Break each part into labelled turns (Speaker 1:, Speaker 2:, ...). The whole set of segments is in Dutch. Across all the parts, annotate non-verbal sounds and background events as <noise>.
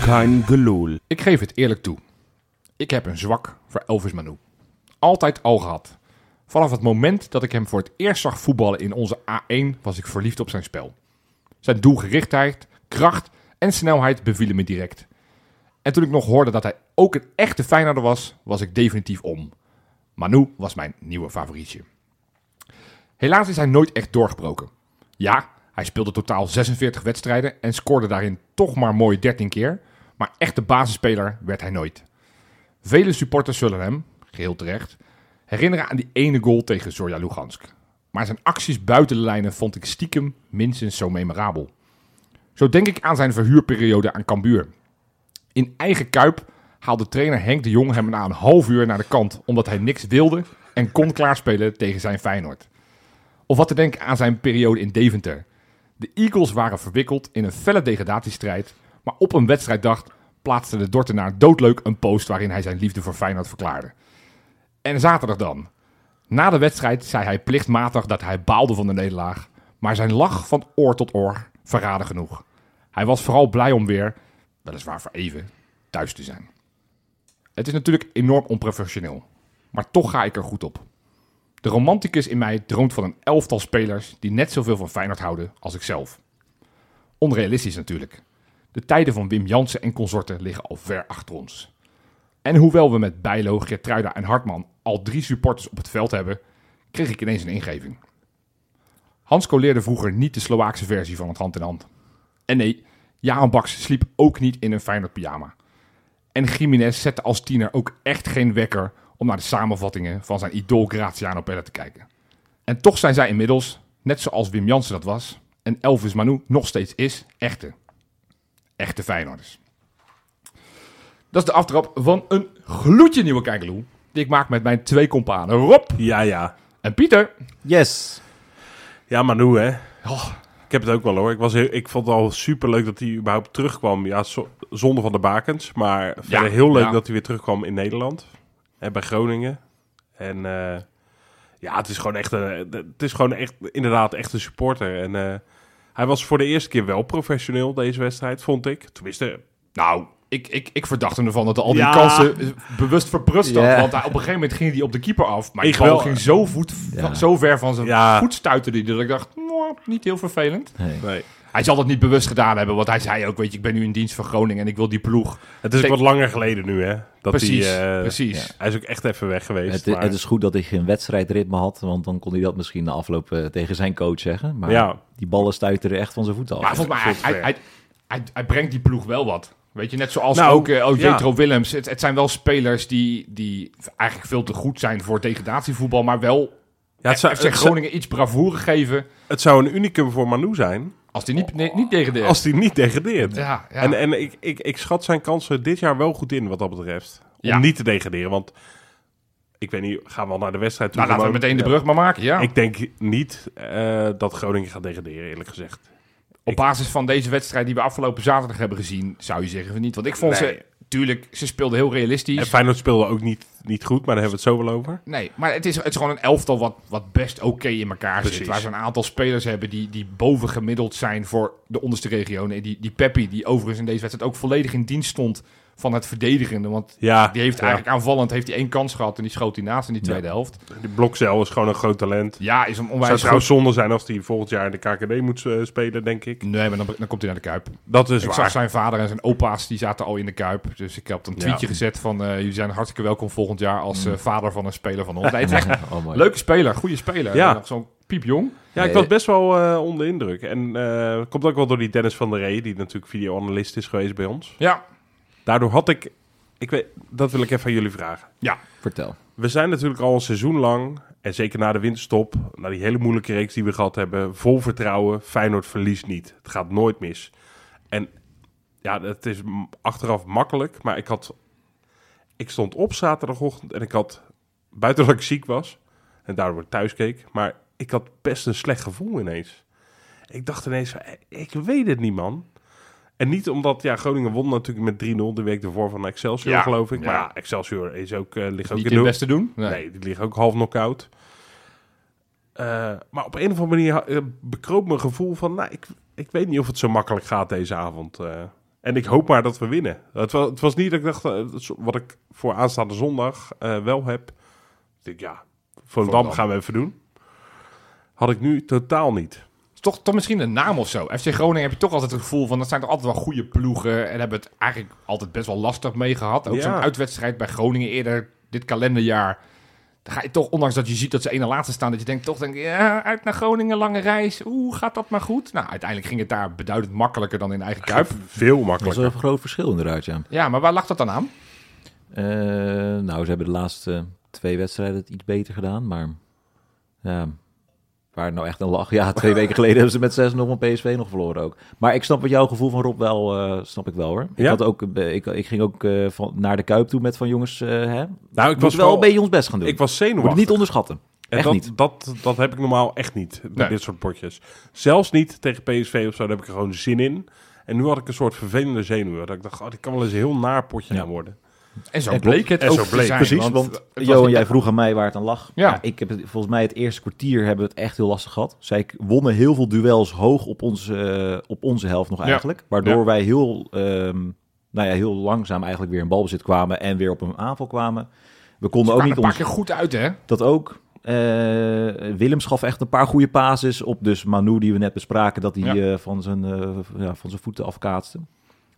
Speaker 1: Kein geloel.
Speaker 2: Ik geef het eerlijk toe. Ik heb een zwak voor Elvis Manu. Altijd al gehad. Vanaf het moment dat ik hem voor het eerst zag voetballen in onze A1 was ik verliefd op zijn spel. Zijn doelgerichtheid, kracht en snelheid bevielen me direct. En toen ik nog hoorde dat hij ook een echte Feyenoorder was, was ik definitief om. Manu was mijn nieuwe favorietje. Helaas is hij nooit echt doorgebroken. Ja, hij speelde totaal 46 wedstrijden en scoorde daarin toch maar mooi 13 keer, maar echte basisspeler werd hij nooit. Vele supporters zullen hem, geheel terecht, herinneren aan die ene goal tegen Zorya Lugansk. Maar zijn acties buiten de lijnen vond ik stiekem minstens zo memorabel. Zo denk ik aan zijn verhuurperiode aan Cambuur. In eigen kuip haalde trainer Henk de Jong hem na een half uur naar de kant omdat hij niks wilde en kon klaarspelen tegen zijn Feyenoord. Of wat te denken aan zijn periode in Deventer. De Eagles waren verwikkeld in een felle degradatiestrijd, maar op een wedstrijddag plaatste de Dortenaar doodleuk een post waarin hij zijn liefde voor Feyenoord verklaarde. En zaterdag dan. Na de wedstrijd zei hij plichtmatig dat hij baalde van de nederlaag, maar zijn lach van oor tot oor verraadde genoeg. Hij was vooral blij om weer, weliswaar voor even, thuis te zijn. Het is natuurlijk enorm onprofessioneel, maar toch ga ik er goed op. De romanticus in mij droomt van een elftal spelers die net zoveel van Feyenoord houden als ikzelf. Onrealistisch natuurlijk. De tijden van Wim Jansen en consorten liggen al ver achter ons. En hoewel we met Bijlo, Gertruida en Hartman al drie supporters op het veld hebben, kreeg ik ineens een ingeving. Hansko leerde vroeger niet de Slovaakse versie van het hand in hand. En nee, Jaan Baks sliep ook niet in een Feyenoord pyjama. En Jiménez zette als tiener ook echt geen wekker om naar de samenvattingen van zijn idool Graziano Pelle te kijken. En toch zijn zij inmiddels, net zoals Wim Jansen dat was, en Elvis Manu nog steeds is, echte. Echte Feyenoorders. Dat is de aftrap van een gloedje nieuwe kijkeloe die ik maak met mijn twee kompanen Rob
Speaker 1: Ja, ja.
Speaker 2: en Pieter.
Speaker 1: Yes.
Speaker 3: Ja, Manu, hè.
Speaker 2: Oh,
Speaker 3: Ik heb het ook wel hoor. Ik, was heel- ik vond het al super leuk dat hij überhaupt terugkwam. Ja, zo- zonder van de bakens. Maar verder heel leuk
Speaker 2: ja.
Speaker 3: dat hij weer terugkwam in Nederland. En bij Groningen. En eh, ja, het is gewoon echt, een, het is gewoon echt inderdaad echt een supporter. En eh, hij was voor de eerste keer wel professioneel deze wedstrijd, vond ik. Tenminste,
Speaker 2: nou, ik, ik, ik verdacht hem ervan dat hij al die
Speaker 3: Ja.
Speaker 2: kansen eh, bewust verprust had.
Speaker 1: Ja.
Speaker 2: Want hij, op een gegeven moment ging hij op de keeper af. Maar
Speaker 3: Ik
Speaker 2: die bal
Speaker 3: wel.
Speaker 2: ging zo, voet,
Speaker 1: Ja.
Speaker 2: zo ver van zijn
Speaker 3: Ja.
Speaker 2: voet stuitte die dat ik dacht, nou, niet heel vervelend.
Speaker 3: nee.
Speaker 2: Hij zal dat niet bewust gedaan hebben, want hij zei ook, weet je, ik ben nu in dienst van Groningen en ik wil die ploeg.
Speaker 3: Het is ook
Speaker 2: Denk-
Speaker 3: wat langer geleden nu, hè? Dat
Speaker 2: precies,
Speaker 3: hij, eh,
Speaker 2: precies.
Speaker 3: Hij is ook echt even weg geweest.
Speaker 1: Het,
Speaker 3: maar-
Speaker 1: het is goed dat ik geen wedstrijdritme had, want dan kon hij dat misschien na afloop eh, tegen zijn coach zeggen. Maar
Speaker 3: Ja.
Speaker 1: die ballen stuiten er echt van zijn voeten af.
Speaker 2: Maar volgens mij, hij, hij, hij, hij, hij brengt die ploeg wel wat. Weet je, net zoals
Speaker 3: Nou,
Speaker 2: ook eh, ook
Speaker 3: ja.
Speaker 2: Jetro Willems. Het, het zijn wel spelers die, die eigenlijk veel te goed zijn voor degradatievoetbal, maar wel
Speaker 3: ja, het, zou,
Speaker 2: FC
Speaker 3: het, zou,
Speaker 2: Groningen iets bravoure geven
Speaker 3: het zou een unicum voor Manu zijn
Speaker 2: als die niet, nee, niet degradeert.
Speaker 3: als hij niet degradeert.
Speaker 2: ja, ja. Nou,
Speaker 3: En, eh, en ik, ik, ik schat zijn kansen dit jaar wel goed in wat dat betreft. Om
Speaker 2: Ja.
Speaker 3: niet te degraderen, want ik weet niet, gaan we al naar de wedstrijd toe?
Speaker 2: nou, laten we
Speaker 3: gewoon?
Speaker 2: meteen de brug maar maken. Ja.
Speaker 3: Ik denk niet eh, dat Groningen gaat degraderen, eerlijk gezegd.
Speaker 2: Op basis van deze wedstrijd die we afgelopen zaterdag hebben gezien, zou je zeggen van niet. Want ik
Speaker 3: Nee.
Speaker 2: vond ze, tuurlijk, ze speelden heel realistisch.
Speaker 3: En Feyenoord speelde ook niet, niet goed, maar daar hebben we het zo wel over.
Speaker 2: Nee, maar het is, het is gewoon een elftal wat, wat best oké in elkaar zit.
Speaker 3: Precies.
Speaker 2: Waar ze een aantal spelers hebben die, die bovengemiddeld zijn voor de onderste regionen. En die, die Peppi, die overigens in deze wedstrijd ook volledig in dienst stond van het verdedigende. Want
Speaker 3: Ja,
Speaker 2: die heeft
Speaker 3: ja.
Speaker 2: eigenlijk aanvallend heeft hij één kans gehad en die schoot hij naast in die tweede helft.
Speaker 3: Die Blokcel is gewoon een groot talent.
Speaker 2: Ja, is een
Speaker 3: Het zou
Speaker 2: onwijs
Speaker 3: trouwens
Speaker 2: groot...
Speaker 3: zonde zijn als hij volgend jaar in de KKD moet eh, spelen, denk ik.
Speaker 2: Nee, maar dan, dan komt hij naar de Kuip.
Speaker 3: Dat is
Speaker 2: Ik
Speaker 3: waar.
Speaker 2: zag zijn vader en zijn opa's, die zaten al in de Kuip. Dus ik heb op een
Speaker 3: Ja.
Speaker 2: tweetje gezet van... eh, jullie zijn hartstikke welkom volgend jaar als eh, vader van een speler van ons. Nee, het is echt een
Speaker 1: Ja, <laughs> oh, mooi.
Speaker 2: leuke speler, goede speler.
Speaker 3: Ja.
Speaker 2: En nog Zo'n piepjong.
Speaker 3: Ja, ik
Speaker 1: Nee.
Speaker 3: was best wel eh, onder de indruk. En eh komt ook wel door die Dennis van der Ree, die natuurlijk videoanalist is geweest bij ons.
Speaker 2: Ja,
Speaker 3: Daardoor had ik, ik weet, dat wil ik even aan jullie vragen.
Speaker 2: ja.
Speaker 1: Vertel.
Speaker 3: We zijn natuurlijk al een seizoen lang, en zeker na de winterstop, na die hele moeilijke reeks die we gehad hebben, vol vertrouwen. Feyenoord verliest niet. Het gaat nooit mis. En ja, het is m- achteraf makkelijk, maar ik had... Ik stond op zaterdagochtend en ik had... Buiten dat ik ziek was en daardoor thuis keek, maar ik had best een slecht gevoel ineens. Ik dacht ineens, van, eh, ik weet het niet, man. En niet omdat, ja, Groningen won natuurlijk met 3-0 de week ervoor van Excelsior,
Speaker 2: Ja,
Speaker 3: geloof ik. Maar
Speaker 2: ja.
Speaker 3: ja, Excelsior is ook, eh, ligt ook
Speaker 2: Niet
Speaker 3: in
Speaker 2: het
Speaker 3: de,
Speaker 2: beste doen. Nee.
Speaker 3: Nee, die liggen ook half knock-out. Eh, maar op een of andere manier eh, bekroop mijn gevoel van... Nou, ik, ik weet niet of het zo makkelijk gaat deze avond. eh. en ik hoop maar dat we winnen. Het was, het was niet dat ik dacht... eh, dat is wat ik voor aanstaande zondag eh, wel heb. Ik denk, ja, Volendam
Speaker 2: Volendam.
Speaker 3: gaan we even doen. Had ik nu totaal niet.
Speaker 2: Is Toch, toch misschien een naam of zo. FC Groningen heb je toch altijd het gevoel van... dat zijn toch altijd wel goede ploegen... en hebben het eigenlijk altijd best wel lastig mee gehad. Ook
Speaker 3: Ja.
Speaker 2: zo'n uitwedstrijd bij Groningen eerder dit kalenderjaar. Dan ga je toch, ondanks dat je ziet dat ze één na laatste staan... dat je denkt toch, denk, je, ja, uit naar Groningen, lange reis. Oeh, gaat dat maar goed? Nou, uiteindelijk ging het daar beduidend makkelijker dan in eigen kuip.
Speaker 3: Veel
Speaker 1: Dat is wel
Speaker 3: makkelijker.
Speaker 1: een groot verschil inderdaad, ja.
Speaker 2: Ja, maar waar lag dat dan aan?
Speaker 1: Eh, nou, ze hebben de laatste twee wedstrijden het iets beter gedaan, maar ja, waar het nou echt een lach.
Speaker 3: <laughs>
Speaker 1: Ja, twee weken geleden hebben ze met 6 nog van PSV nog verloren ook. Maar ik snap wat jouw gevoel van Rob wel, eh, snap ik wel hoor. Ik,
Speaker 3: Ja?
Speaker 1: had ook, eh, ik, ik ging ook eh, van, naar de Kuip toe met van jongens, eh hè,
Speaker 3: Nou, ik
Speaker 1: we
Speaker 3: was
Speaker 1: moeten wel
Speaker 3: wel...
Speaker 1: een beetje ons best gaan doen.
Speaker 3: Ik was
Speaker 1: Moet het
Speaker 3: zenuwachtig.
Speaker 1: niet onderschatten.
Speaker 3: En
Speaker 1: Echt
Speaker 3: dat,
Speaker 1: niet.
Speaker 3: Dat, dat heb ik normaal echt niet bij
Speaker 2: Nee.
Speaker 3: dit soort potjes. Zelfs niet tegen PSV of zo, daar heb ik er gewoon zin in. En nu had ik een soort vervelende zenuwen. Dat ik dacht, oh, dit kan wel eens een heel naar potje
Speaker 1: Ja.
Speaker 3: gaan worden.
Speaker 2: En zo
Speaker 1: En klopt.
Speaker 2: bleek het
Speaker 3: En
Speaker 2: ook
Speaker 3: zo
Speaker 2: te
Speaker 3: bleek,
Speaker 2: zijn.
Speaker 1: Precies, want
Speaker 2: het was
Speaker 1: Jo en
Speaker 2: niet-
Speaker 1: jij vroeg aan mij waar het aan lag.
Speaker 2: Ja.
Speaker 1: ik heb het, volgens mij het eerste kwartier hebben we het echt heel lastig gehad. Zij k- wonnen heel veel duels hoog op onze, eh, op onze helft nog
Speaker 2: Ja.
Speaker 1: eigenlijk. Waardoor
Speaker 2: Ja.
Speaker 1: wij heel, ehm, nou ja, heel langzaam eigenlijk weer in balbezit kwamen en weer op een aanval kwamen. We konden ook
Speaker 2: kwamen
Speaker 1: niet
Speaker 2: een paar
Speaker 1: ons...
Speaker 2: keer goed uit, hè?
Speaker 1: Dat ook. Eh, Willems gaf echt een paar goede pases op. Dus Manu, die we net bespraken, dat hij
Speaker 2: Ja.
Speaker 1: eh, van, zijn, eh, ja, van zijn voeten afkaatste.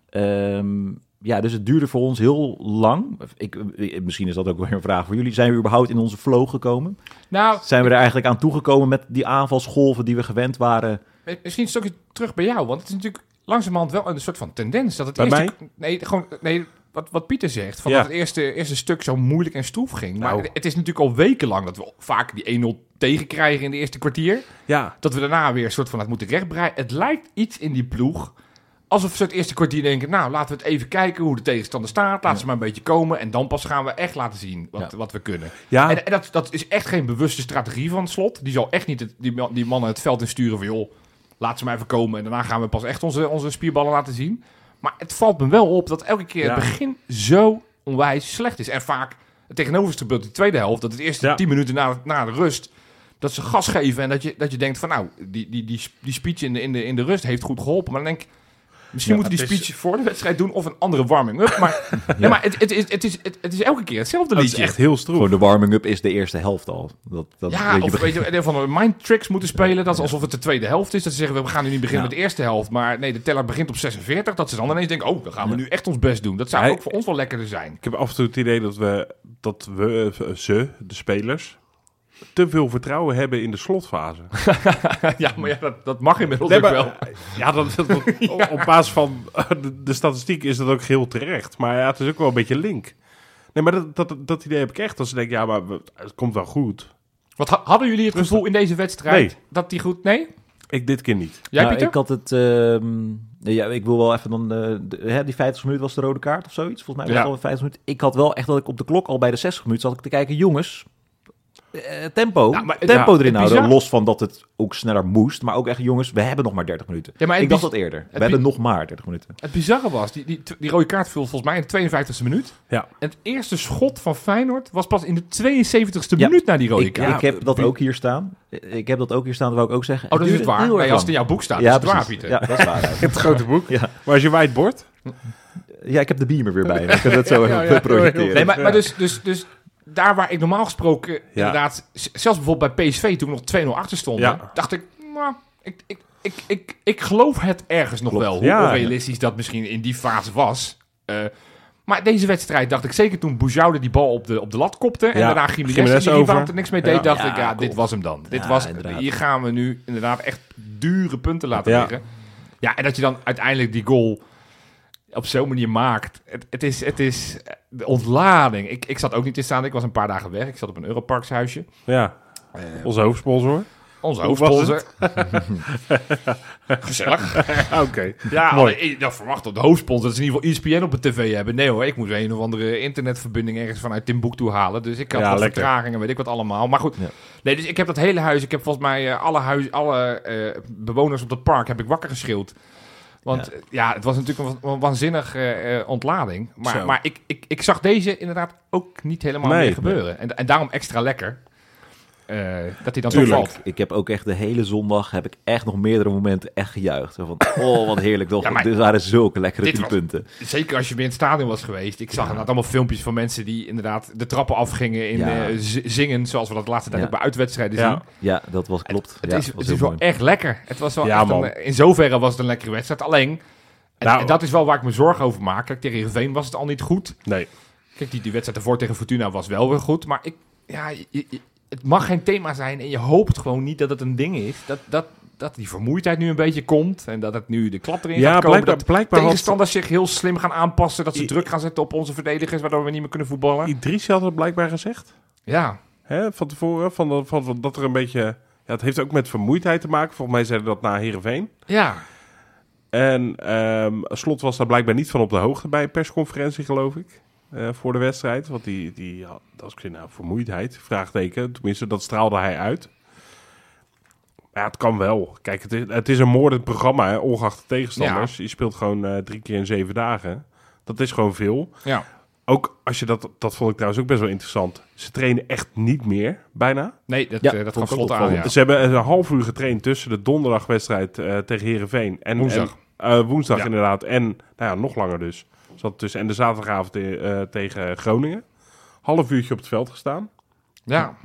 Speaker 1: Ehm, ja, dus het duurde voor ons heel lang. Ik, eh, misschien is dat ook weer een vraag voor jullie. Zijn we überhaupt in onze flow gekomen?
Speaker 2: Nou,
Speaker 1: Zijn we er eigenlijk aan toegekomen met die aanvalsgolven die we gewend waren?
Speaker 2: Eh, Misschien een stukje terug bij jou, want het is natuurlijk langzamerhand wel een soort van tendens. Dat het
Speaker 3: Bij
Speaker 2: eerste, Nee, gewoon, eh, nee wat, wat Pieter zegt, van
Speaker 3: Ja.
Speaker 2: dat het eerste, eerste stuk zo moeilijk en stroef ging.
Speaker 3: Nou.
Speaker 2: Maar het, het is natuurlijk al wekenlang dat we vaak die 1-0 tegenkrijgen in de eerste kwartier.
Speaker 3: Ja,
Speaker 2: Dat we daarna weer een soort van het moeten rechtbreien. Het lijkt iets in die ploeg alsof ze het eerste kwartier denken... nou, laten we het even kijken hoe de tegenstander staat. Laat ze maar een beetje komen en dan pas gaan we echt laten zien wat,
Speaker 1: Ja.
Speaker 2: wat we kunnen.
Speaker 3: ja,
Speaker 2: En, en dat, dat is echt geen bewuste strategie van slot. Die zal echt niet het, die, man- die mannen het veld insturen van... joh, laat ze maar even komen en daarna gaan we pas echt onze, onze spierballen laten zien. Maar het valt me wel op dat elke keer
Speaker 3: Ja.
Speaker 2: het begin zo onwijs slecht is. En vaak het tegenovergestelde de tweede helft... dat het eerste
Speaker 3: Ja.
Speaker 2: tien minuten na, na de rust... dat ze gas geven en dat je, dat je denkt van... nou, die, die, die, die speech in de, in, de, in de rust heeft goed geholpen. Maar dan denk ik... Misschien
Speaker 3: Ja,
Speaker 2: moeten die
Speaker 3: het is-
Speaker 2: speech voor de wedstrijd doen of een andere warming-up.
Speaker 3: <laughs>
Speaker 2: Maar, nee, maar het, het, is- het, is, het, het is elke keer hetzelfde
Speaker 3: dat
Speaker 2: liedje.
Speaker 3: is echt heel stroef.
Speaker 1: Gewoon de warming-up is de eerste helft al. Dat, dat,
Speaker 2: Ja,
Speaker 1: weet je,
Speaker 2: of
Speaker 1: begin-
Speaker 2: weet je, een van de mind tricks moeten spelen. Dat is alsof het de tweede helft is. Dat ze zeggen, we gaan nu niet beginnen
Speaker 1: Ja.
Speaker 2: met de eerste helft. Maar nee, de teller begint op 46. Dat ze dan ineens denken, oh, dan gaan we nu echt ons best doen. Dat zou
Speaker 3: Hij-
Speaker 2: ook voor ons wel lekkerder zijn.
Speaker 1: <laughs>
Speaker 3: Ik heb af en toe het idee dat we, dat we eh, ze, de spelers, te veel vertrouwen hebben in de slotfase.
Speaker 2: ja, <laughs> maar ja, dat, dat mag inmiddels ook wel.
Speaker 3: Ja, dat, dat- dat- op basis van eh, de, de statistiek is dat ook heel terecht. Maar ja, het is ook wel een beetje link. Nee, maar dat, dat, dat idee heb ik echt. Dat ze denken, ja, maar we- het komt wel goed.
Speaker 2: Want ha- hadden jullie het gevoel in deze wedstrijd
Speaker 3: Nee.
Speaker 2: dat die goed... Nee?
Speaker 3: Ik dit keer niet.
Speaker 2: Jij,
Speaker 1: Nou,
Speaker 2: Pieter?
Speaker 1: ik had het. ehm, ja, ik wil wel even dan. eh, de- hè, die 50 minuten was de rode kaart of zoiets. Volgens mij was
Speaker 2: Ja.
Speaker 1: het al een 50 minuten. Ik had wel echt dat ik op de klok al bij de 60 minuten zat ik te kijken, jongens. eh, tempo,
Speaker 2: Ja, maar-
Speaker 1: tempo
Speaker 2: ja,
Speaker 1: erin houden.
Speaker 2: bizar.
Speaker 1: Los van dat het ook sneller moest. Maar ook echt, jongens, we hebben nog maar 30 minuten.
Speaker 2: Ja, maar het
Speaker 1: ik dacht
Speaker 2: biz-
Speaker 1: dat eerder. We
Speaker 2: bi-
Speaker 1: hebben nog maar 30 minuten.
Speaker 2: Het bizarre was, die, die, die rode kaart viel volgens mij in de 52e minuut.
Speaker 3: Ja.
Speaker 2: En het eerste schot van Feyenoord was pas in de 72e
Speaker 1: Ja.
Speaker 2: minuut na die rode
Speaker 1: Ik,
Speaker 2: kaart.
Speaker 1: ik heb dat
Speaker 3: wie-
Speaker 1: ook hier staan. Ik heb dat ook hier staan, dat wou ik ook zeggen.
Speaker 2: oh, dat is het
Speaker 1: duurde
Speaker 2: waar.
Speaker 1: heel erg
Speaker 2: Nee, als het in
Speaker 1: lang.
Speaker 2: jouw boek staat,
Speaker 1: ja,
Speaker 2: is het waar,
Speaker 1: precies.
Speaker 2: Pieter.
Speaker 1: Ja, dat is waar.
Speaker 3: <laughs> Het grote boek.
Speaker 1: Ja.
Speaker 3: Maar als je wijd bord,
Speaker 1: <laughs> ja, ik heb de beamer weer bij me. Ik kan dat
Speaker 2: <laughs>
Speaker 1: zo
Speaker 3: Ja, ja,
Speaker 1: even
Speaker 3: ja.
Speaker 1: projecteren.
Speaker 2: Nee, maar, maar dus, dus, dus daar waar ik normaal gesproken inderdaad... z- Zelfs bijvoorbeeld bij PSV toen we nog 2-0 achter stonden...
Speaker 3: Ja.
Speaker 2: dacht ik, nou, ik, ik, ik, ik, ik geloof het ergens nog
Speaker 1: Klopt.
Speaker 2: wel. Hoe
Speaker 3: Ja.
Speaker 2: onrealistisch dat misschien in die fase was. Eh, maar deze wedstrijd dacht ik zeker toen Boujoude die bal op de, op de lat kopte... en
Speaker 3: Ja,
Speaker 2: daarna Gimenez,
Speaker 3: Gimenez
Speaker 2: die
Speaker 3: over.
Speaker 2: rebound er niks mee deed...
Speaker 3: Ja.
Speaker 2: dacht
Speaker 1: Ja,
Speaker 2: ik, ja,
Speaker 1: klopt.
Speaker 2: dit was hem dan. Dit
Speaker 1: Ja,
Speaker 2: was,
Speaker 1: inderdaad.
Speaker 2: hier gaan we nu inderdaad echt dure punten laten
Speaker 3: Ja.
Speaker 2: liggen. Ja, en dat je dan uiteindelijk die goal op zo'n manier maakt. Het, het, is, het is eh, de ontlading. Ik,
Speaker 3: Eh,
Speaker 2: ik zat ook niet in staan. Ik was een paar dagen weg. Ik zat op een Europarkshuisje.
Speaker 3: Ja, onze hoofdsponsor.
Speaker 2: Onze
Speaker 3: Hoe was
Speaker 2: hoofdsponsor. <laughs> Gezellig.
Speaker 3: <laughs> Oké.
Speaker 2: Ja,
Speaker 3: Mooi.
Speaker 2: alleen, ik dat verwacht dat de hoofdsponsor dat ze in ieder geval E ESPN op de tv hebben. Nee hoor, ik moest een of andere internetverbinding ergens vanuit Timbuktu halen. Dus ik had
Speaker 3: Ja,
Speaker 2: wat
Speaker 3: lekker.
Speaker 2: vertragingen, weet ik wat allemaal. Maar goed,
Speaker 1: Ja.
Speaker 2: nee, dus ik heb dat hele huis, ik heb volgens mij eh, alle, huis, alle eh, bewoners op dat park heb ik wakker geschreeuwd. Want eh, ja, het was natuurlijk een, wa- wa- waanzinnige eh, eh, ontlading. Maar,
Speaker 3: Zo.
Speaker 2: maar ik, ik, ik zag deze inderdaad ook niet helemaal
Speaker 3: Nee.
Speaker 2: meer gebeuren. En, en daarom extra lekker. eh, dat hij dan zo
Speaker 3: Tuurlijk.
Speaker 2: valt.
Speaker 1: Ik heb ook echt de hele zondag heb ik echt nog meerdere momenten echt gejuicht. Zo Van, oh, wat heerlijk. Toch?
Speaker 2: Ja, maar-
Speaker 1: Dit waren zulke lekkere
Speaker 2: Dit
Speaker 1: die
Speaker 2: was-
Speaker 1: punten.
Speaker 2: Zeker als je weer in het stadion was geweest. Ik zag inderdaad allemaal filmpjes van mensen die inderdaad de trappen afgingen in
Speaker 1: Ja.
Speaker 2: eh, z- zingen, zoals we dat de laatste tijd
Speaker 1: Ja.
Speaker 2: ook bij uitwedstrijden
Speaker 3: Ja.
Speaker 2: zien.
Speaker 1: Ja, dat was klopt.
Speaker 2: Het
Speaker 1: ja,
Speaker 2: is,
Speaker 1: was
Speaker 2: het
Speaker 1: heel
Speaker 2: is wel
Speaker 1: mooi.
Speaker 2: echt lekker. Het was wel
Speaker 3: Ja,
Speaker 2: echt een- eh,
Speaker 3: man.
Speaker 2: in zoverre was het een lekkere wedstrijd. Alleen, en,
Speaker 3: Nou.
Speaker 2: en dat is wel waar ik me zorgen over maak. Kijk, tegen Heerenveen was het al niet goed.
Speaker 3: Nee.
Speaker 2: Kijk, die, die wedstrijd ervoor tegen Fortuna was wel weer goed. Maar ik, ja, je- je- het mag geen thema zijn en je hoopt gewoon niet dat het een ding is. Dat, dat, dat die vermoeidheid nu een beetje komt en dat het nu de klap erin
Speaker 3: Ja,
Speaker 2: gaat komen.
Speaker 3: blijkbaar,
Speaker 2: dat-
Speaker 3: blijkbaar had
Speaker 2: tegenstanders zich heel slim gaan aanpassen. Dat ze
Speaker 3: I-
Speaker 2: druk gaan zetten op onze verdedigers, waardoor we niet meer kunnen voetballen.
Speaker 3: Idrissi had het blijkbaar gezegd.
Speaker 2: Ja,
Speaker 3: Hè, van tevoren, van, dat- van, van dat er een beetje... Ja, het heeft ook met vermoeidheid te maken. Volgens mij zeiden dat na Heerenveen.
Speaker 2: ja.
Speaker 3: En ehm, Slot was daar blijkbaar niet van op de hoogte bij een persconferentie, geloof ik. eh, voor de wedstrijd. Want die, die had, als ik zei, nou, vermoeidheid, vraagteken. Tenminste, dat straalde hij uit. Maar ja, het kan wel. Kijk, het is, het is een moordend programma, hè, ongeacht de tegenstanders. Je speelt gewoon eh, drie keer in zeven dagen. Dat is gewoon veel.
Speaker 2: ja.
Speaker 3: Ook als je dat, dat vond ik trouwens ook best wel interessant. Ze trainen echt niet meer, bijna.
Speaker 2: Nee, dat,
Speaker 1: Ja,
Speaker 2: eh, dat
Speaker 1: vond
Speaker 2: gaf
Speaker 1: ik ook
Speaker 2: slot aan. Ja.
Speaker 3: Ze hebben een half uur getraind tussen de donderdagwedstrijd eh, tegen Herenveen en
Speaker 2: Woensdag.
Speaker 3: en, eh, woensdag
Speaker 2: Ja.
Speaker 3: inderdaad. En nou ja, nog langer dus. Zat tussen en de zaterdagavond eh, eh, tegen Groningen. Half uurtje op het veld gestaan.
Speaker 2: Ja.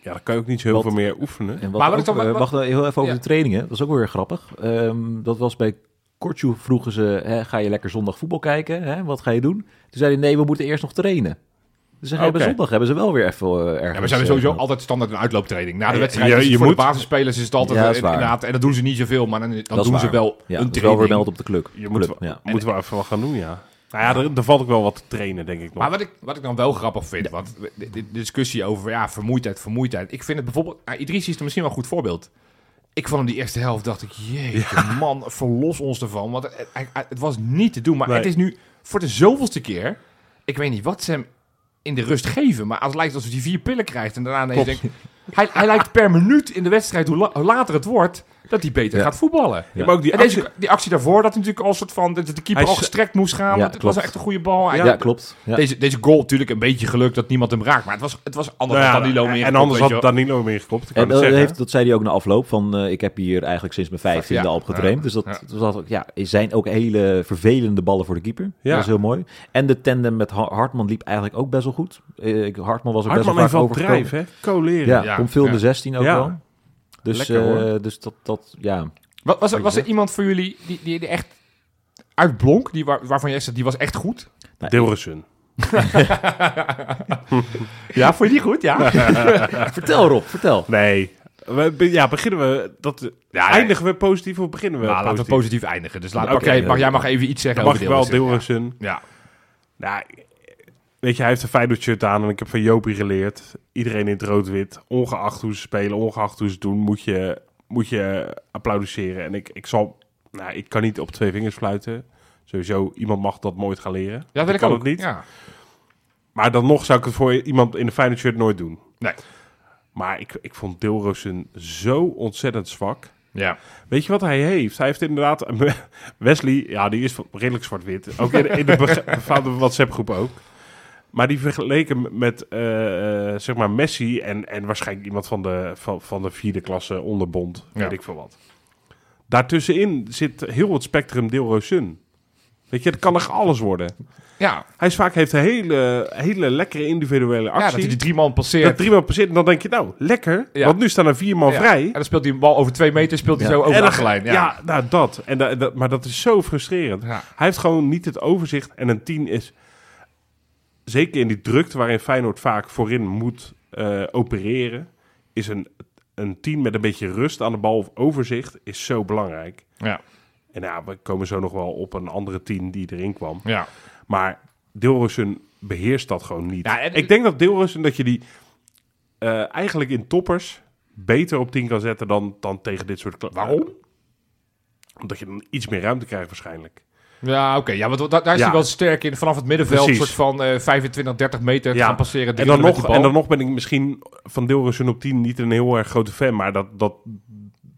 Speaker 3: Ja, dan kan je ook niet zo heel
Speaker 1: Wat-
Speaker 3: veel meer oefenen.
Speaker 1: En wat
Speaker 2: Maar wat
Speaker 1: ook,
Speaker 2: ik dan- wat-
Speaker 1: eh,
Speaker 2: wat-
Speaker 1: wacht nou heel even over
Speaker 2: Ja.
Speaker 1: de trainingen. Dat is ook wel weer grappig. Ehm, dat was bij Kortjoe vroegen ze, hè, ga je lekker zondag voetbal kijken? Hè? Wat ga je doen? Toen zei hij, nee, we moeten eerst nog trainen. Dus ze hebben
Speaker 3: Oké.
Speaker 1: zondag hebben ze wel weer even eh, ergens...
Speaker 2: Ja, maar ze hebben
Speaker 1: eh,
Speaker 2: sowieso
Speaker 1: gehad.
Speaker 2: altijd standaard een uitlooptraining. Na de
Speaker 3: Ja,
Speaker 2: wedstrijd
Speaker 3: je-
Speaker 2: is het
Speaker 3: je
Speaker 2: voor
Speaker 3: moet.
Speaker 2: de basisspelers is het altijd
Speaker 1: Ja, dat
Speaker 2: eh,
Speaker 1: is waar.
Speaker 2: inderdaad. En dat doen ze niet zoveel, maar dan, dan
Speaker 1: is
Speaker 2: doen ze
Speaker 1: waar.
Speaker 2: wel
Speaker 1: Ja,
Speaker 2: een
Speaker 1: dat is wel weer
Speaker 2: training.
Speaker 1: melden op de club.
Speaker 3: Je moet
Speaker 1: club,
Speaker 3: wel,
Speaker 1: ja.
Speaker 3: moeten we even wat gaan doen, ja. Nou ja, er, er valt ook wel wat te trainen, denk ik nog.
Speaker 2: Maar wat ik, wat ik dan wel grappig vind, want de, de- de discussie over ja, vermoeidheid, vermoeidheid. Ik vind het bijvoorbeeld, nou, Idrissi is er misschien wel een goed voorbeeld. Ik vond hem die eerste helft, dacht ik, jee,
Speaker 1: <laughs>
Speaker 2: man, verlos ons ervan. Want het, het- het- het was niet te doen, maar
Speaker 3: Nee.
Speaker 2: het is nu voor de zoveelste keer, ik weet niet wat ze hem in de rust geven, maar het lijkt alsof hij vier pillen krijgt en daarna ineens denkt... Hij, hij lijkt per minuut in de wedstrijd, hoe, la- hoe later het wordt, dat hij beter
Speaker 1: Ja.
Speaker 2: gaat voetballen.
Speaker 3: Ja, maar ook die
Speaker 2: En
Speaker 3: actie,
Speaker 2: deze, die actie daarvoor, dat hij natuurlijk al soort van, dat de keeper
Speaker 3: Hij
Speaker 2: al
Speaker 3: s-
Speaker 2: gestrekt moest gaan,
Speaker 1: Ja,
Speaker 2: want het was
Speaker 1: klopt.
Speaker 2: echt een goede bal. Hij-
Speaker 1: Ja,
Speaker 3: Ja,
Speaker 1: klopt. Ja.
Speaker 2: deze, deze goal natuurlijk een beetje geluk dat niemand hem raakt. Maar het was, het was anders
Speaker 3: nou ja,
Speaker 2: dan Danilo meer.
Speaker 3: en anders had Danilo meer gekopt. Ik kan
Speaker 1: En
Speaker 3: het
Speaker 1: dat,
Speaker 3: zeggen.
Speaker 1: heeft, dat zei hij ook na afloop van, eh, ik heb hier eigenlijk sinds mijn vijftiende
Speaker 2: Ja,
Speaker 1: al op getraind.
Speaker 2: ja,
Speaker 1: dus dat,
Speaker 2: ja.
Speaker 1: dat was ook- ja, zijn ook hele vervelende ballen voor de keeper.
Speaker 3: Ja.
Speaker 1: Dat is heel mooi. En de tandem met Ha- Hartman liep eigenlijk ook best wel goed. Eh, ik- Hartman was ook
Speaker 3: Hartman
Speaker 1: best
Speaker 3: heeft
Speaker 1: wel
Speaker 3: wel
Speaker 1: vaak
Speaker 3: drijf,
Speaker 1: overgekomen.
Speaker 3: hè? Coleren.
Speaker 1: Ja,
Speaker 2: Ja,
Speaker 1: komt veel in de
Speaker 2: ja.
Speaker 1: 16 ook
Speaker 3: Ja.
Speaker 1: wel. Dus,
Speaker 3: Lekker,
Speaker 1: eh,
Speaker 3: hoor.
Speaker 1: dus dat, dat, ja.
Speaker 2: Was, was, er, was er iemand voor jullie die, die, die echt uitblonk? Die waar, waarvan jij zegt, die was echt goed?
Speaker 3: Deelrussen.
Speaker 2: Ja, vond je die goed? <laughs> Ja.
Speaker 1: Vertel Rob, vertel.
Speaker 3: Nee. We, be- ja, beginnen we... Dat, eindigen we positief of beginnen we
Speaker 2: Nou, laten we
Speaker 3: positief?
Speaker 2: positief eindigen. Dus laat,
Speaker 3: Oké,
Speaker 2: oké, mag,
Speaker 1: ja.
Speaker 2: jij mag even iets zeggen
Speaker 3: Dan mag
Speaker 2: over
Speaker 3: ik wel
Speaker 2: Dillersen.
Speaker 3: Deelrussen.
Speaker 2: Ja.
Speaker 3: Nou, weet je, hij heeft een Feyenoord shirt aan en ik heb van Jopie geleerd. Iedereen in het rood-wit, ongeacht hoe ze spelen, ongeacht hoe ze het doen, moet je, moet je applaudisseren. En ik, ik zal, nou, ik kan niet op twee vingers fluiten. Sowieso, iemand mag dat nooit gaan leren.
Speaker 2: Ja, dat wil ik
Speaker 3: kan
Speaker 2: ook.
Speaker 3: het niet.
Speaker 2: Ja.
Speaker 3: Maar dan nog zou ik het voor iemand in een Feyenoord shirt nooit doen.
Speaker 2: Nee.
Speaker 3: Maar ik, ik vond Deelrozen zo ontzettend zwak.
Speaker 2: Ja.
Speaker 3: Weet je wat hij heeft? Hij heeft inderdaad... <laughs> Wesley, ja, die is redelijk zwart-wit. Ook in, in de be-
Speaker 2: <laughs>
Speaker 3: befaamde WhatsApp-groep ook. Maar die vergeleken met, eh, eh, zeg maar, Messi... En, en waarschijnlijk iemand van de, van, van de vierde klasse onderbond.
Speaker 2: Ja.
Speaker 3: Weet ik veel wat. Daartussenin zit heel het spectrum Deelroosun. Weet je, het kan echt alles worden.
Speaker 2: Ja.
Speaker 3: Hij is vaak heeft een hele, hele lekkere individuele
Speaker 2: ja, dat
Speaker 3: actie.
Speaker 2: hij die drie man passeert.
Speaker 3: dat drie man passeert en dan denk je, nou, lekker.
Speaker 2: Ja.
Speaker 3: Want nu staan er vier man
Speaker 2: Ja.
Speaker 3: vrij.
Speaker 2: En dan speelt hij een bal over twee meter, speelt hij
Speaker 1: Ja.
Speaker 2: zo over
Speaker 3: En
Speaker 2: de
Speaker 3: dan-
Speaker 2: achterlijn. Ja.
Speaker 3: Ja. nou dat. En da- dat- maar dat is zo frustrerend.
Speaker 2: Ja.
Speaker 3: Hij heeft gewoon niet het overzicht. En een 10 is, zeker in die drukte waarin Feyenoord vaak voorin moet eh, opereren, is een, een 10 met een beetje rust aan de bal of overzicht is zo belangrijk.
Speaker 2: Ja.
Speaker 3: En ja, we komen zo nog wel op een andere 10 die erin kwam.
Speaker 2: Ja.
Speaker 3: Maar Dilrosun beheerst dat gewoon niet.
Speaker 2: Ja, en-
Speaker 3: ik denk dat Dilrosun dat je die eh, eigenlijk in toppers beter op 10 kan zetten dan, dan tegen dit soort... kla-
Speaker 2: Waarom?
Speaker 3: Omdat je dan iets meer ruimte krijgt waarschijnlijk.
Speaker 2: Ja, oké. Ja, want da- daar is
Speaker 3: Ja.
Speaker 2: hij wel sterk in. Vanaf het middenveld,
Speaker 3: Precies.
Speaker 2: soort van eh 25, 30 meter te gaan passeren.
Speaker 3: En dan,
Speaker 2: dribbelen met
Speaker 3: nog,
Speaker 2: die
Speaker 3: en
Speaker 2: bal.
Speaker 3: dan nog ben ik misschien van Deelrussen op 10 niet een heel erg grote fan. Maar dat, dat,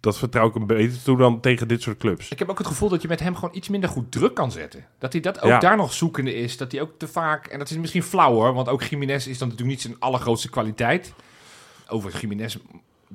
Speaker 3: dat vertrouw ik hem beter toe dan tegen dit soort clubs.
Speaker 2: Ik heb ook het gevoel dat je met hem gewoon iets minder goed druk kan zetten. Dat hij dat ook
Speaker 3: Ja.
Speaker 2: daar nog zoekende is. Dat hij ook te vaak... En dat is misschien flauw hoor. Want ook Jiménez is dan natuurlijk niet zijn allergrootste kwaliteit. Over Jiménez...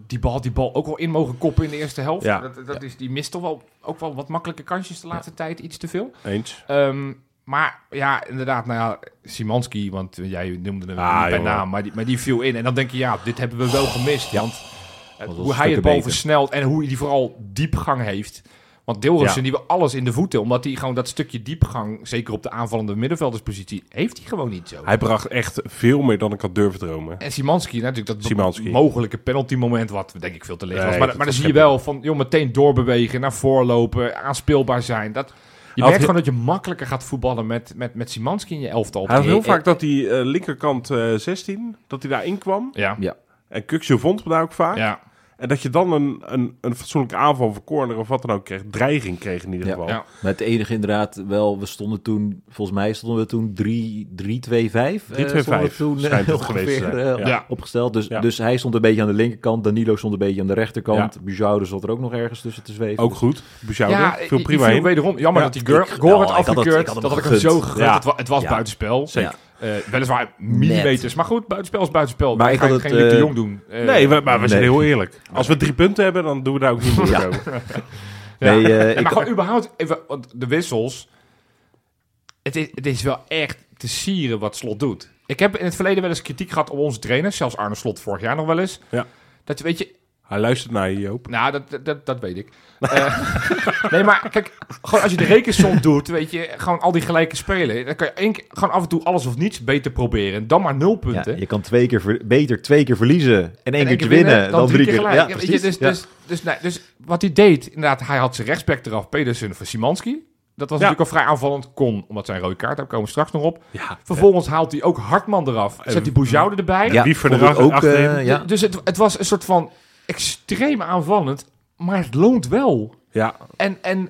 Speaker 2: Die bal had die bal ook wel in mogen koppen in de eerste helft.
Speaker 3: Ja.
Speaker 2: Dat, dat is, die mist toch wel, ook wel wat makkelijke kansjes de laatste tijd. Iets te veel.
Speaker 3: Eens?
Speaker 2: Ehm, maar ja, inderdaad, nou ja, Simanski, want eh, jij noemde hem
Speaker 3: Ah,
Speaker 2: niet bij
Speaker 3: jongen.
Speaker 2: naam, maar die, maar die viel in. En dan denk je, ja, dit hebben we wel gemist. Want eh, hoe
Speaker 1: was stukken
Speaker 2: hij het bal
Speaker 1: beter.
Speaker 2: versnelt en hoe hij die vooral diepgang heeft. Want Deelrussen,
Speaker 3: Ja.
Speaker 2: die wil alles in de voeten, omdat hij gewoon dat stukje diepgang, zeker op de aanvallende middenvelderspositie, heeft hij gewoon niet zo.
Speaker 3: Hij bracht echt veel meer dan ik had durven dromen.
Speaker 2: En Simanski, nou, natuurlijk dat
Speaker 3: Szymanski.
Speaker 2: mogelijke penaltymoment, wat denk ik veel te licht
Speaker 3: Nee,
Speaker 2: was. Maar,
Speaker 3: dat
Speaker 2: maar dan
Speaker 3: was
Speaker 2: zie je
Speaker 3: geen-
Speaker 2: wel van, joh, meteen doorbewegen, naar voorlopen, aanspeelbaar zijn. Dat, je
Speaker 3: Had
Speaker 2: merkt
Speaker 3: heel-
Speaker 2: gewoon dat je makkelijker gaat voetballen met, met, met Simanski in je elftal.
Speaker 3: Hij had heel
Speaker 2: Eh,
Speaker 3: vaak dat die eh, linkerkant eh, 16, dat hij daarin kwam.
Speaker 2: eh, Ja,
Speaker 1: Ja.
Speaker 3: En Kuksje vond hem daar ook vaak.
Speaker 2: ja,
Speaker 3: En dat je dan een, een, een fatsoenlijke aanval van corner of wat dan ook kreeg. Dreiging kreeg in ieder
Speaker 1: Ja.
Speaker 3: geval.
Speaker 2: ja.
Speaker 1: Maar het enige inderdaad wel, we stonden toen, volgens mij stonden we toen 3 3 2 5 Eh,
Speaker 3: 3-2-5
Speaker 1: stonden we toen eh, <laughs>
Speaker 3: schijnt het
Speaker 1: ongeveer,
Speaker 3: geweest te zijn.
Speaker 1: eh,
Speaker 3: Ja.
Speaker 2: Ja.
Speaker 1: opgesteld. Dus,
Speaker 3: Ja.
Speaker 1: dus hij stond een beetje aan de linkerkant, Danilo stond een beetje aan de rechterkant. Bujoude zat er ook nog ergens tussen te zweven.
Speaker 3: Ook
Speaker 1: Dus-
Speaker 3: goed. Bouchard
Speaker 2: die-
Speaker 3: viel
Speaker 2: die
Speaker 3: prima
Speaker 2: viel
Speaker 3: in.
Speaker 2: Wederom, jammer
Speaker 3: Ja,
Speaker 2: dat die
Speaker 1: ik-
Speaker 2: Goor
Speaker 1: nou,
Speaker 2: had
Speaker 1: ik had het-
Speaker 2: afgekeurd.
Speaker 1: ik had hem
Speaker 2: dat had ik hem
Speaker 1: gegund.
Speaker 2: zo gegund.
Speaker 3: Ja.
Speaker 2: Het, wa- het was
Speaker 1: Ja.
Speaker 2: buitenspel.
Speaker 1: Zeker.
Speaker 2: Eh, weliswaar millimeters, maar goed, buitenspel is buitenspel.
Speaker 1: Maar
Speaker 2: Maar
Speaker 1: ik
Speaker 2: ik ga
Speaker 1: had
Speaker 2: je
Speaker 1: het,
Speaker 2: geen Luc de
Speaker 1: eh,
Speaker 2: Jong doen. Eh,
Speaker 3: Nee, we- maar we zijn
Speaker 1: Nee.
Speaker 3: heel eerlijk. Als we drie punten hebben, dan doen we daar ook niet moeilijk
Speaker 1: Ja.
Speaker 3: over.
Speaker 2: Ja.
Speaker 1: Nee,
Speaker 2: <laughs>
Speaker 1: eh,
Speaker 2: En
Speaker 1: ik-
Speaker 2: maar gewoon überhaupt, even, want de wissels. Het is, het is wel echt te sieren wat Slot doet. Ik heb in het verleden wel eens kritiek gehad op onze trainers. Zelfs Arne Slot vorig jaar nog wel eens.
Speaker 3: Ja.
Speaker 2: Dat weet je,
Speaker 3: Hij luistert naar je, Joop.
Speaker 2: nou, dat, dat- dat, dat weet ik. Eh, <laughs> nee, maar kijk, gewoon als je de rekensom doet, weet je, gewoon al die gelijke spelen. Dan kan je één keer, gewoon af en toe alles of niets beter proberen. Dan maar nul
Speaker 1: ja,
Speaker 2: punten.
Speaker 1: je kan twee keer ver- beter twee keer verliezen en één,
Speaker 2: En één
Speaker 1: keertje winnen, dan, drie keer,
Speaker 2: gelijk.
Speaker 1: Ja,
Speaker 2: Ja, weet je,
Speaker 1: precies.
Speaker 2: dus,
Speaker 1: Ja.
Speaker 2: dus, dus, nee, dus wat hij deed, inderdaad, hij had zijn rechtsback eraf, Pedersen voor Simanski. Dat was
Speaker 3: Ja.
Speaker 2: natuurlijk al vrij aanvallend. Kon, omdat zijn rode kaart, daar komen we straks nog op.
Speaker 3: Ja.
Speaker 2: Vervolgens haalt hij ook Hartman eraf. Zet die Boujoude erbij.
Speaker 1: ja,
Speaker 3: Wie voor de
Speaker 1: vond ik
Speaker 3: rach-
Speaker 1: ook,
Speaker 3: achterin?
Speaker 1: eh, ja.
Speaker 2: Dus het, het was een soort van extreem aanvallend, maar het loont wel.
Speaker 3: Ja,
Speaker 2: En, en,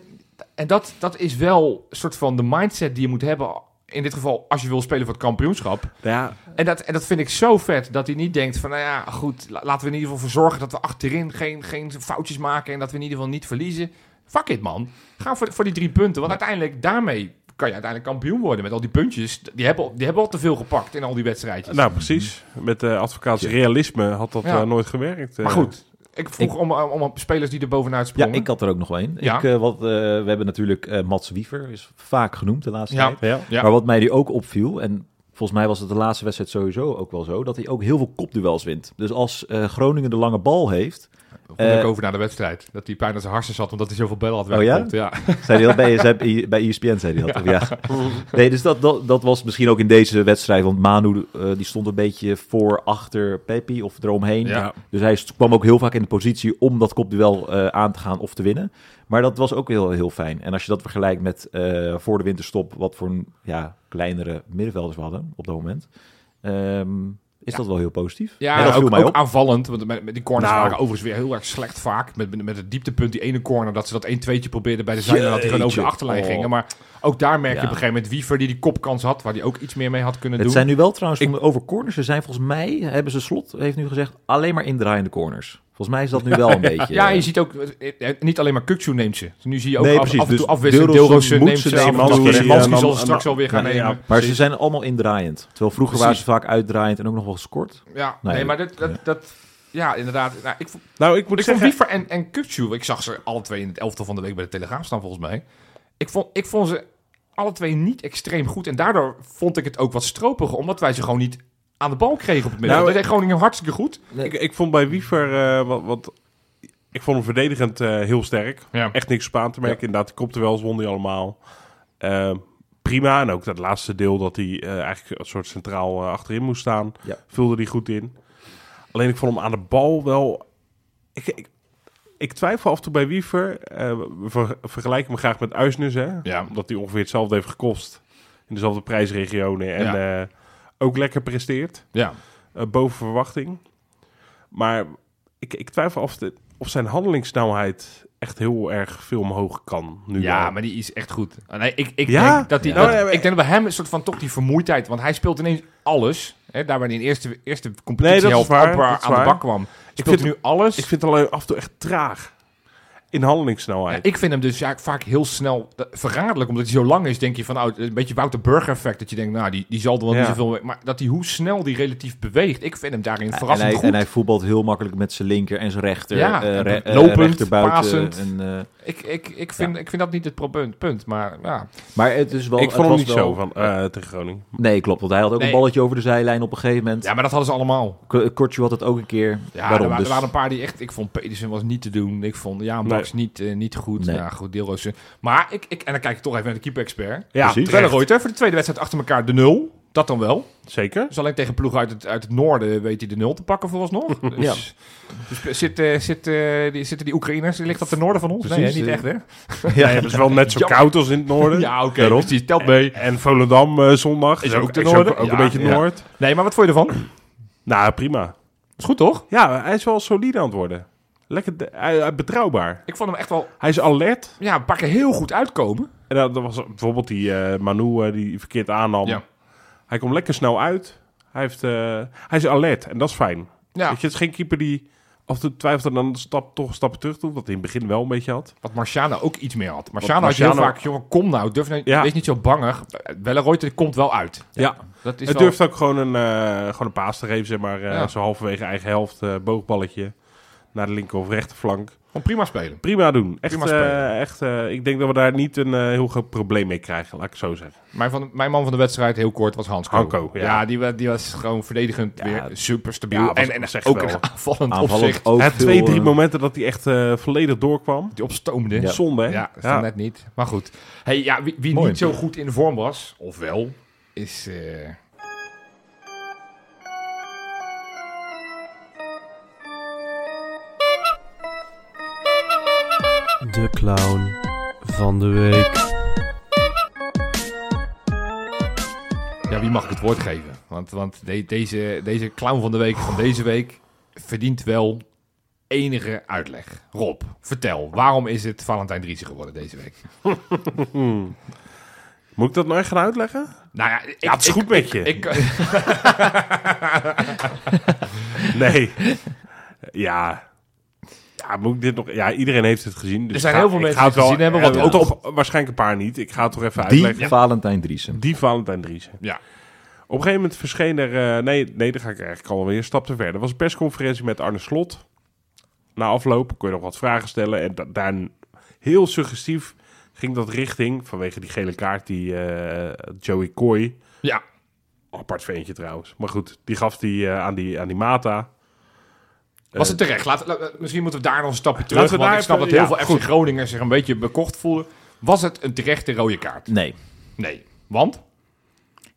Speaker 2: en dat, dat is wel een soort van de mindset die je moet hebben. In dit geval, als je wil spelen voor het kampioenschap.
Speaker 3: ja
Speaker 2: En dat, en dat vind ik zo vet, dat hij niet denkt van, nou ja, goed, la- laten we in ieder geval voor zorgen dat we achterin geen, geen foutjes maken en dat we in ieder geval niet verliezen. Fuck it, man. Ga voor, voor die drie punten, want uiteindelijk daarmee kan je uiteindelijk kampioen worden met al die puntjes. Die hebben, al- die hebben al te veel gepakt in al die wedstrijdjes.
Speaker 3: nou precies. Met eh advocaats realisme had dat
Speaker 2: Ja.
Speaker 3: eh, nooit gewerkt. eh.
Speaker 2: maar goed, ik vroeg om, om, om spelers die er bovenuit
Speaker 1: Ja,
Speaker 2: sprongen.
Speaker 1: ik had er ook nog wel een.
Speaker 2: Ja.
Speaker 1: Ik, eh, wat, eh, we hebben natuurlijk eh, Mats Wiever, is vaak genoemd de laatste
Speaker 2: Ja.
Speaker 1: tijd.
Speaker 3: Ja.
Speaker 2: Ja.
Speaker 1: Maar wat mij die ook opviel, en volgens mij was het de laatste wedstrijd sowieso ook wel zo, dat hij ook heel veel kopduels wint. Dus als eh, Groningen de lange bal heeft,
Speaker 2: Vond ik
Speaker 1: Eh,
Speaker 2: over naar de wedstrijd. Dat hij pijn aan zijn hartjes had, omdat hij zoveel bellen had
Speaker 1: Oh ja?
Speaker 2: weggekopt. ja?
Speaker 1: zei hij dat bij, ESP bij E ESPN, zei hij dat. of Ja. Nee, dus dat, dat, dat was misschien ook in deze wedstrijd, want Manu eh, die stond een beetje voor, achter Peppi of eromheen.
Speaker 2: Ja.
Speaker 1: Dus hij st- kwam ook heel vaak in de positie om dat kopduel eh, aan te gaan of te winnen. Maar dat was ook heel, heel fijn. En als je dat vergelijkt met eh, voor de winterstop, wat voor een, ja, kleinere middenvelders we hadden op dat moment, ehm, is dat wel heel positief.
Speaker 2: Ja,
Speaker 1: en dat viel
Speaker 2: ook,
Speaker 1: mij
Speaker 2: ook
Speaker 1: op.
Speaker 2: aanvallend. Want met, met die corners
Speaker 3: Nou.
Speaker 2: waren overigens weer heel erg slecht vaak. Met, met, met het dieptepunt, die ene corner, dat ze dat 1-2'tje probeerden bij de zijlijn. Dat die gewoon over de
Speaker 1: Jeetje.
Speaker 2: achterlijn
Speaker 1: Oh.
Speaker 2: gingen. Maar ook daar merk je
Speaker 1: Ja.
Speaker 2: op een gegeven moment Wiever die die kopkans had. Waar die ook iets meer mee had kunnen
Speaker 1: Het
Speaker 2: doen.
Speaker 1: zijn nu wel trouwens, van de over corners, ze zijn volgens mij, hebben ze slot, heeft nu gezegd, alleen maar indraaiende corners. Volgens mij is dat nu wel
Speaker 2: <laughs>
Speaker 1: een beetje...
Speaker 2: ja,
Speaker 1: eh,
Speaker 2: je ziet ook, eh, eh, niet alleen maar Kukcu neemt ze. Dus nu zie je ook
Speaker 1: Nee,
Speaker 2: af,
Speaker 1: precies.
Speaker 2: af en toe
Speaker 1: Dus
Speaker 2: afwisseling.
Speaker 1: Deelrozen
Speaker 2: Deelrozen
Speaker 1: moet
Speaker 2: neemt
Speaker 1: ze
Speaker 2: ze.
Speaker 1: nemen,
Speaker 3: Simanski,
Speaker 2: Simanski
Speaker 3: eh,
Speaker 2: zal
Speaker 3: dan-
Speaker 2: ze straks
Speaker 3: dan-
Speaker 2: wel weer gaan
Speaker 3: Ja,
Speaker 2: nemen.
Speaker 1: Maar ze zijn allemaal indraaiend. Terwijl vroeger waren ze vaak uitdraaiend en ook nog wel gescoord.
Speaker 2: Ja,
Speaker 1: Nee,
Speaker 2: nee, maar dat... dat, dat ja, inderdaad. Nou, ik, vond-
Speaker 3: Nou, ik moet
Speaker 2: ik vond
Speaker 3: zeggen...
Speaker 2: Wiever en, en Kukcu, ik zag ze alle twee in het elftal van de week bij de Telegraaf staan volgens mij. Ik vond, ik vond ze alle twee niet extreem goed. En daardoor vond ik het ook wat stroperig, omdat wij ze gewoon niet aan de bal kregen op het midden.
Speaker 3: Nou,
Speaker 2: dat deed Groningen hartstikke goed.
Speaker 3: Ik, ik vond bij Wiever eh, wat, wat- Ik vond hem verdedigend eh, heel sterk.
Speaker 2: Ja.
Speaker 3: Echt niks op aan te merken. Inderdaad, de kopduels won hij allemaal. Eh, prima. En ook dat laatste deel dat hij eh, eigenlijk een soort centraal eh, achterin moest staan.
Speaker 1: Ja.
Speaker 3: Vulde hij goed in. Alleen ik vond hem aan de bal wel... Ik, ik, ik twijfel af en toe bij Wiever. Eh, we ver- vergelijken hem graag met Uisnes. Hè?
Speaker 2: Ja.
Speaker 3: Omdat hij ongeveer hetzelfde heeft gekost. In dezelfde prijsregionen. En eh, ook lekker presteert
Speaker 2: Ja,
Speaker 3: eh, boven verwachting. Maar ik, ik twijfel of, de, of zijn handelingssnelheid echt heel erg veel omhoog kan. Nu
Speaker 2: ja,
Speaker 3: al.
Speaker 2: maar die is echt goed. Ah, Nee, ik, ik,
Speaker 3: Ja?
Speaker 2: denk dat die,
Speaker 3: Ja.
Speaker 2: dat-
Speaker 3: Oh, nee, maar-
Speaker 2: ik denk dat bij hem een soort van toch die vermoeidheid. Want hij speelt ineens alles. Hè, daar waar hij in de eerste, eerste
Speaker 3: Nee, dat
Speaker 2: competitiehelft
Speaker 3: is waar,
Speaker 2: amper
Speaker 3: dat is
Speaker 2: aan de
Speaker 3: waar.
Speaker 2: bak kwam. Ik vind
Speaker 3: vind-
Speaker 2: nu alles.
Speaker 3: Ik vind het alleen af en toe echt traag. In handelingssnelheid.
Speaker 2: Ja, ik vind hem dus ja, vaak heel snel eh, verraderlijk. Omdat hij zo lang is, denk je van... Oh, een beetje Wouter Burger effect. Dat je denkt, nou, die, die zal er wel niet
Speaker 3: Ja.
Speaker 2: zoveel... mee- Maar dat hij hoe snel die relatief beweegt. Ik vind hem daarin
Speaker 1: En
Speaker 2: verrassend
Speaker 1: hij,
Speaker 2: goed.
Speaker 1: en hij voetbalt heel makkelijk met zijn linker en zijn rechter.
Speaker 2: Ja,
Speaker 1: eh, re- eh,
Speaker 2: lopend,
Speaker 1: rechterbuiten
Speaker 2: pasend.
Speaker 1: En, eh,
Speaker 2: ik, ik, ik, vind,
Speaker 1: Ja.
Speaker 2: ik vind dat niet het probleem, punt. Maar ja,
Speaker 1: maar het is wel...
Speaker 3: Ik vond hem
Speaker 1: was
Speaker 3: niet
Speaker 1: wel-
Speaker 3: zo van, eh, tegen Groningen.
Speaker 1: Nee, klopt. Want hij had ook
Speaker 2: Nee.
Speaker 1: een balletje over de zijlijn op een gegeven moment.
Speaker 2: ja maar dat hadden ze allemaal.
Speaker 1: K- Kortje had het ook een keer.
Speaker 2: Ja,
Speaker 1: Daarom,
Speaker 2: er, wa- er
Speaker 1: dus-
Speaker 2: waren een paar die echt... Ik vond Pedersen was niet te doen. Ik vond ja, Max niet, eh, niet goed.
Speaker 1: Nee.
Speaker 2: Ja, goed, deelroos. Maar ik, ik... En dan kijk ik toch even naar de keeper-expert.
Speaker 3: Ja,
Speaker 1: Precies.
Speaker 2: Terwijl
Speaker 3: terecht.
Speaker 2: Reuter voor de tweede wedstrijd achter elkaar de nul. Dat dan wel.
Speaker 3: Zeker.
Speaker 2: Dus alleen tegen ploeg uit het, uit het noorden weet hij de nul te
Speaker 3: <laughs>
Speaker 2: pakken vooralsnog. Dus, dus zit, eh, zit, eh, die, zitten die Oekraïners, die ligt op de noorden van ons? nee, hè,
Speaker 1: Precies,
Speaker 2: niet
Speaker 1: eh.
Speaker 2: echt hè?
Speaker 3: Ja, het is wel net zo
Speaker 2: Ja.
Speaker 3: koud als in het noorden.
Speaker 2: <laughs> Ja, oké,
Speaker 3: Daarom.
Speaker 2: precies, telt mee.
Speaker 3: En Volendam eh, zondag.
Speaker 2: Is ook te
Speaker 3: ook,
Speaker 2: noorden.
Speaker 3: ook
Speaker 2: Ja,
Speaker 3: een beetje
Speaker 2: ja.
Speaker 3: noord.
Speaker 2: Nee, maar wat vond je ervan?
Speaker 3: Nou, prima.
Speaker 2: Is goed toch?
Speaker 3: Ja, hij is wel solide aan het worden. Lekker de- hij- hij- betrouwbaar.
Speaker 2: Ik vond hem echt wel
Speaker 3: Hij is alert.
Speaker 2: ja, een paar keer heel goed uitkomen.
Speaker 3: En dat, dat was bijvoorbeeld die eh, Manu eh, die verkeerd aannam.
Speaker 2: Ja.
Speaker 3: Hij komt lekker snel uit. Hij, heeft, eh, hij is alert en dat is fijn.
Speaker 2: Ja,
Speaker 3: Weet je, het is geen keeper die af en toe twijfelt en dan een stap, toch een stap terug doet. Wat hij in het begin wel een beetje had.
Speaker 2: wat Marciano ook iets meer had. Marciano
Speaker 3: Wat
Speaker 2: had je heel
Speaker 3: Marciano-
Speaker 2: vaak, jongen, kom nou, durf nou,
Speaker 3: Ja.
Speaker 2: wees niet zo bangig. Welleroyter komt wel uit.
Speaker 3: Ja.
Speaker 2: Dat is
Speaker 3: Hij
Speaker 2: wel...
Speaker 3: durft ook gewoon een, eh, gewoon een paas te geven, zeg maar. eh
Speaker 2: Ja.
Speaker 3: Zo halverwege eigen helft, eh, boogballetje. Naar de linker of rechterflank.
Speaker 2: Gewoon prima spelen.
Speaker 3: Prima doen. Echt,
Speaker 2: Prima spelen.
Speaker 3: eh, echt, eh, ik denk dat we daar niet een eh, heel groot probleem mee krijgen, laat ik het zo zeggen.
Speaker 2: Mijn, van, mijn man van de wedstrijd, heel kort, was Hansko.
Speaker 3: Hansko,
Speaker 2: ja.
Speaker 3: ja.
Speaker 2: die, wa- die was gewoon verdedigend weer super stabiel.
Speaker 3: Ja, was-
Speaker 2: en en
Speaker 3: was echt
Speaker 2: ook
Speaker 3: wel.
Speaker 2: een <laughs> aanvallend,
Speaker 1: aanvallend
Speaker 2: opzicht.
Speaker 1: ook
Speaker 3: Hij had
Speaker 1: veel,
Speaker 3: twee, drie
Speaker 1: eh,
Speaker 3: momenten dat hij echt eh, volledig doorkwam.
Speaker 2: Die opstoomde.
Speaker 1: Ja.
Speaker 3: Zonde, hè?
Speaker 2: Ja, dat is net niet. Maar goed. Hey, ja, wie wie
Speaker 1: Mooi.
Speaker 2: niet zo goed in vorm was, of wel, is... eh,
Speaker 4: De clown van de week.
Speaker 2: ja, wie mag ik het woord geven? Want, want de- deze, deze clown van de week van deze week verdient wel enige uitleg. Rob, vertel, waarom is het Valentijn Driessen geworden deze week?
Speaker 3: Moet ik dat nou echt gaan uitleggen?
Speaker 2: Nou ja, ik,
Speaker 3: Ja, het is
Speaker 2: ik-
Speaker 3: goed met je.
Speaker 2: ik, <laughs>
Speaker 3: Nee. <laughs> ja. Ja, moet ik dit nog... Ja, iedereen heeft het gezien. Dus
Speaker 2: Er zijn
Speaker 3: ik ga-
Speaker 2: heel veel
Speaker 3: ik
Speaker 2: mensen
Speaker 3: ga
Speaker 2: die het gezien hebben,
Speaker 3: eh,
Speaker 2: want ook-
Speaker 3: toch waarschijnlijk een paar niet. Ik ga het toch even
Speaker 1: Die
Speaker 3: uitleggen.
Speaker 1: Valentijn Driesen.
Speaker 3: Die Valentijn Driessen.
Speaker 2: ja,
Speaker 3: Op een gegeven moment verscheen er... eh, nee, nee, daar ga ik eigenlijk alweer een stap te ver. Er was een persconferentie met Arne Slot. Na afloop kon je nog wat vragen stellen. En da- daar heel suggestief ging dat richting... vanwege die gele kaart die eh, Joey Coy...
Speaker 2: ja,
Speaker 3: Apart ventje trouwens. Maar goed, die gaf die, eh, aan die aan die Mata.
Speaker 2: Was het terecht? Laat, laat- misschien moeten we daar nog een stapje terug.
Speaker 3: Laten we
Speaker 2: Want ik
Speaker 3: daar
Speaker 2: snap dat
Speaker 3: even-
Speaker 2: heel
Speaker 3: ja,
Speaker 2: veel FC Groningen zich een beetje bekocht voelen. Was het een terechte rode kaart?
Speaker 1: Nee.
Speaker 2: Nee. Want?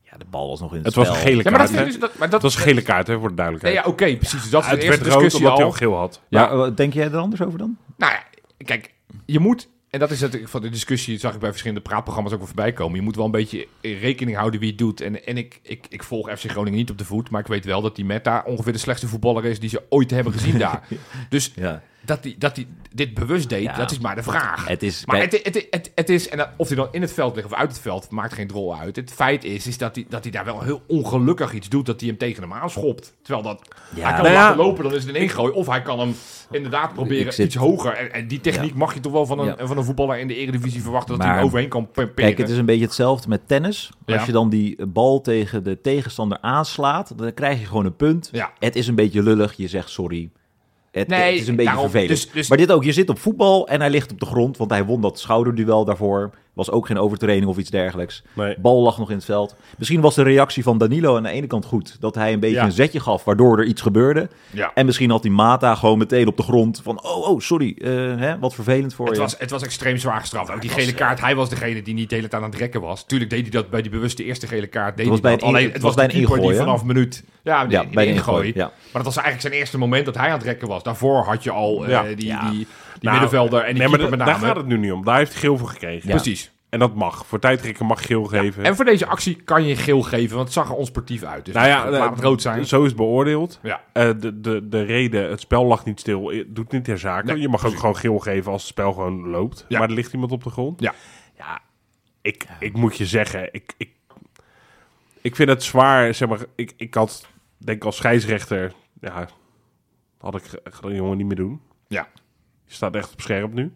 Speaker 1: Ja, de bal was nog in het,
Speaker 3: Het was een
Speaker 1: spel.
Speaker 3: gele
Speaker 2: Ja,
Speaker 3: kaart.
Speaker 2: maar dat vind
Speaker 3: hè?
Speaker 2: ik dus... Dat, maar dat,
Speaker 3: Het was een gele kaart, hè, voor de
Speaker 2: Nee, ja,
Speaker 3: duidelijkheid.
Speaker 2: oké, precies. Dus dat is de
Speaker 3: het werd
Speaker 2: eerste
Speaker 3: rood
Speaker 2: discussie
Speaker 3: omdat hij al
Speaker 2: al.
Speaker 3: geel had.
Speaker 1: Maar, eh, denk jij er anders over dan?
Speaker 2: Nou ja, kijk, je moet... En dat is het, van de discussie, dat zag ik bij verschillende praatprogramma's ook wel voorbij komen. Je moet wel een beetje in rekening houden wie het doet. En, en ik, ik, ik volg FC Groningen niet op de voet, maar ik weet wel dat die Meta ongeveer de slechtste voetballer is die ze ooit hebben
Speaker 3: <laughs>
Speaker 2: gezien daar. Dus
Speaker 1: Ja.
Speaker 2: dat hij dat die dit bewust deed,
Speaker 1: Ja.
Speaker 2: dat is maar de vraag.
Speaker 1: Het is...
Speaker 2: Maar
Speaker 1: bij-
Speaker 2: het, het, het, het is, en dat- of hij dan in het veld ligt of uit het veld, maakt geen drol uit. Het feit is, is dat, hij, dat hij daar wel heel ongelukkig iets doet, dat hij hem tegen hem aanschopt. Terwijl dat, hij kan
Speaker 1: Nou
Speaker 2: hem
Speaker 3: ja.
Speaker 2: laten lopen, dan is het in één gooi. Of hij kan hem inderdaad proberen
Speaker 1: Ik zit-
Speaker 2: iets hoger. En, en die techniek mag je toch wel van een,
Speaker 1: Ja.
Speaker 2: van een voetballer in de eredivisie verwachten, dat hij
Speaker 1: Maar-
Speaker 2: hem overheen kan pe- peren.
Speaker 1: Kijk, het is een beetje hetzelfde met tennis.
Speaker 2: Ja.
Speaker 1: Als je dan die bal tegen de tegenstander aanslaat, dan krijg je gewoon een punt.
Speaker 2: Ja.
Speaker 1: Het is een beetje lullig, je zegt sorry. Het,
Speaker 2: Nee,
Speaker 1: het is een beetje
Speaker 2: daarom,
Speaker 1: vervelend.
Speaker 2: dus- dus-
Speaker 1: Maar dit ook, je zit op voetbal en hij ligt op de grond, want hij won dat schouderduel daarvoor. Was ook geen overtraining of iets dergelijks.
Speaker 3: Nee.
Speaker 1: Bal lag nog in het veld. Misschien was de reactie van Danilo aan de ene kant goed. Dat hij een beetje
Speaker 2: Ja.
Speaker 1: een zetje gaf, waardoor er iets gebeurde.
Speaker 2: ja.
Speaker 1: En misschien had die Mata gewoon meteen op de grond van... Oh, oh, sorry, eh, hè, wat vervelend voor
Speaker 2: Het
Speaker 1: je.
Speaker 2: was, het was extreem zwaar gestraft. Ook die gele kaart, hij was degene die niet de hele tijd aan het rekken was. Tuurlijk deed hij dat bij die bewuste eerste gele kaart. Deed
Speaker 1: Het
Speaker 2: hij
Speaker 1: was bij
Speaker 2: dat.
Speaker 1: een in-
Speaker 2: Alleen
Speaker 1: het
Speaker 2: het was
Speaker 1: was
Speaker 2: de
Speaker 1: bij een
Speaker 2: keeper die
Speaker 1: ingooi, hè?
Speaker 2: vanaf minuut. Ja,
Speaker 1: Ja,
Speaker 2: bij de ingooi.
Speaker 1: ja.
Speaker 2: Maar dat was eigenlijk zijn eerste moment dat hij aan het rekken was. Daarvoor had je al eh,
Speaker 3: Ja.
Speaker 2: die,
Speaker 1: Ja.
Speaker 2: die, die
Speaker 3: Nou,
Speaker 2: middenvelder en die
Speaker 3: nee, maar
Speaker 2: keeper
Speaker 3: da-
Speaker 2: met
Speaker 3: daar
Speaker 2: name.
Speaker 3: gaat het nu niet om. Daar heeft hij geel voor gekregen.
Speaker 1: Ja.
Speaker 2: Precies.
Speaker 3: En dat mag. Voor tijdrekken mag geel geven.
Speaker 2: En voor deze actie kan je geel geven, want het zag er onsportief uit. Dus
Speaker 3: nou ja,
Speaker 2: laat het rood zijn.
Speaker 3: Zo is het beoordeeld.
Speaker 2: Ja.
Speaker 3: Eh, de, de, de reden, het spel lag niet stil, i- doet niet ter zake.
Speaker 2: Nee,
Speaker 3: je mag ook
Speaker 2: precies.
Speaker 3: gewoon geel geven als het spel gewoon loopt.
Speaker 2: Ja.
Speaker 3: Maar er ligt iemand op de grond.
Speaker 2: Ja.
Speaker 3: ja ik, ik moet je zeggen, ik, ik, ik vind het zwaar. Zeg maar, ik, ik had, denk ik als scheidsrechter, ja, had ik ge- ge- de jongen niet meer doen.
Speaker 2: Ja.
Speaker 3: Je staat echt op scherp nu.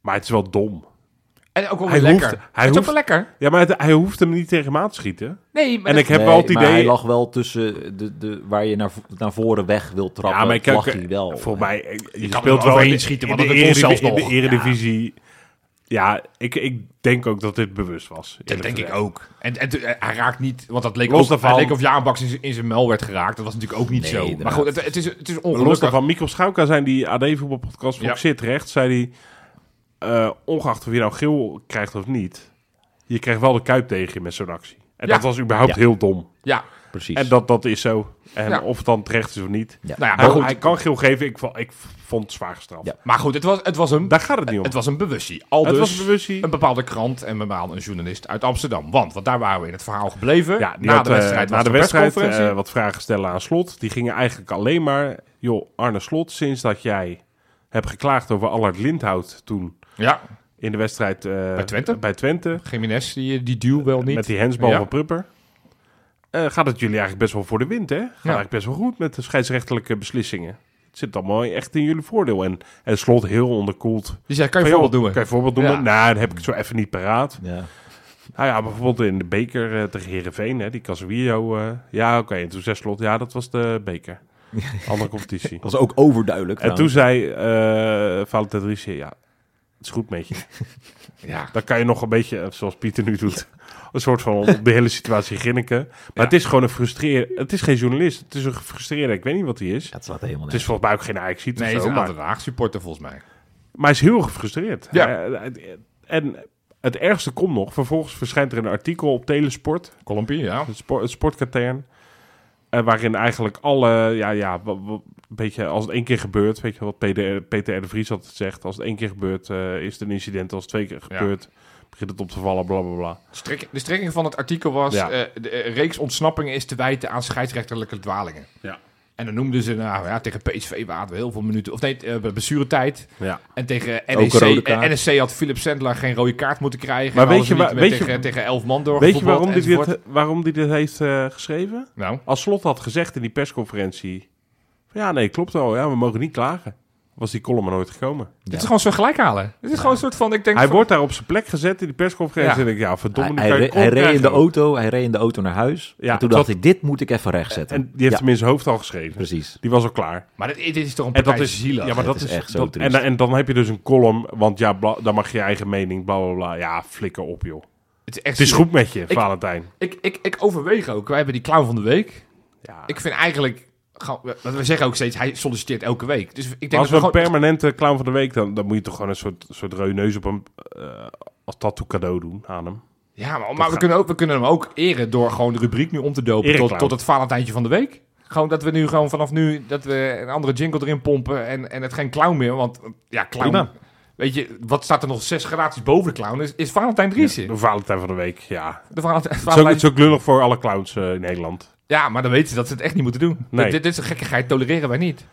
Speaker 3: Maar het is wel dom.
Speaker 2: En ook wel
Speaker 3: Hij
Speaker 2: weer
Speaker 3: hoeft-
Speaker 2: lekker.
Speaker 3: hij
Speaker 2: het is ook
Speaker 3: hoeft-
Speaker 2: wel lekker.
Speaker 3: Ja, maar het- hij hoeft hem niet tegen me aan te schieten.
Speaker 2: Nee, maar
Speaker 3: En
Speaker 2: dat-
Speaker 3: ik heb wel het
Speaker 1: maar
Speaker 3: idee...
Speaker 1: hij lag wel tussen de, de, waar je naar, vo- naar voren weg wil trappen.
Speaker 3: Ja, maar ik
Speaker 1: lag hij wel.
Speaker 3: Volgens mij, eh, je,
Speaker 2: kan
Speaker 3: speelt
Speaker 2: er wel
Speaker 3: wel in
Speaker 2: overheen
Speaker 3: de,
Speaker 2: schieten,
Speaker 3: in
Speaker 2: want
Speaker 3: de
Speaker 2: dat kon
Speaker 3: eredivi-
Speaker 2: zelfs
Speaker 3: in de
Speaker 2: nog.
Speaker 3: eredivisie. Ja, ik, ik denk ook dat dit bewust was.
Speaker 2: dat denk ik
Speaker 3: ook.
Speaker 2: ook. En, en eh, hij raakt niet, want dat leek,
Speaker 3: Los
Speaker 2: ook,
Speaker 3: daarvan-
Speaker 2: het leek of Jaanbaks in, zijn- in zijn mel werd geraakt. Dat was natuurlijk ook niet
Speaker 1: Nee,
Speaker 2: zo. Maar
Speaker 1: inderdaad.
Speaker 2: goed, het, het is, het is
Speaker 3: Los
Speaker 2: ongelukkig.
Speaker 3: daarvan, Mikkel Schouka zijn die AD-voetbalpodcast van
Speaker 2: Ja.
Speaker 3: zit recht, zei hij, eh, ongeacht of je nou geel krijgt of niet, je krijgt wel de kuip tegen je met zo'n actie. En
Speaker 2: Ja.
Speaker 3: dat was überhaupt
Speaker 1: Ja.
Speaker 3: heel dom.
Speaker 2: Ja,
Speaker 1: Precies.
Speaker 3: En dat, dat is zo. En
Speaker 2: Ja.
Speaker 3: of het dan terecht is of niet.
Speaker 1: Ja.
Speaker 2: nou ja,
Speaker 3: Hij,
Speaker 2: maar goed.
Speaker 3: hij kan geel geven, ik, vo- ik vond het zwaar gestraft.
Speaker 1: Ja.
Speaker 2: Maar goed, het was, het was een...
Speaker 3: Daar gaat het niet om. Het,
Speaker 2: Het was een bewustie. Al dus
Speaker 3: was bewustie.
Speaker 2: een bepaalde krant en een bepaalde journalist uit Amsterdam. Want, want daar waren we in het verhaal gebleven.
Speaker 3: Ja, die
Speaker 2: na
Speaker 3: had,
Speaker 2: de
Speaker 3: eh,
Speaker 2: wedstrijd
Speaker 3: na
Speaker 2: was
Speaker 3: de
Speaker 2: er een
Speaker 3: wedstrijd
Speaker 2: persconferentie.
Speaker 3: eh, wat vragen stellen aan Slot. Die gingen eigenlijk alleen maar... joh, Arne Slot, sinds dat jij hebt geklaagd over Allard Lindhout toen...
Speaker 2: ja,
Speaker 3: in de wedstrijd... eh, bij
Speaker 2: Twente?
Speaker 3: Bij Twente,
Speaker 2: Jiménez, die, die duw wel niet.
Speaker 3: met die hensbal
Speaker 2: Ja.
Speaker 3: van Prupper. Eh, gaat het jullie eigenlijk best wel voor de wind, hè? Gaat eigenlijk best wel goed met de scheidsrechtelijke beslissingen. Het zit allemaal echt in jullie voordeel. En, en Slot heel onderkoeld.
Speaker 2: Die zei, kan je
Speaker 3: Van,
Speaker 2: een voorbeeld
Speaker 3: joh, Kan
Speaker 2: doen?
Speaker 3: je een voorbeeld doen?
Speaker 2: Ja.
Speaker 3: Nou, dan heb ik het zo even niet paraat.
Speaker 1: ja.
Speaker 3: Nou ja, bijvoorbeeld in de beker eh, tegen Herenveen, hè, die Casemiro. eh, ja, oké. En toen zei Slot, ja, dat was de
Speaker 2: <laughs>
Speaker 3: beker. Andere competitie.
Speaker 1: was ook overduidelijk.
Speaker 3: En toen
Speaker 1: trouwens.
Speaker 3: zei eh Valentin Driessen, ja, het is goed met je.
Speaker 2: Ja.
Speaker 3: Dan kan je nog een beetje, eh, zoals Pieter nu doet, <laughs> een soort van op de hele situatie grinniken. Maar
Speaker 2: Ja.
Speaker 3: het is gewoon een frustreer. Het is geen journalist. Het is een gefrustreerde, ik weet niet wat hij is.
Speaker 1: Ja, het slaat helemaal
Speaker 3: Het is
Speaker 1: nergens
Speaker 3: volgens mij ook geen Ajax-ziet
Speaker 2: Nee,
Speaker 3: of
Speaker 2: hij
Speaker 3: zo.
Speaker 2: is een
Speaker 3: Maar,
Speaker 2: Den Haag supporter volgens mij.
Speaker 3: maar hij is heel gefrustreerd.
Speaker 2: Ja.
Speaker 3: Hij- hij- en het ergste komt nog. Vervolgens verschijnt er een artikel op Telesport.
Speaker 2: Colombia, ja.
Speaker 3: Het, spor- het sportkatern. eh, waarin eigenlijk alle, ja, ja, wa- wa- een beetje als het één keer gebeurt, weet je wat PDR, Peter R. de Vries altijd zegt, als het één keer gebeurt eh, is het een incident, als het twee keer
Speaker 2: Ja.
Speaker 3: gebeurt begint het op te vallen, bla bla bla.
Speaker 2: Strik- de strekking van het artikel was...
Speaker 3: Ja.
Speaker 2: eh, de eh, reeks ontsnappingen is te wijten aan scheidsrechterlijke dwalingen.
Speaker 3: Ja.
Speaker 2: En dan noemden ze, nou ja, tegen PSV waren we heel veel minuten... Of nee, eh, blessuretijd.
Speaker 3: Ja.
Speaker 2: En tegen
Speaker 1: Ook een rode
Speaker 2: NEC,
Speaker 1: kaart.
Speaker 2: eh, NEC had Philip Sendler geen rode kaart moeten krijgen.
Speaker 3: Maar
Speaker 2: En
Speaker 3: weet
Speaker 2: hadden
Speaker 3: je
Speaker 2: ze
Speaker 3: waar-
Speaker 2: niet meer
Speaker 3: weet je-
Speaker 2: tegen, tegen elf man door
Speaker 3: Weet je waarom die, dit, waarom die dit heeft eh, geschreven?
Speaker 2: Nou,
Speaker 3: Als Slot had gezegd in die persconferentie, van, ja nee, klopt wel, ja, we mogen niet klagen. Was die column er nooit gekomen.
Speaker 2: dit is gewoon zo gelijk halen. Dit is gewoon een soort van, ik denk...
Speaker 3: Hij
Speaker 2: van-
Speaker 3: wordt daar op zijn plek gezet in die persconferentie
Speaker 2: Ja.
Speaker 3: en ik, ja, verdomme,
Speaker 1: Hij,
Speaker 3: die
Speaker 1: hij,
Speaker 3: kan je
Speaker 1: re- hij
Speaker 3: kont
Speaker 1: reed in de
Speaker 3: krijgen.
Speaker 1: auto, hij reed in de auto naar huis.
Speaker 3: Ja,
Speaker 1: en toen
Speaker 3: dat-
Speaker 1: dacht ik, dit moet ik even rechtzetten.
Speaker 3: En die heeft
Speaker 1: Ja,
Speaker 3: hem in zijn hoofd al geschreven.
Speaker 1: precies.
Speaker 3: Die was al klaar.
Speaker 2: Maar dit, dit is toch een
Speaker 3: En
Speaker 2: partij
Speaker 3: dat is
Speaker 2: zielig.
Speaker 3: Ja, maar
Speaker 1: Het
Speaker 3: dat
Speaker 1: is
Speaker 3: is,
Speaker 1: echt zo
Speaker 3: dat-
Speaker 1: triest.
Speaker 3: En, en dan heb je dus een column, want ja, bla- dan mag je je eigen mening, bla bla bla. Ja, flikker op, joh.
Speaker 2: het is echt
Speaker 3: Het is
Speaker 2: zielig.
Speaker 3: goed met je, Valentijn.
Speaker 2: Ik, ik, ik overweeg ook. Wij hebben die clown van de week.
Speaker 3: Ja.
Speaker 2: Ik vind eigenlijk... gewoon- want We zeggen ook steeds, hij solliciteert elke week. Dus ik denk
Speaker 3: Maar als
Speaker 2: dat
Speaker 3: we
Speaker 2: we
Speaker 3: een
Speaker 2: gewoon...
Speaker 3: permanente clown van de week, dan, dan moet je toch gewoon een soort, soort reuneus op hem eh, als tattoo cadeau doen aan hem.
Speaker 2: Ja, maar, maar we, kunnen ook, we kunnen hem ook eren door gewoon de rubriek nu om te dopen
Speaker 3: Ereclown.
Speaker 2: tot, tot het Valentijntje van de week. Gewoon dat we nu gewoon vanaf nu dat we een andere jingle erin pompen en, en het geen clown meer. Want ja, clown.
Speaker 3: Prima.
Speaker 2: Weet je, wat staat er nog zes gradaties boven de clown? Is, is Valentijn Driessen.
Speaker 3: De Valentijn van de week, ja.
Speaker 2: De Valentijn,
Speaker 3: Het is ook,
Speaker 2: Valentijn-
Speaker 3: het is ook lullig voor alle clowns eh, in Nederland.
Speaker 2: Ja, maar dan weten ze dat ze het echt niet moeten doen.
Speaker 3: Nee.
Speaker 2: Dit, dit, dit is een gekkigheid, tolereren wij niet.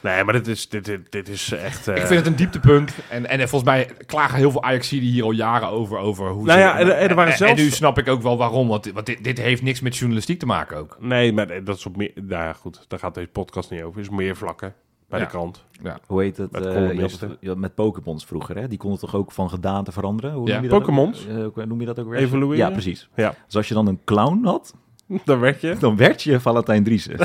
Speaker 3: Nee, maar dit is, dit, dit, dit is echt... eh,
Speaker 2: Ik vind het een dieptepunt. En, en, eh, volgens mij klagen heel veel Ajaxiden hier al jaren over. over hoe
Speaker 3: Nou
Speaker 2: ze-
Speaker 3: ja, en- en er waren
Speaker 2: en,
Speaker 3: zelfs-
Speaker 2: nu snap ik ook wel waarom. Want, dit- want dit, dit heeft niks met journalistiek te maken ook.
Speaker 3: Nee, maar dat is op meer... Nou ja, goed, daar gaat deze podcast niet over. Het is meer vlakken bij
Speaker 2: Ja.
Speaker 3: de krant.
Speaker 1: Hoe heet dat?
Speaker 3: Met
Speaker 1: eh, je had
Speaker 3: columnisten.
Speaker 1: het- je had met Pokémons vroeger, hè? Die konden toch ook van gedaante veranderen? Hoe
Speaker 2: Ja.
Speaker 1: noem je dat ook?
Speaker 3: Pokémons?
Speaker 1: Eh, hoe noem je dat ook weer?
Speaker 3: Evolueren?
Speaker 1: Ja, precies.
Speaker 3: Ja, <laughs>
Speaker 1: Dus als je dan een clown had,
Speaker 3: daar werd je.
Speaker 1: dan werd je
Speaker 3: <laughs>
Speaker 1: Valentijn Driessen.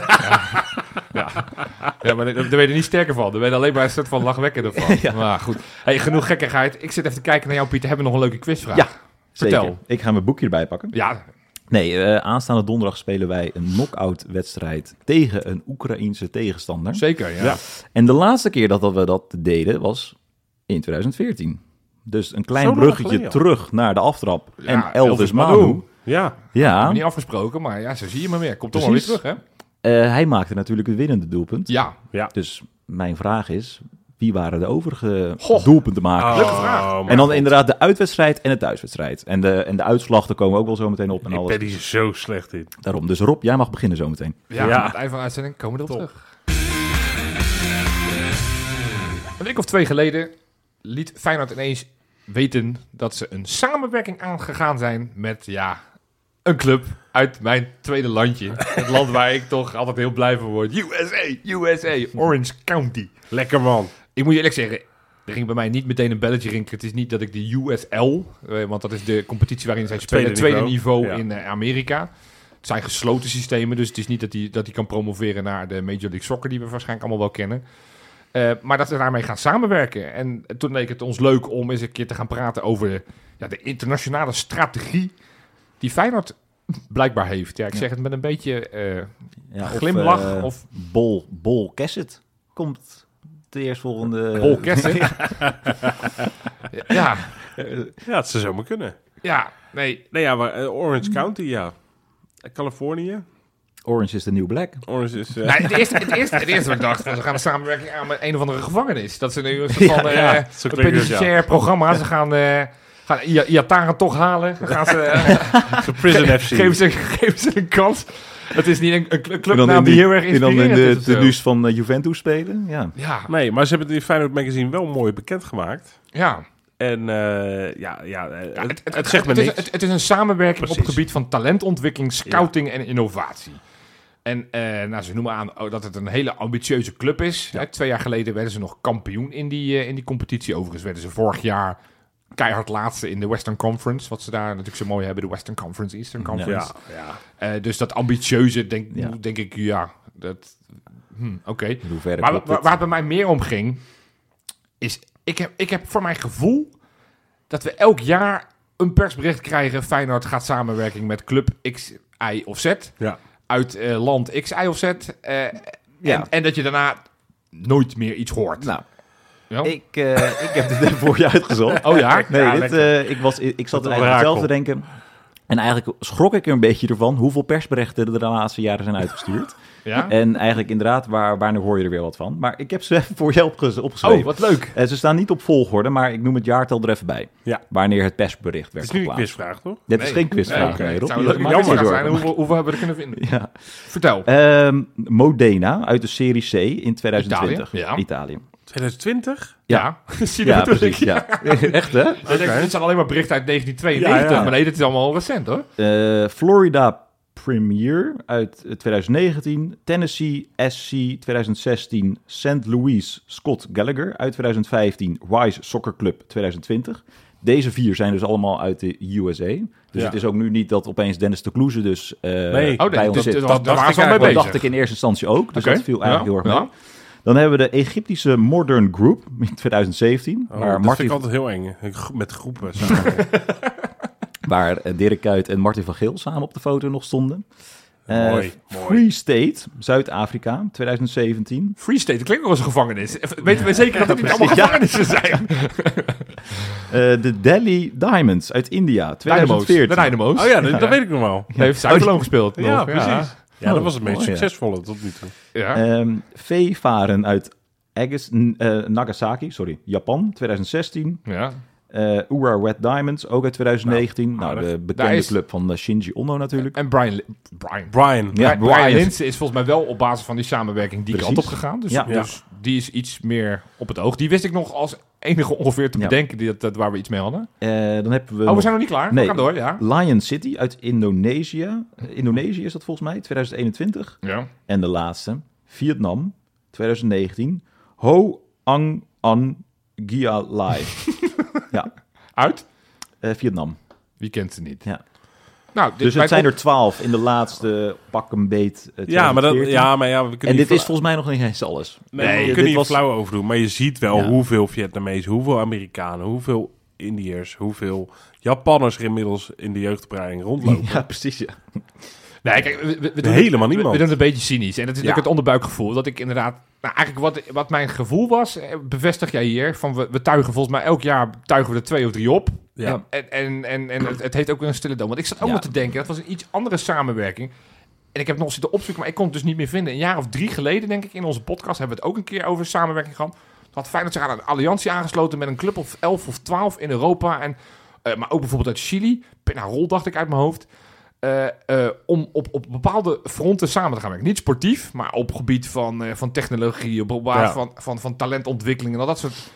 Speaker 2: Ja, maar daar daar ben je er niet sterker van. Daar ben je alleen maar een soort van lachwekkender van.
Speaker 1: <laughs> Ja.
Speaker 2: Maar goed. Hey, genoeg gekkigheid. Ik zit even te kijken naar jou, Pieter. Hebben we nog een leuke quizvraag?
Speaker 1: Ja,
Speaker 2: Vertel.
Speaker 1: Zeker. Ik ga mijn boekje erbij pakken.
Speaker 2: Ja,
Speaker 1: Nee, eh, aanstaande donderdag spelen wij een knock-out wedstrijd tegen een Oekraïense tegenstander.
Speaker 2: zeker. Ja.
Speaker 3: Ja.
Speaker 1: En de laatste keer dat we dat deden was in 2014. Dus een
Speaker 3: Zo
Speaker 1: klein
Speaker 3: lang
Speaker 1: bruggetje
Speaker 3: geleden al.
Speaker 1: terug naar de aftrap.
Speaker 2: Ja,
Speaker 1: en
Speaker 2: Elvis
Speaker 1: Elvis
Speaker 2: Manu.
Speaker 1: Manu.
Speaker 3: Ja,
Speaker 1: Ja,
Speaker 2: Niet afgesproken, maar ja, zo zie je maar weer. Komt toch wel weer
Speaker 1: Precies.
Speaker 2: terug, hè?
Speaker 1: eh, hij maakte natuurlijk het winnende doelpunt.
Speaker 2: Ja.
Speaker 1: Dus mijn vraag is, Wie waren de overige
Speaker 2: Goh.
Speaker 1: doelpunten maken?
Speaker 2: Leuke vraag.
Speaker 3: maar
Speaker 1: en dan
Speaker 3: Oh, God.
Speaker 1: inderdaad de uitwedstrijd en de thuiswedstrijd. En de, en de uitslag, daar komen we ook wel zo meteen op en
Speaker 3: Ik
Speaker 1: alles.
Speaker 3: ben hier zo slecht in.
Speaker 1: Daarom. Dus Rob, jij mag beginnen zo meteen.
Speaker 2: Ja,
Speaker 3: Ja.
Speaker 2: aan het eind van de uitzending komen we erop terug. Een week of twee geleden liet Feyenoord ineens weten dat ze een samenwerking aangegaan zijn met, ja, een club uit mijn tweede landje. Het land waar ik toch altijd heel blij van word. USA, USA, Orange County.
Speaker 3: Lekker man.
Speaker 2: Ik moet je eerlijk zeggen, er ging bij mij niet meteen een belletje rinken. Het is niet dat ik de USL, eh, want dat is de competitie waarin zij spelen,
Speaker 3: tweede
Speaker 2: tweede niveau,
Speaker 3: niveau ja.
Speaker 2: in eh, Amerika. Het zijn gesloten systemen, dus het is niet dat die, dat die kan promoveren naar de Major League Soccer, die we waarschijnlijk allemaal wel kennen. Eh, maar dat we daarmee gaan samenwerken. En toen leek het ons leuk om eens een keer te gaan praten over ja, de internationale strategie die Feyenoord blijkbaar heeft. Ja, ik zeg het met een beetje... eh,
Speaker 1: Ja, of,
Speaker 2: Glimlach
Speaker 1: eh,
Speaker 2: of-
Speaker 1: Bol, Bol Kesset komt de eerstvolgende...
Speaker 2: Paul Kessen. ja,
Speaker 3: Ja, het zou zomaar kunnen.
Speaker 2: ja, nee,
Speaker 3: Nee, ja, maar eh, Orange County, ja. Eh, Californië.
Speaker 1: Orange is the New Black.
Speaker 3: Orange is... eh,
Speaker 2: Nou, het, eerste, het, eerste, het eerste wat ik dacht, was, we gaan een samenwerking aan met een of andere gevangenis. Dat ze nu een soort van eh
Speaker 3: ja, zo
Speaker 2: een
Speaker 3: klinkt het,
Speaker 2: penitentiair programma. Ze gaan, eh gaan Ia- Iataren toch halen. Dan gaan
Speaker 1: <laughs>
Speaker 2: ze, eh,
Speaker 3: de <laughs> Prison FC.
Speaker 2: geven, ze, geven ze een kans. Het is niet een, een cl-
Speaker 1: En
Speaker 2: clubnaam
Speaker 1: in
Speaker 2: die
Speaker 1: die-
Speaker 2: heel erg
Speaker 1: en dan in
Speaker 2: inspirerend is.
Speaker 1: de
Speaker 2: of zo.
Speaker 1: tenues van eh, Juventus spelen. Ja.
Speaker 2: Ja,
Speaker 3: Nee, maar ze hebben het in Feyenoord Magazine wel mooi bekendgemaakt.
Speaker 2: ja.
Speaker 3: En eh, ja, ja, eh,
Speaker 2: Ja,
Speaker 3: het, het, zegt me
Speaker 2: het
Speaker 3: niks.
Speaker 2: Is, het, het is een samenwerking op
Speaker 3: Precies.
Speaker 2: het gebied van talentontwikkeling, scouting en innovatie. En eh, nou, ze noemen aan oh, dat het een hele ambitieuze club is. Hè, twee jaar geleden werden ze nog kampioen in die, eh, in die competitie. Overigens werden ze vorig jaar keihard laatste in de Western Conference. Wat ze daar natuurlijk zo mooi hebben, de Western Conference, Eastern Conference.
Speaker 3: ja, ja.
Speaker 2: Eh, dus dat ambitieuze, denk,
Speaker 1: Ja.
Speaker 2: denk ik, ja, dat... hm, Oké.
Speaker 1: In hoeverre
Speaker 2: Maar wa- waar,
Speaker 1: klopt het?
Speaker 2: het bij mij meer om ging, is ik heb, ik heb voor mijn gevoel dat we elk jaar een persbericht krijgen. Feyenoord gaat samenwerking met club X, Y of Z.
Speaker 3: Ja.
Speaker 2: Uit eh, land X, Y of Z. eh,
Speaker 1: Ja.
Speaker 2: en, en dat je daarna nooit meer iets hoort.
Speaker 1: Nou,
Speaker 2: Ja?
Speaker 1: ik, eh, ik heb dit even voor je uitgezocht.
Speaker 2: Oh ja?
Speaker 1: Nee,
Speaker 2: Ja,
Speaker 1: dit,
Speaker 2: lekker.
Speaker 1: eh, ik, was, ik zat er
Speaker 3: Wat
Speaker 1: eigenlijk
Speaker 3: orakel.
Speaker 1: zelf te denken. En eigenlijk schrok ik er een beetje ervan hoeveel persberichten er de laatste jaren zijn uitgestuurd.
Speaker 2: ja? Oh,
Speaker 1: en eigenlijk inderdaad, waar, waar nu hoor je er weer wat van. Maar ik heb ze even voor jou opge- opgeschreven.
Speaker 2: Oh, wat leuk.
Speaker 1: Eh, ze staan niet op volgorde, maar ik noem het jaartal er even bij.
Speaker 3: Ja.
Speaker 1: Wanneer het persbericht
Speaker 3: Het
Speaker 1: werd
Speaker 3: is nu een
Speaker 1: geplaatst.
Speaker 3: quizvraag, toch?
Speaker 1: Dit is
Speaker 2: Nee.
Speaker 1: geen quizvraag,
Speaker 2: Nee,
Speaker 1: nee,
Speaker 2: oké.
Speaker 1: Rob.
Speaker 2: Het zou
Speaker 1: Je
Speaker 2: leuk
Speaker 1: maakt
Speaker 2: jammer
Speaker 1: je geen
Speaker 2: zijn
Speaker 1: zorgen.
Speaker 2: hoeveel, hoeveel hebben we er kunnen vinden.
Speaker 1: <laughs> Ja.
Speaker 2: Vertel.
Speaker 1: Ehm, Modena uit de Serie C in 2020.
Speaker 2: Italië, ja.
Speaker 1: Italië. <laughs>
Speaker 3: 2020?
Speaker 2: ja. Zie je <laughs>
Speaker 1: Ja,
Speaker 2: dat bedoel ik?
Speaker 1: precies. Ja. Echt, hè?
Speaker 2: Ik denk, Dit zijn alleen maar berichten uit 1992.
Speaker 3: Ja, ja.
Speaker 2: Maar nee, dit is allemaal recent hoor. Oh,
Speaker 1: Eh, Florida Premier uit eh, 2019. Tennessee SC 2016. St. Louis Scott Gallagher uit 2015. Wise Soccer Club 2020. Deze vier zijn dus allemaal uit de USA. Dus
Speaker 3: Ja.
Speaker 1: het is ook nu niet dat opeens Dennis de Kloeze dus eh,
Speaker 3: Oh,
Speaker 1: bij
Speaker 2: nee,
Speaker 1: ons
Speaker 2: dit-
Speaker 1: zit.
Speaker 2: dit
Speaker 1: Dat,
Speaker 2: was-
Speaker 3: dacht
Speaker 2: daar waren ze
Speaker 3: ik
Speaker 2: al mee bezig.
Speaker 1: dacht ik in eerste instantie ook. Dus
Speaker 2: Oké,
Speaker 1: dat viel eigenlijk
Speaker 2: ja,
Speaker 1: heel erg
Speaker 2: ja.
Speaker 1: mee. Dan hebben we de Egyptische Modern Group in 2017.
Speaker 3: Oh,
Speaker 1: waar,
Speaker 3: dat vind
Speaker 1: Martin,
Speaker 3: ik altijd heel eng. hè. Gro- Met groepen samen.
Speaker 1: waar eh, Dirk Kuyt en Martin van Geel samen op de foto nog stonden. Eh,
Speaker 3: Mooi, mooi.
Speaker 1: Free State, Zuid-Afrika, 2017.
Speaker 2: Free State, dat klinkt wel als een gevangenis. Even- Weten we zeker dat het niet allemaal
Speaker 1: precies, ja.
Speaker 2: gevangenissen zijn?
Speaker 1: Eh, de Delhi Diamonds uit India,
Speaker 2: Dynamo's. De
Speaker 1: 2014.
Speaker 3: <laughs>
Speaker 2: Dynamo's.
Speaker 3: Oh ja, dat, dat weet ik nog wel.
Speaker 2: Hij heeft Zuid-Loon gespeeld. nog.
Speaker 3: Ja, precies. Ja, dat was het meest
Speaker 1: Oh, mooi, ja.
Speaker 3: succesvolle tot nu toe.
Speaker 2: Ja.
Speaker 1: Ehm, Veevaren uit Agus, n- eh, Nagasaki, sorry, Japan, 2016.
Speaker 2: Ja.
Speaker 1: Eh Ura Red Diamonds, ook uit 2019. Nou,
Speaker 3: aardig.
Speaker 1: de
Speaker 2: Daar
Speaker 1: bekende
Speaker 2: is-
Speaker 1: club van eh, Shinji Ono natuurlijk.
Speaker 2: En Brian, Li- Brian.
Speaker 3: Brian.
Speaker 1: Ja,
Speaker 2: Brian, Brian
Speaker 1: Brian.
Speaker 2: Linsen is volgens mij wel op basis van die samenwerking die
Speaker 1: Precies.
Speaker 2: kant op gegaan. Dus,
Speaker 1: Ja.
Speaker 2: dus die is iets meer op het oog. Die wist ik nog als enige ongeveer te
Speaker 1: Ja.
Speaker 2: bedenken die, dat, dat waar we iets mee hadden.
Speaker 1: Eh, dan hebben we...
Speaker 2: Oh, we
Speaker 1: nog-
Speaker 2: zijn nog niet klaar.
Speaker 1: Nee.
Speaker 2: We gaan door, ja.
Speaker 1: Lion City uit Indonesië. Eh, Indonesië is dat volgens mij, 2021.
Speaker 2: Ja.
Speaker 1: En de laatste, Vietnam, 2019. Ho Ang An Gia
Speaker 3: <laughs>
Speaker 1: Lai. ja,
Speaker 2: Uit?
Speaker 1: eh, Vietnam.
Speaker 2: Wie kent ze niet?
Speaker 1: Ja.
Speaker 2: Nou, dit
Speaker 1: Dus het
Speaker 2: wij-
Speaker 1: zijn er twaalf in de laatste pak een beet. eh,
Speaker 3: Ja, maar, dat,
Speaker 1: 2014.
Speaker 3: ja, maar ja, we kunnen
Speaker 1: En
Speaker 3: niet
Speaker 1: dit is
Speaker 3: vla-
Speaker 1: volgens mij nog niet eens alles.
Speaker 3: nee,
Speaker 1: Eh,
Speaker 3: we
Speaker 1: dit
Speaker 3: kunnen hier
Speaker 1: was- <laughs>
Speaker 3: flauw over doen. Maar je ziet wel
Speaker 1: Ja.
Speaker 3: hoeveel Vietnamezen, hoeveel Amerikanen, hoeveel Indiërs, hoeveel Japanners er inmiddels in de jeugdbreiding rondlopen.
Speaker 1: Ja, precies. Ja.
Speaker 2: Nee, kijk, we, we- we doen
Speaker 3: Helemaal
Speaker 2: we-
Speaker 3: niemand.
Speaker 2: We doen het een beetje cynisch. En dat is
Speaker 3: Ja.
Speaker 2: ook het onderbuikgevoel. Dat ik inderdaad... Nou, eigenlijk wat, wat mijn gevoel was, eh, bevestig jij hier. Van we, we tuigen volgens mij elk jaar tuigen we er twee of drie op.
Speaker 3: Ja.
Speaker 2: Ja. En, en, en, en het, het heeft ook weer een stille dood. Want ik zat ook
Speaker 1: Ja.
Speaker 2: nog te denken, dat was een iets andere samenwerking. En ik heb nog zitten opzoeken, maar ik kon het dus niet meer vinden. Een jaar of drie geleden, denk ik, in onze podcast hebben we het ook een keer over samenwerking gehad. Had Feyenoord zich aan een alliantie aangesloten met een club of 11 of 12 in Europa. En, eh, maar ook bijvoorbeeld uit Chili. Penarol dacht ik uit mijn hoofd. eh, eh, om op, op bepaalde fronten samen te gaan werken. Niet sportief, maar op gebied van, eh, van technologie, op basis
Speaker 3: Ja.
Speaker 2: van, van, van talentontwikkeling en al dat soort...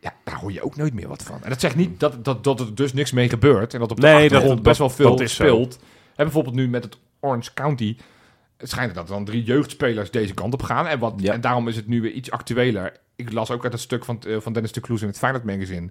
Speaker 2: Ja, daar hoor je ook nooit meer wat van. En dat zegt niet dat, dat, dat er dus niks mee gebeurt. En dat op de
Speaker 3: Nee, dat-
Speaker 2: achtergrond best wel
Speaker 3: dat-
Speaker 2: veel
Speaker 3: dat is zo.
Speaker 2: speelt. En bijvoorbeeld nu met het Orange County... Het schijnt dat er dan drie jeugdspelers deze kant op gaan. En, wat,
Speaker 1: Ja.
Speaker 2: en daarom is het nu weer iets actueler. Ik las ook uit het stuk van, eh, van Dennis de Kloes in het Feyenoord magazine...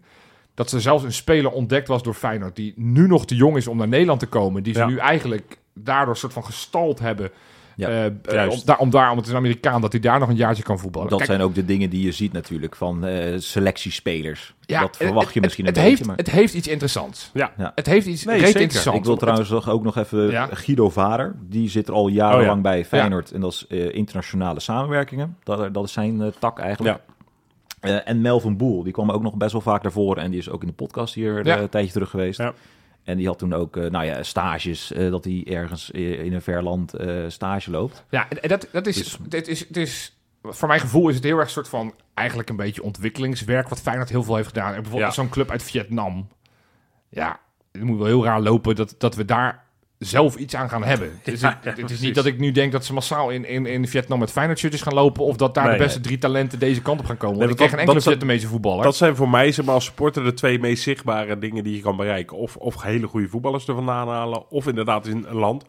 Speaker 2: dat ze zelfs een speler ontdekt was door Feyenoord... die nu nog te jong is om naar Nederland te komen. Die ze
Speaker 3: Ja.
Speaker 2: nu eigenlijk daardoor een soort van gestald hebben.
Speaker 1: Ja,
Speaker 2: Eh, eh,
Speaker 3: juist.
Speaker 2: om, daar, om daar, omdat het een Amerikaan... dat hij daar nog een jaartje kan voetballen.
Speaker 1: Dat
Speaker 2: Kijk,
Speaker 1: zijn ook de dingen die je ziet natuurlijk van eh, selectiespelers. dat
Speaker 2: het-
Speaker 1: verwacht je
Speaker 2: het-
Speaker 1: misschien
Speaker 2: het,
Speaker 1: een
Speaker 2: heeft,
Speaker 1: beetje, maar...
Speaker 2: Het heeft iets interessants.
Speaker 3: Ja.
Speaker 1: Ja.
Speaker 2: Het heeft iets
Speaker 3: Nee,
Speaker 2: reet
Speaker 3: zeker.
Speaker 2: interessants.
Speaker 1: Ik wil
Speaker 2: Het-
Speaker 1: trouwens nog- ook nog even
Speaker 2: Ja.
Speaker 1: Guido Vader. Die zit er al jarenlang
Speaker 3: Oh ja.
Speaker 1: bij Feyenoord. En dat is eh, internationale samenwerkingen. Dat, dat is zijn eh, tak eigenlijk. Eh, en Melvin Boel, die kwam ook nog best wel vaak naar voren. En die is ook in de podcast hier eh,
Speaker 2: Ja.
Speaker 1: een tijdje terug geweest.
Speaker 3: Ja.
Speaker 1: En die had toen ook eh, nou ja, stages, eh, dat hij ergens eh, in een ver land eh, stage loopt.
Speaker 2: Ja, en en dat, dat is,
Speaker 1: Dus-
Speaker 2: dit is, het is... Voor mijn gevoel is het heel erg een soort van... Eigenlijk een beetje ontwikkelingswerk wat Feyenoord heel veel heeft gedaan. En bijvoorbeeld
Speaker 3: Ja.
Speaker 2: zo'n club uit Vietnam. Ja, het moet wel heel raar lopen dat, dat we daar zelf iets aan gaan hebben. Het is,
Speaker 3: Ja,
Speaker 2: niet-
Speaker 3: ja,
Speaker 2: het is
Speaker 3: precies.
Speaker 2: niet dat ik nu denk dat ze massaal in, in, in Vietnam met Feyenoord shirtjes gaan lopen... of dat daar
Speaker 3: Nee,
Speaker 2: de beste drie talenten deze kant op gaan komen.
Speaker 3: Nee,
Speaker 2: want ik
Speaker 3: dat-
Speaker 2: ken geen enkele
Speaker 3: dat- dat-
Speaker 2: Vietnamese voetballer.
Speaker 3: Dat zijn voor mij zeg maar, als supporter de twee meest zichtbare dingen die je kan bereiken. Of, of hele goede voetballers er vandaan halen. Of inderdaad in een land,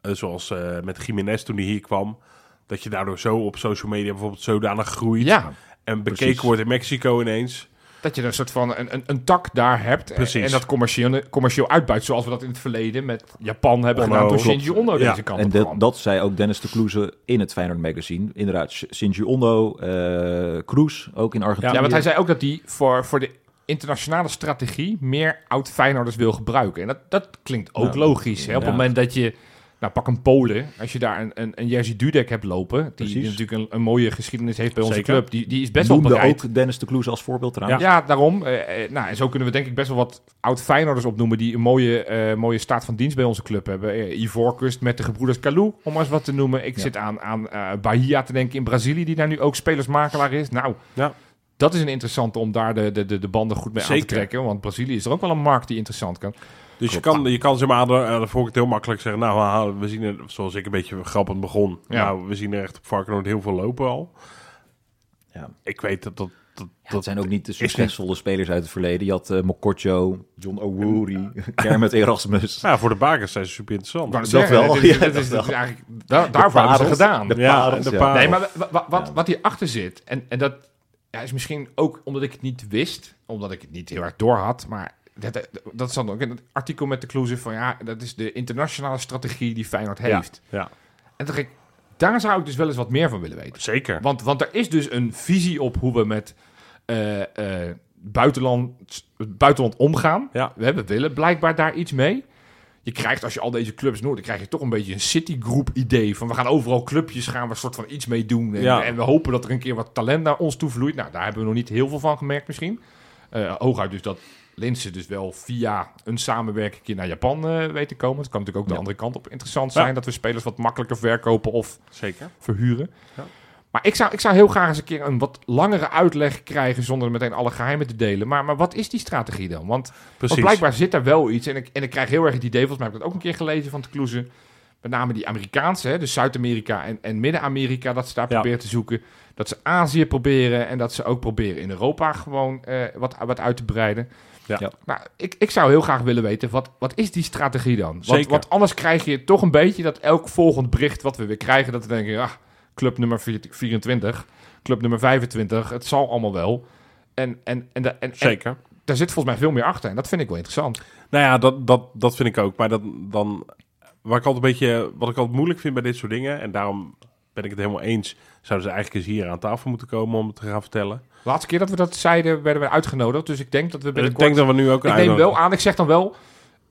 Speaker 3: eh, zoals eh, met Jiménez toen hij hier kwam. Dat je daardoor zo op social media bijvoorbeeld zodanig groeit.
Speaker 2: ja,
Speaker 3: en bekeken
Speaker 1: precies.
Speaker 3: wordt in Mexico ineens.
Speaker 2: Dat je een soort van een, een, een tak daar hebt. en-
Speaker 3: Precies.
Speaker 2: En dat commercieel, commercieel uitbuit. Zoals we dat in het verleden met Japan hebben
Speaker 3: Ono.
Speaker 2: gedaan. Toen
Speaker 3: Oh, nou, Klopt.
Speaker 2: Shinji Ono
Speaker 3: Ja.
Speaker 2: deze kant
Speaker 1: en
Speaker 2: op
Speaker 1: dat,
Speaker 2: kwam.
Speaker 1: dat zei ook Dennis de Kloeze in het Feyenoord magazine. Inderdaad, Sh- Shinji Ondo, eh Kroes, ook in Argentinië.
Speaker 2: ja, want hij zei ook dat hij voor, voor de internationale strategie... meer oud-Feyenoorders wil gebruiken. En dat, dat klinkt ook
Speaker 1: Nou,
Speaker 2: logisch. Hè? Op het
Speaker 1: ja.
Speaker 2: moment dat je... Nou, pak een Polen. Als je daar een, een, een Jerzy Dudek hebt lopen... die,
Speaker 1: Precies.
Speaker 2: natuurlijk een, een mooie geschiedenis heeft bij onze
Speaker 3: Zeker.
Speaker 2: club. Die, die is best wel
Speaker 1: noemde
Speaker 2: bereid
Speaker 1: ook Dennis de Kloeze als voorbeeld trouwens.
Speaker 2: Ja, daarom. Eh, eh, nou, en zo kunnen we denk ik best wel wat oud-Feyenoorders opnoemen... die een mooie, eh, mooie staat van dienst bij onze club hebben. Eh, Ivoorkust met de gebroeders Kalou, om maar eens wat te noemen. Ik
Speaker 1: Ja.
Speaker 2: zit aan, aan eh, Bahia te denken in Brazilië... die daar nu ook spelersmakelaar is. Nou,
Speaker 3: Ja.
Speaker 2: dat is een interessante om daar de, de, de, de banden goed mee aan
Speaker 3: Zeker.
Speaker 2: te trekken. Want Brazilië is er ook wel een markt die interessant kan.
Speaker 3: Dus je kan, je kan zeg maar eh, aan de, aan de voorkant heel makkelijk zeggen... Nou, haha, we zien er, zoals ik een beetje grappend begon...
Speaker 2: Ja.
Speaker 3: Nou, we zien er echt op Varkenoord heel veel lopen al.
Speaker 1: Ja.
Speaker 3: Ik weet dat dat... dat,
Speaker 1: Ja,
Speaker 3: dat
Speaker 1: dat zijn ook niet de succesvolle spelers uit het verleden. Je had eh Mokotjo, John Owuri, <laughs> Kermit <laughs> Erasmus.
Speaker 3: nou, voor de bakers zijn ze super interessant.
Speaker 2: Ik wou net
Speaker 1: Dat
Speaker 2: zeggen,
Speaker 1: wel,
Speaker 2: Eh, dit is-
Speaker 1: ja,
Speaker 2: dit is-
Speaker 1: dat
Speaker 2: dit is eigenlijk- daar- Daarvoor hebben ze het
Speaker 1: parels.
Speaker 2: gedaan.
Speaker 1: De
Speaker 3: Ja,
Speaker 1: parels,
Speaker 3: de
Speaker 1: ja.
Speaker 3: parels.
Speaker 2: Nee, maar wa- wa- wat,
Speaker 1: Oh. Ja.
Speaker 2: wat hierachter zit, en, en dat ja, is misschien ook omdat ik het niet wist, omdat ik het niet heel erg door had, maar dat, dat stond ook in het artikel met de Kloeze van ja, dat is de internationale strategie die Feyenoord heeft.
Speaker 3: Ja,
Speaker 2: En toen dacht ik, daar zou ik dus wel eens wat meer van willen weten.
Speaker 3: zeker.
Speaker 2: Want, want er is dus een visie op hoe we met eh, eh, buitenland, het buitenland omgaan.
Speaker 3: Ja.
Speaker 2: We hebben, willen blijkbaar daar iets mee. Je krijgt, als je al deze clubs noemt, dan krijg je toch een beetje een citygroep idee. Van we gaan overal clubjes, gaan we een soort van iets mee doen. En,
Speaker 3: Ja.
Speaker 2: en we hopen dat er een keer wat talent naar ons toe vloeit. Nou, daar hebben we nog niet heel veel van gemerkt misschien. Eh, hooguit dus dat Linse dus wel via een samenwerking een keer naar Japan eh, weet te komen. Het kan natuurlijk ook de
Speaker 1: Ja.
Speaker 2: andere kant op interessant
Speaker 3: Ja.
Speaker 2: zijn. Dat we spelers wat makkelijker verkopen of
Speaker 3: Zeker.
Speaker 2: verhuren.
Speaker 3: Ja.
Speaker 2: Maar ik zou, ik zou heel graag eens een keer een wat langere uitleg krijgen zonder meteen alle geheimen te delen. Maar, maar wat is die strategie dan? Want, want
Speaker 3: Precies.
Speaker 2: blijkbaar zit daar wel iets. En ik, en ik krijg heel erg het idee, volgens mij heb ik dat ook een keer gelezen van de Kloeze. Met name die Amerikaanse, hè, dus Zuid-Amerika en, en Midden-Amerika, dat ze daar
Speaker 3: Ja.
Speaker 2: proberen te zoeken. Dat ze Azië proberen en dat ze ook proberen in Europa gewoon eh, wat, wat uit te breiden.
Speaker 3: Ja.
Speaker 1: Ja.
Speaker 2: Maar ik, ik zou heel graag willen weten, wat, wat is die strategie dan? Want,
Speaker 3: Zeker.
Speaker 2: want anders krijg je toch een beetje dat elk volgend bericht wat we weer krijgen, dat we denken, ah, club nummer 24, club nummer 25, het zal allemaal wel. En, en, en, da- en, en
Speaker 3: Zeker.
Speaker 2: daar zit volgens mij veel meer achter en dat vind ik wel interessant.
Speaker 3: Nou ja, dat, dat, dat vind ik ook. Maar dat, dan, waar ik altijd een beetje, wat ik altijd moeilijk vind bij dit soort dingen, en daarom ben ik het helemaal eens, zouden ze eigenlijk eens hier aan tafel moeten komen om het te gaan vertellen.
Speaker 2: Laatste keer dat we dat zeiden, werden we uitgenodigd, dus ik denk dat we
Speaker 3: ik
Speaker 2: binnenkort...
Speaker 3: denk dat we nu ook
Speaker 2: Ik
Speaker 3: een
Speaker 2: neem wel
Speaker 3: uitnodiging-
Speaker 2: aan, ik zeg dan wel,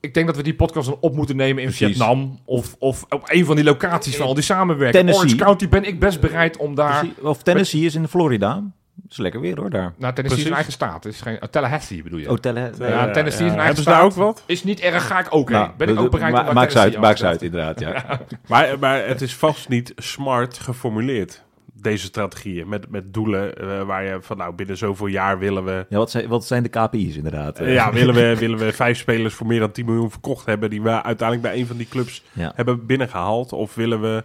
Speaker 2: ik denk dat we die podcast dan op moeten nemen in
Speaker 1: Precies.
Speaker 2: Vietnam of, of op een van die locaties van al die samenwerking.
Speaker 1: Tennessee.
Speaker 2: Orange County ben ik best bereid om daar...
Speaker 1: Precies. Of Tennessee is in Florida. Is lekker weer hoor daar.
Speaker 2: Nou, Tennessee is
Speaker 3: Precies.
Speaker 2: een eigen staat. Het Is geen, oh, Tallahassee bedoel je?
Speaker 1: Oh, tellen.
Speaker 3: Ja,
Speaker 2: ja, Tennessee is een eigen
Speaker 3: Hebben ze daar
Speaker 2: staat.
Speaker 3: ook wat?
Speaker 2: Is niet erg, ga ik ook heen.
Speaker 1: Nou,
Speaker 2: ben ik ook bereid om naar
Speaker 1: Maak ze uit,
Speaker 2: Tennessee
Speaker 1: maak ze
Speaker 2: af
Speaker 1: uit
Speaker 2: te
Speaker 1: inderdaad. Ja.
Speaker 3: Maar, maar het is vast niet smart geformuleerd. deze strategieën. Met, met doelen eh, waar je van, nou, binnen zoveel jaar willen we...
Speaker 1: Ja, wat, zijn, wat zijn de KPI's inderdaad?
Speaker 3: eh,
Speaker 2: <laughs>
Speaker 3: ja, willen we, willen we vijf spelers voor meer dan 10 miljoen verkocht hebben... die we uiteindelijk bij een van die clubs
Speaker 1: Ja.
Speaker 3: hebben binnengehaald? Of willen we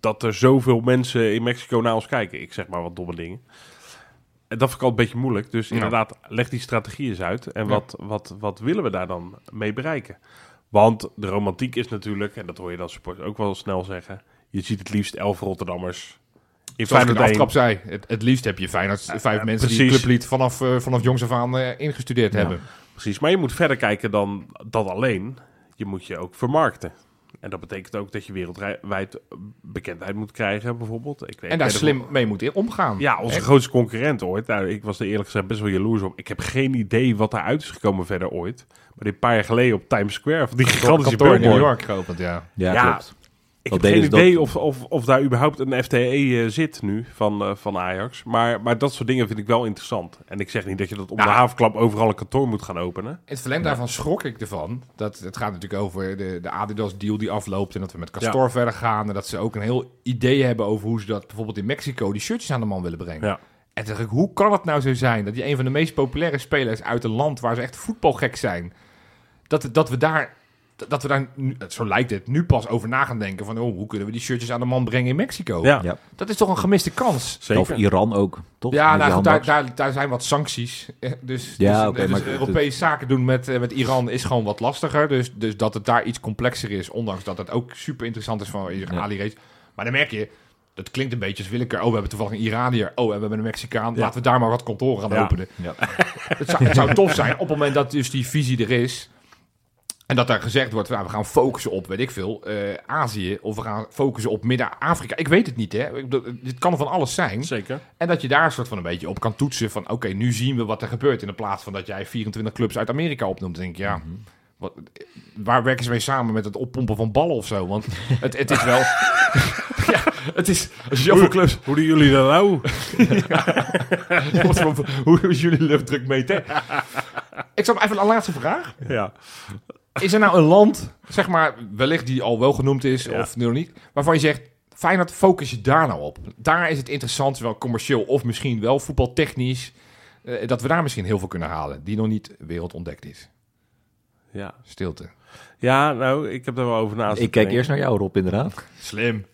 Speaker 3: dat er zoveel mensen in Mexico naar ons kijken? Ik zeg maar wat domme dingen. En dat vind ik al een beetje moeilijk. Dus
Speaker 2: Ja.
Speaker 3: inderdaad, leg die strategie eens uit. En
Speaker 2: Ja.
Speaker 3: wat, wat, wat willen we daar dan mee bereiken? Want de romantiek is natuurlijk, en dat hoor je dan sport ook wel snel zeggen... je ziet het liefst elf Rotterdammers in
Speaker 2: Zoals ik in
Speaker 3: Feyenoord
Speaker 2: de aftrap
Speaker 3: 1.
Speaker 2: zei, het, het liefst heb je Feyenoord vijf
Speaker 3: eh,
Speaker 2: mensen die
Speaker 3: precies.
Speaker 2: het clublied vanaf, eh, vanaf jongs af aan eh, ingestudeerd hebben.
Speaker 3: Precies, maar je moet verder kijken dan dat alleen. Je moet je ook vermarkten. En dat betekent ook dat je wereldwijd bekendheid moet krijgen, bijvoorbeeld. Ik weet- ik
Speaker 2: En
Speaker 3: weet
Speaker 2: daar
Speaker 3: nog-
Speaker 2: slim mee moet in omgaan.
Speaker 3: Ja, onze
Speaker 2: Echt.
Speaker 3: grootste concurrent ooit. Nou, ik was er eerlijk gezegd best wel jaloers op. Ik heb geen idee wat daaruit is gekomen verder ooit. Maar dit paar jaar geleden op Times Square, van die gigantische
Speaker 2: kantoor in New
Speaker 3: billboard.
Speaker 2: York geopend, ja.
Speaker 1: Ja,
Speaker 3: Ja.
Speaker 1: klopt.
Speaker 3: Ik
Speaker 1: Wat
Speaker 3: heb geen
Speaker 1: deden ze
Speaker 3: idee
Speaker 1: dat?
Speaker 3: of, of, of daar überhaupt een FTE eh, zit nu van, eh, van Ajax. Maar, maar dat soort dingen vind ik wel interessant. En ik zeg niet dat je dat op de
Speaker 2: Nou.
Speaker 3: havenklap overal een kantoor moet gaan openen.
Speaker 2: In het verlengde daarvan schrok ik ervan. Dat, het gaat natuurlijk over de, de Adidas-deal die afloopt. En dat we met Castor verder gaan. En dat ze ook een heel idee hebben over hoe ze dat bijvoorbeeld in Mexico die shirtjes aan de man willen brengen.
Speaker 3: Ja.
Speaker 2: En toen dacht ik, hoe kan het nou zo zijn dat die een van de meest populaire spelers uit een land waar ze echt voetbalgek zijn. Dat, dat we daar, dat we daar nu, zo lijkt het, nu pas over na gaan denken. Van oh, hoe kunnen we die shirtjes aan de man brengen in Mexico?
Speaker 3: Ja,
Speaker 1: Ja.
Speaker 2: Dat is toch een gemiste kans?
Speaker 1: Of
Speaker 3: zeker.
Speaker 1: Iran ook, toch?
Speaker 2: Ja,
Speaker 1: Met die
Speaker 2: nou goed, daar,
Speaker 1: handbaks.
Speaker 2: daar, daar zijn wat sancties. Eh, Dus,
Speaker 1: Ja,
Speaker 2: dus,
Speaker 1: oké,
Speaker 2: dus
Speaker 1: maar het-
Speaker 2: Europese zaken doen met, eh, met Iran is gewoon wat lastiger. Dus, dus dat het daar iets complexer is, ondanks dat het ook super interessant is van
Speaker 1: Ja.
Speaker 2: Ali race. Maar dan merk je, dat klinkt een beetje als willekeur. Oh, we hebben toevallig een Iranier. Oh, en we hebben een Mexicaan.
Speaker 3: Ja.
Speaker 2: Laten we daar maar wat kantoren gaan
Speaker 3: Ja.
Speaker 2: openen.
Speaker 1: Ja.
Speaker 2: <laughs> Het, zou, het zou tof zijn op het moment dat dus die visie er is. En dat daar gezegd wordt, nou, we gaan focussen op, weet ik veel, eh, Azië. Of we gaan focussen op Midden-Afrika. Ik weet het niet, hè. Ik bedoel, Het kan van alles zijn.
Speaker 3: Zeker.
Speaker 2: En dat je daar een soort van een beetje op kan toetsen van... oké, nu zien we wat er gebeurt. In de plaats van dat jij 24 clubs uit Amerika opnoemt. Dan denk ik, ja, wat, waar werken ze mee samen met het oppompen van ballen of zo? Want het, het is wel... <laughs> ja, het is... <laughs> Als je zoveel clubs...
Speaker 3: Hoe doen jullie dat nou?
Speaker 2: Wat voor- Hoe is jullie luchtdruk meten? ik zal even een laatste vraag.
Speaker 3: <laughs> ja.
Speaker 2: Is er nou een land, zeg maar, wellicht die al wel genoemd is
Speaker 3: Ja.
Speaker 2: of nu nog niet... waarvan je zegt, Feyenoord, focus je daar nou op. Daar is het interessant, wel commercieel of misschien wel voetbaltechnisch... eh, dat we daar misschien heel veel kunnen halen... die nog niet wereldontdekt is.
Speaker 3: ja.
Speaker 2: Stilte.
Speaker 3: Ja, nou, ik heb er wel over na zitten
Speaker 1: Ik kijk
Speaker 3: denken.
Speaker 1: eerst naar jou, Rob, inderdaad.
Speaker 2: Slim.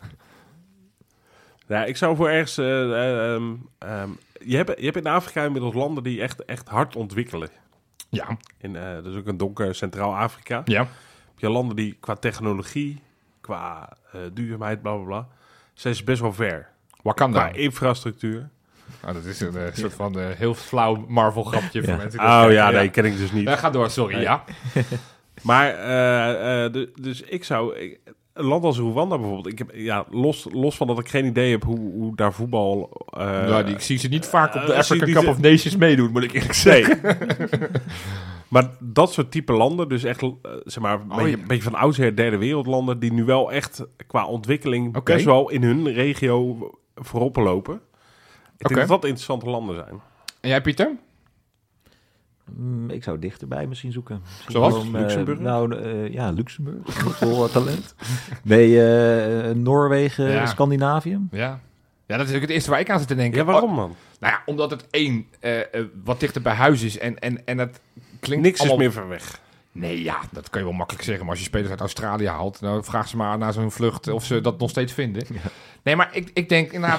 Speaker 3: Ja, ik zou voor ergens... eh, eh, ehm, ehm, je, hebt, je hebt in Afrika inmiddels landen die echt, echt hard ontwikkelen.
Speaker 2: Ja,
Speaker 3: In, eh dat is ook een donker Centraal-Afrika.
Speaker 2: ja.
Speaker 3: Heb je landen die qua technologie, qua eh, duurzaamheid, bla bla bla... zijn ze best wel ver.
Speaker 1: Nou.
Speaker 2: Wakanda.
Speaker 3: Qua infrastructuur.
Speaker 2: Ah, dat is een eh, soort van eh, heel flauw Marvel-grapje voor
Speaker 1: Ja.
Speaker 2: mensen. die dat
Speaker 3: Oh
Speaker 2: kijken.
Speaker 3: ja, nee, ken ik dus niet.
Speaker 2: Ja, ga door, sorry.
Speaker 3: Nee.
Speaker 2: Ja.
Speaker 3: Maar, eh, eh, du- dus ik zou... ik- een land als Rwanda bijvoorbeeld. Ik heb, ja, los, los van dat ik geen idee heb hoe, hoe daar voetbal... eh,
Speaker 2: ja, Nou, die, ik zie ze niet vaak op de
Speaker 3: eh,
Speaker 2: African
Speaker 3: zie-
Speaker 2: Cup
Speaker 3: die-
Speaker 2: of Nations meedoen, moet ik eerlijk <laughs> zeggen.
Speaker 3: Nee. maar dat soort type landen, dus echt, eh, zeg maar, een,
Speaker 2: Oh,
Speaker 3: beetje,
Speaker 2: ja.
Speaker 3: een beetje van oudsher derde wereldlanden, die nu wel echt qua ontwikkeling
Speaker 2: Oké.
Speaker 3: best wel in hun regio voorop lopen. Ik
Speaker 2: Oké.
Speaker 3: denk dat dat interessante landen zijn.
Speaker 2: En jij, Pieter?
Speaker 1: Mm, ik zou dichterbij misschien zoeken. Misschien
Speaker 2: Zoals?
Speaker 1: gewoon, eh,
Speaker 3: Luxemburg?
Speaker 1: nou, eh, ja, Luxemburg. <laughs> Met Vol eh, talent. Nee, eh, Noorwegen,
Speaker 2: Ja.
Speaker 1: Scandinavië.
Speaker 2: Ja. Ja, dat is ook het eerste waar ik aan zit te denken.
Speaker 3: Ja, waarom man?
Speaker 2: Oh, nou ja, omdat het één eh, eh, wat dichter bij huis is en, en, en dat klinkt
Speaker 3: Niks is
Speaker 2: allemaal...
Speaker 3: meer van weg.
Speaker 2: Nee, ja, dat kan je wel makkelijk zeggen. Maar als je spelers uit Australië haalt, nou vraag ze maar naar zo'n vlucht of ze dat nog steeds vinden. Nee, maar ik, ik denk inderdaad...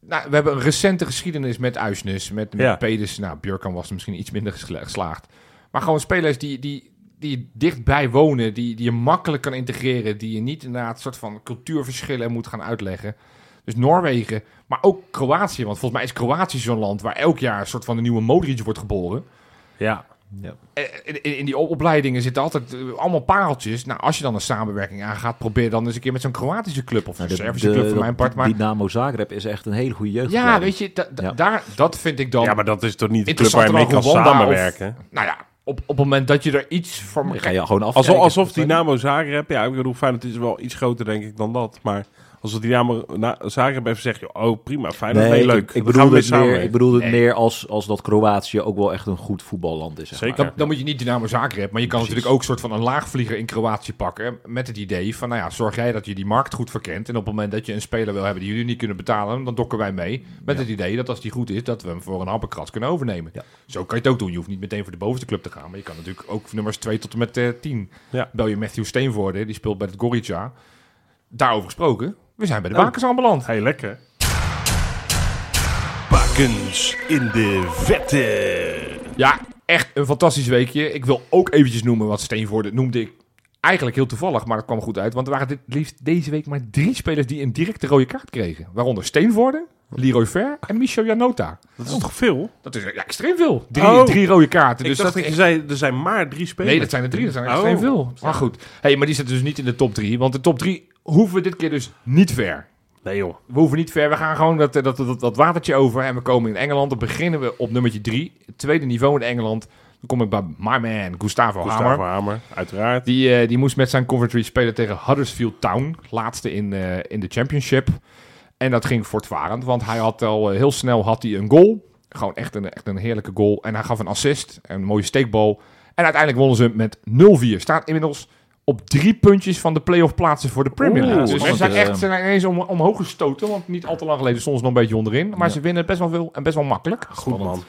Speaker 2: nou, we hebben een recente geschiedenis met Uisnes, met, met
Speaker 3: Ja.
Speaker 2: Pedersen. Nou, Björkan was er misschien iets minder gesla- geslaagd. Maar gewoon spelers die, die, die dichtbij wonen, die, die je makkelijk kan integreren. Die je niet inderdaad soort van cultuurverschillen moet gaan uitleggen. Dus Noorwegen, maar ook Kroatië. Want volgens mij is Kroatië zo'n land waar elk jaar een soort van een nieuwe Modric wordt geboren.
Speaker 3: Ja,
Speaker 1: Ja.
Speaker 2: Eh, in, in die opleidingen zitten altijd eh, allemaal pareltjes. Nou, als je dan een samenwerking aangaat, probeer dan eens een keer met zo'n Kroatische club of een
Speaker 1: Nou, de-
Speaker 2: Servische
Speaker 1: de-
Speaker 2: club voor
Speaker 1: dat
Speaker 2: mijn part. Maar
Speaker 1: Dynamo Zagreb is echt een hele goede jeugd.
Speaker 2: ja, weet je, da- da-
Speaker 1: Ja.
Speaker 2: daar, dat vind ik dan.
Speaker 3: ja maar dat is toch niet de club waar je
Speaker 2: interessanter
Speaker 3: mee
Speaker 2: dan
Speaker 3: kan
Speaker 2: Rwanda of-
Speaker 3: samenwerken?
Speaker 2: Nou ja, op, op het moment dat je er iets van.
Speaker 1: Dan ga je gewoon af.
Speaker 3: Alsof, alsof Dynamo Zagreb, ja, ik bedoel, Feyenoord is wel iets groter denk ik dan dat, maar Als het Dynamo na, Zagreb even zegt, joh, oh prima, fijn,
Speaker 1: Nee,
Speaker 3: nee,
Speaker 1: ik-
Speaker 3: leuk.
Speaker 1: Ik, bedoel het meer,
Speaker 3: meer.
Speaker 1: ik bedoel het
Speaker 2: Nee.
Speaker 1: meer als, als dat Kroatië ook wel echt een goed voetballand is. Zeg
Speaker 3: Zeker.
Speaker 1: maar.
Speaker 3: Ja.
Speaker 2: Dan moet je niet Dynamo Zagreb hebben, maar je kan
Speaker 1: Precies.
Speaker 2: natuurlijk ook een soort van een laagvlieger in Kroatië pakken. Met het idee van, nou ja, zorg jij dat je die markt goed verkent. En op het moment dat je een speler wil hebben die jullie niet kunnen betalen, dan dokken wij mee. Met het idee dat als die goed is, dat we hem voor een happenkrat kunnen overnemen.
Speaker 1: Ja.
Speaker 2: Zo kan je het ook doen. Je hoeft niet meteen voor de bovenste club te gaan. Maar je kan natuurlijk ook nummers 2 tot en met 10.
Speaker 3: Ja.
Speaker 2: Bel je Matthew Steenvoorde, die speelt bij het Gorica. Daarover gesproken, we zijn bij de
Speaker 3: Nou.
Speaker 2: bakens aanbeland.
Speaker 3: Hey, lekker.
Speaker 5: Bakens in de vette.
Speaker 2: Ja, echt een fantastisch weekje. Ik wil ook eventjes noemen wat Steenvoorde noemde ik. Eigenlijk heel toevallig, maar dat kwam goed uit. Want er waren dit liefst deze week maar drie spelers die een directe rode kaart kregen. Waaronder Steenvoorde, Leroy Ver en Michel Janota.
Speaker 3: Dat is toch veel?
Speaker 2: Dat is ja, extreem veel. Drie,
Speaker 3: Oh.
Speaker 2: drie rode kaarten.
Speaker 3: Ik
Speaker 2: Dus
Speaker 3: dacht
Speaker 2: dat
Speaker 3: dat je zei, er zijn maar drie spelers.
Speaker 2: Nee, dat zijn er drie. Dat zijn er extreem
Speaker 3: Oh.
Speaker 2: veel. Maar goed. Hey, maar die zitten dus niet in de top drie. Want de top drie hoeven we dit keer dus niet ver.
Speaker 3: Nee joh.
Speaker 2: We hoeven niet ver. We gaan gewoon dat, dat, dat, dat watertje over. En we komen in Engeland. Dan beginnen we op nummertje drie. Het tweede niveau in Engeland. Dan kom ik bij my man, Gustavo,
Speaker 3: Gustavo
Speaker 2: Hamer.
Speaker 3: Hamer, uiteraard.
Speaker 2: Die, eh, die moest met zijn Coventry spelen tegen Huddersfield Town. Laatste in, eh, in de championship. En dat ging voortvarend. Want hij had al eh, heel snel had hij een goal. Gewoon echt een, echt een heerlijke goal. En hij gaf een assist. Een mooie steekbal. En uiteindelijk wonnen ze met 0-4. Staat inmiddels op drie puntjes van de playoff plaatsen voor de Premier League.
Speaker 1: Oeh,
Speaker 2: dus ze
Speaker 1: spannend,
Speaker 2: zijn
Speaker 1: eh.
Speaker 2: echt ze zijn ineens om, omhoog gestoten. Want niet al te lang geleden soms nog een beetje onderin. Maar ze winnen best wel veel en best wel makkelijk.
Speaker 3: Goed man.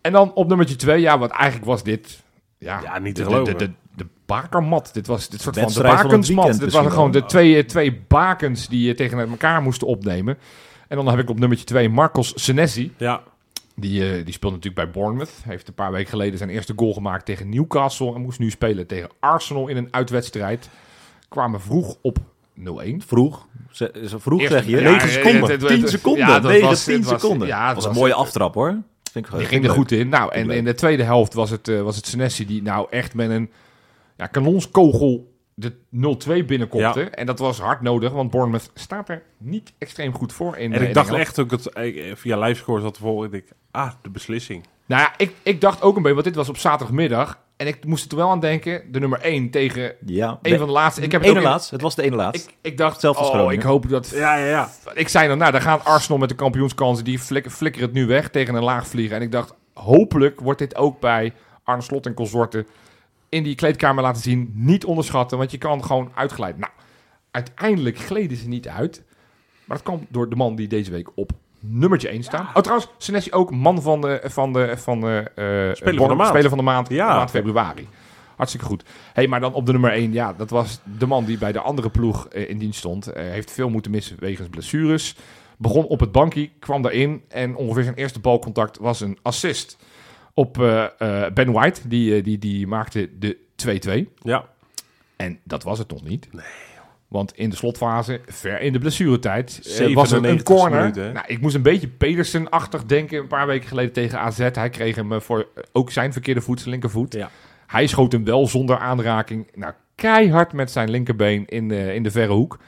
Speaker 2: En dan op nummertje 2, ja, want eigenlijk was dit. Ja,
Speaker 3: Ja, niet te
Speaker 2: de, de,
Speaker 3: geloven.
Speaker 2: de, de bakermat. Dit was dit soort van de
Speaker 1: Wedstrijd van het
Speaker 2: bakensmat.
Speaker 1: weekend dus
Speaker 2: dit waren
Speaker 1: misschien
Speaker 2: gewoon de twee, eh, twee bakens die je tegen elkaar moesten opnemen. En dan heb ik op nummertje 2 Marcos Senesi.
Speaker 3: Ja,
Speaker 2: Die, eh, die speelt natuurlijk bij Bournemouth. Hij heeft een paar weken geleden zijn eerste goal gemaakt tegen Newcastle. En moest nu spelen tegen Arsenal in een uitwedstrijd. Kwamen vroeg op 0-1.
Speaker 1: Vroeg. Ze- ze- vroeg
Speaker 2: Eerst-
Speaker 1: zeg je.
Speaker 2: ja,
Speaker 1: 9
Speaker 2: het-
Speaker 1: seconden.
Speaker 2: het- het-
Speaker 1: 10
Speaker 2: het-
Speaker 1: seconden.
Speaker 2: ja, dat
Speaker 1: 9,
Speaker 2: was-
Speaker 1: 10
Speaker 2: het was-
Speaker 1: seconden.
Speaker 2: ja, het
Speaker 1: dat was een
Speaker 2: was-
Speaker 1: mooie aftrap hoor. Vind ik
Speaker 3: Eh,
Speaker 2: Die ging er goed in. Nou, en in de tweede helft was het, eh, was het Senesi die nou echt met een ja, kanonskogel de 0-2 binnenkopte.
Speaker 3: Ja.
Speaker 2: En dat was hard nodig, want Bournemouth staat er niet extreem goed voor in.
Speaker 3: en
Speaker 2: eh,
Speaker 3: ik dacht
Speaker 2: Engeland.
Speaker 3: echt ook dat ik, via livescore zat te volgen. Ik denk, ah, de beslissing.
Speaker 2: Nou ja, ik, ik dacht ook een beetje, want dit was op zaterdagmiddag. En ik moest er toen wel aan denken, de nummer 1 tegen
Speaker 1: Ja.
Speaker 2: een van de laatste. Ik heb het
Speaker 1: ene
Speaker 2: ook in-
Speaker 1: laatst. Het was de ene laatst.
Speaker 2: Ik, ik dacht,
Speaker 1: Zelf als
Speaker 2: oh,
Speaker 1: Groningen.
Speaker 2: ik hoop dat...
Speaker 3: Ja, ja, ja.
Speaker 2: Ik zei dan, nou, daar gaan Arsenal met de kampioenskansen. Die flik, flikkeren het nu weg tegen een laag vliegen. En ik dacht, hopelijk wordt dit ook bij Arne Slot en consorten in die kleedkamer laten zien. Niet onderschatten, want je kan gewoon uitglijden. Nou, uiteindelijk gleden ze niet uit. Maar dat kwam door de man die deze week op nummertje 1 staat. Oh, trouwens, Senesi ook man van de, van de, van de, eh, Born-
Speaker 3: van de maand.
Speaker 2: Speler van de maand,
Speaker 3: Ja.
Speaker 2: maand februari. Hartstikke goed. hey, maar dan op de nummer 1. Ja, dat was de man die bij de andere ploeg eh, in dienst stond. Eh, heeft veel moeten missen wegens blessures. Begon op het bankje, kwam daarin. En ongeveer zijn eerste balcontact was een assist op eh, eh, Ben White. Die, eh, die, die maakte de 2-2.
Speaker 3: Ja,
Speaker 2: En dat was het nog niet. Want in de slotfase, ver in de blessuretijd, eh, was er een
Speaker 3: 97
Speaker 2: corner.
Speaker 3: minuut, hè?
Speaker 2: nou, ik moest een beetje Pedersen-achtig denken een paar weken geleden tegen AZ. Hij kreeg hem eh, voor eh, ook zijn verkeerde voet, zijn linkervoet.
Speaker 3: Ja.
Speaker 2: Hij schoot hem wel zonder aanraking. Nou, keihard met zijn linkerbeen in de, in de verre hoek.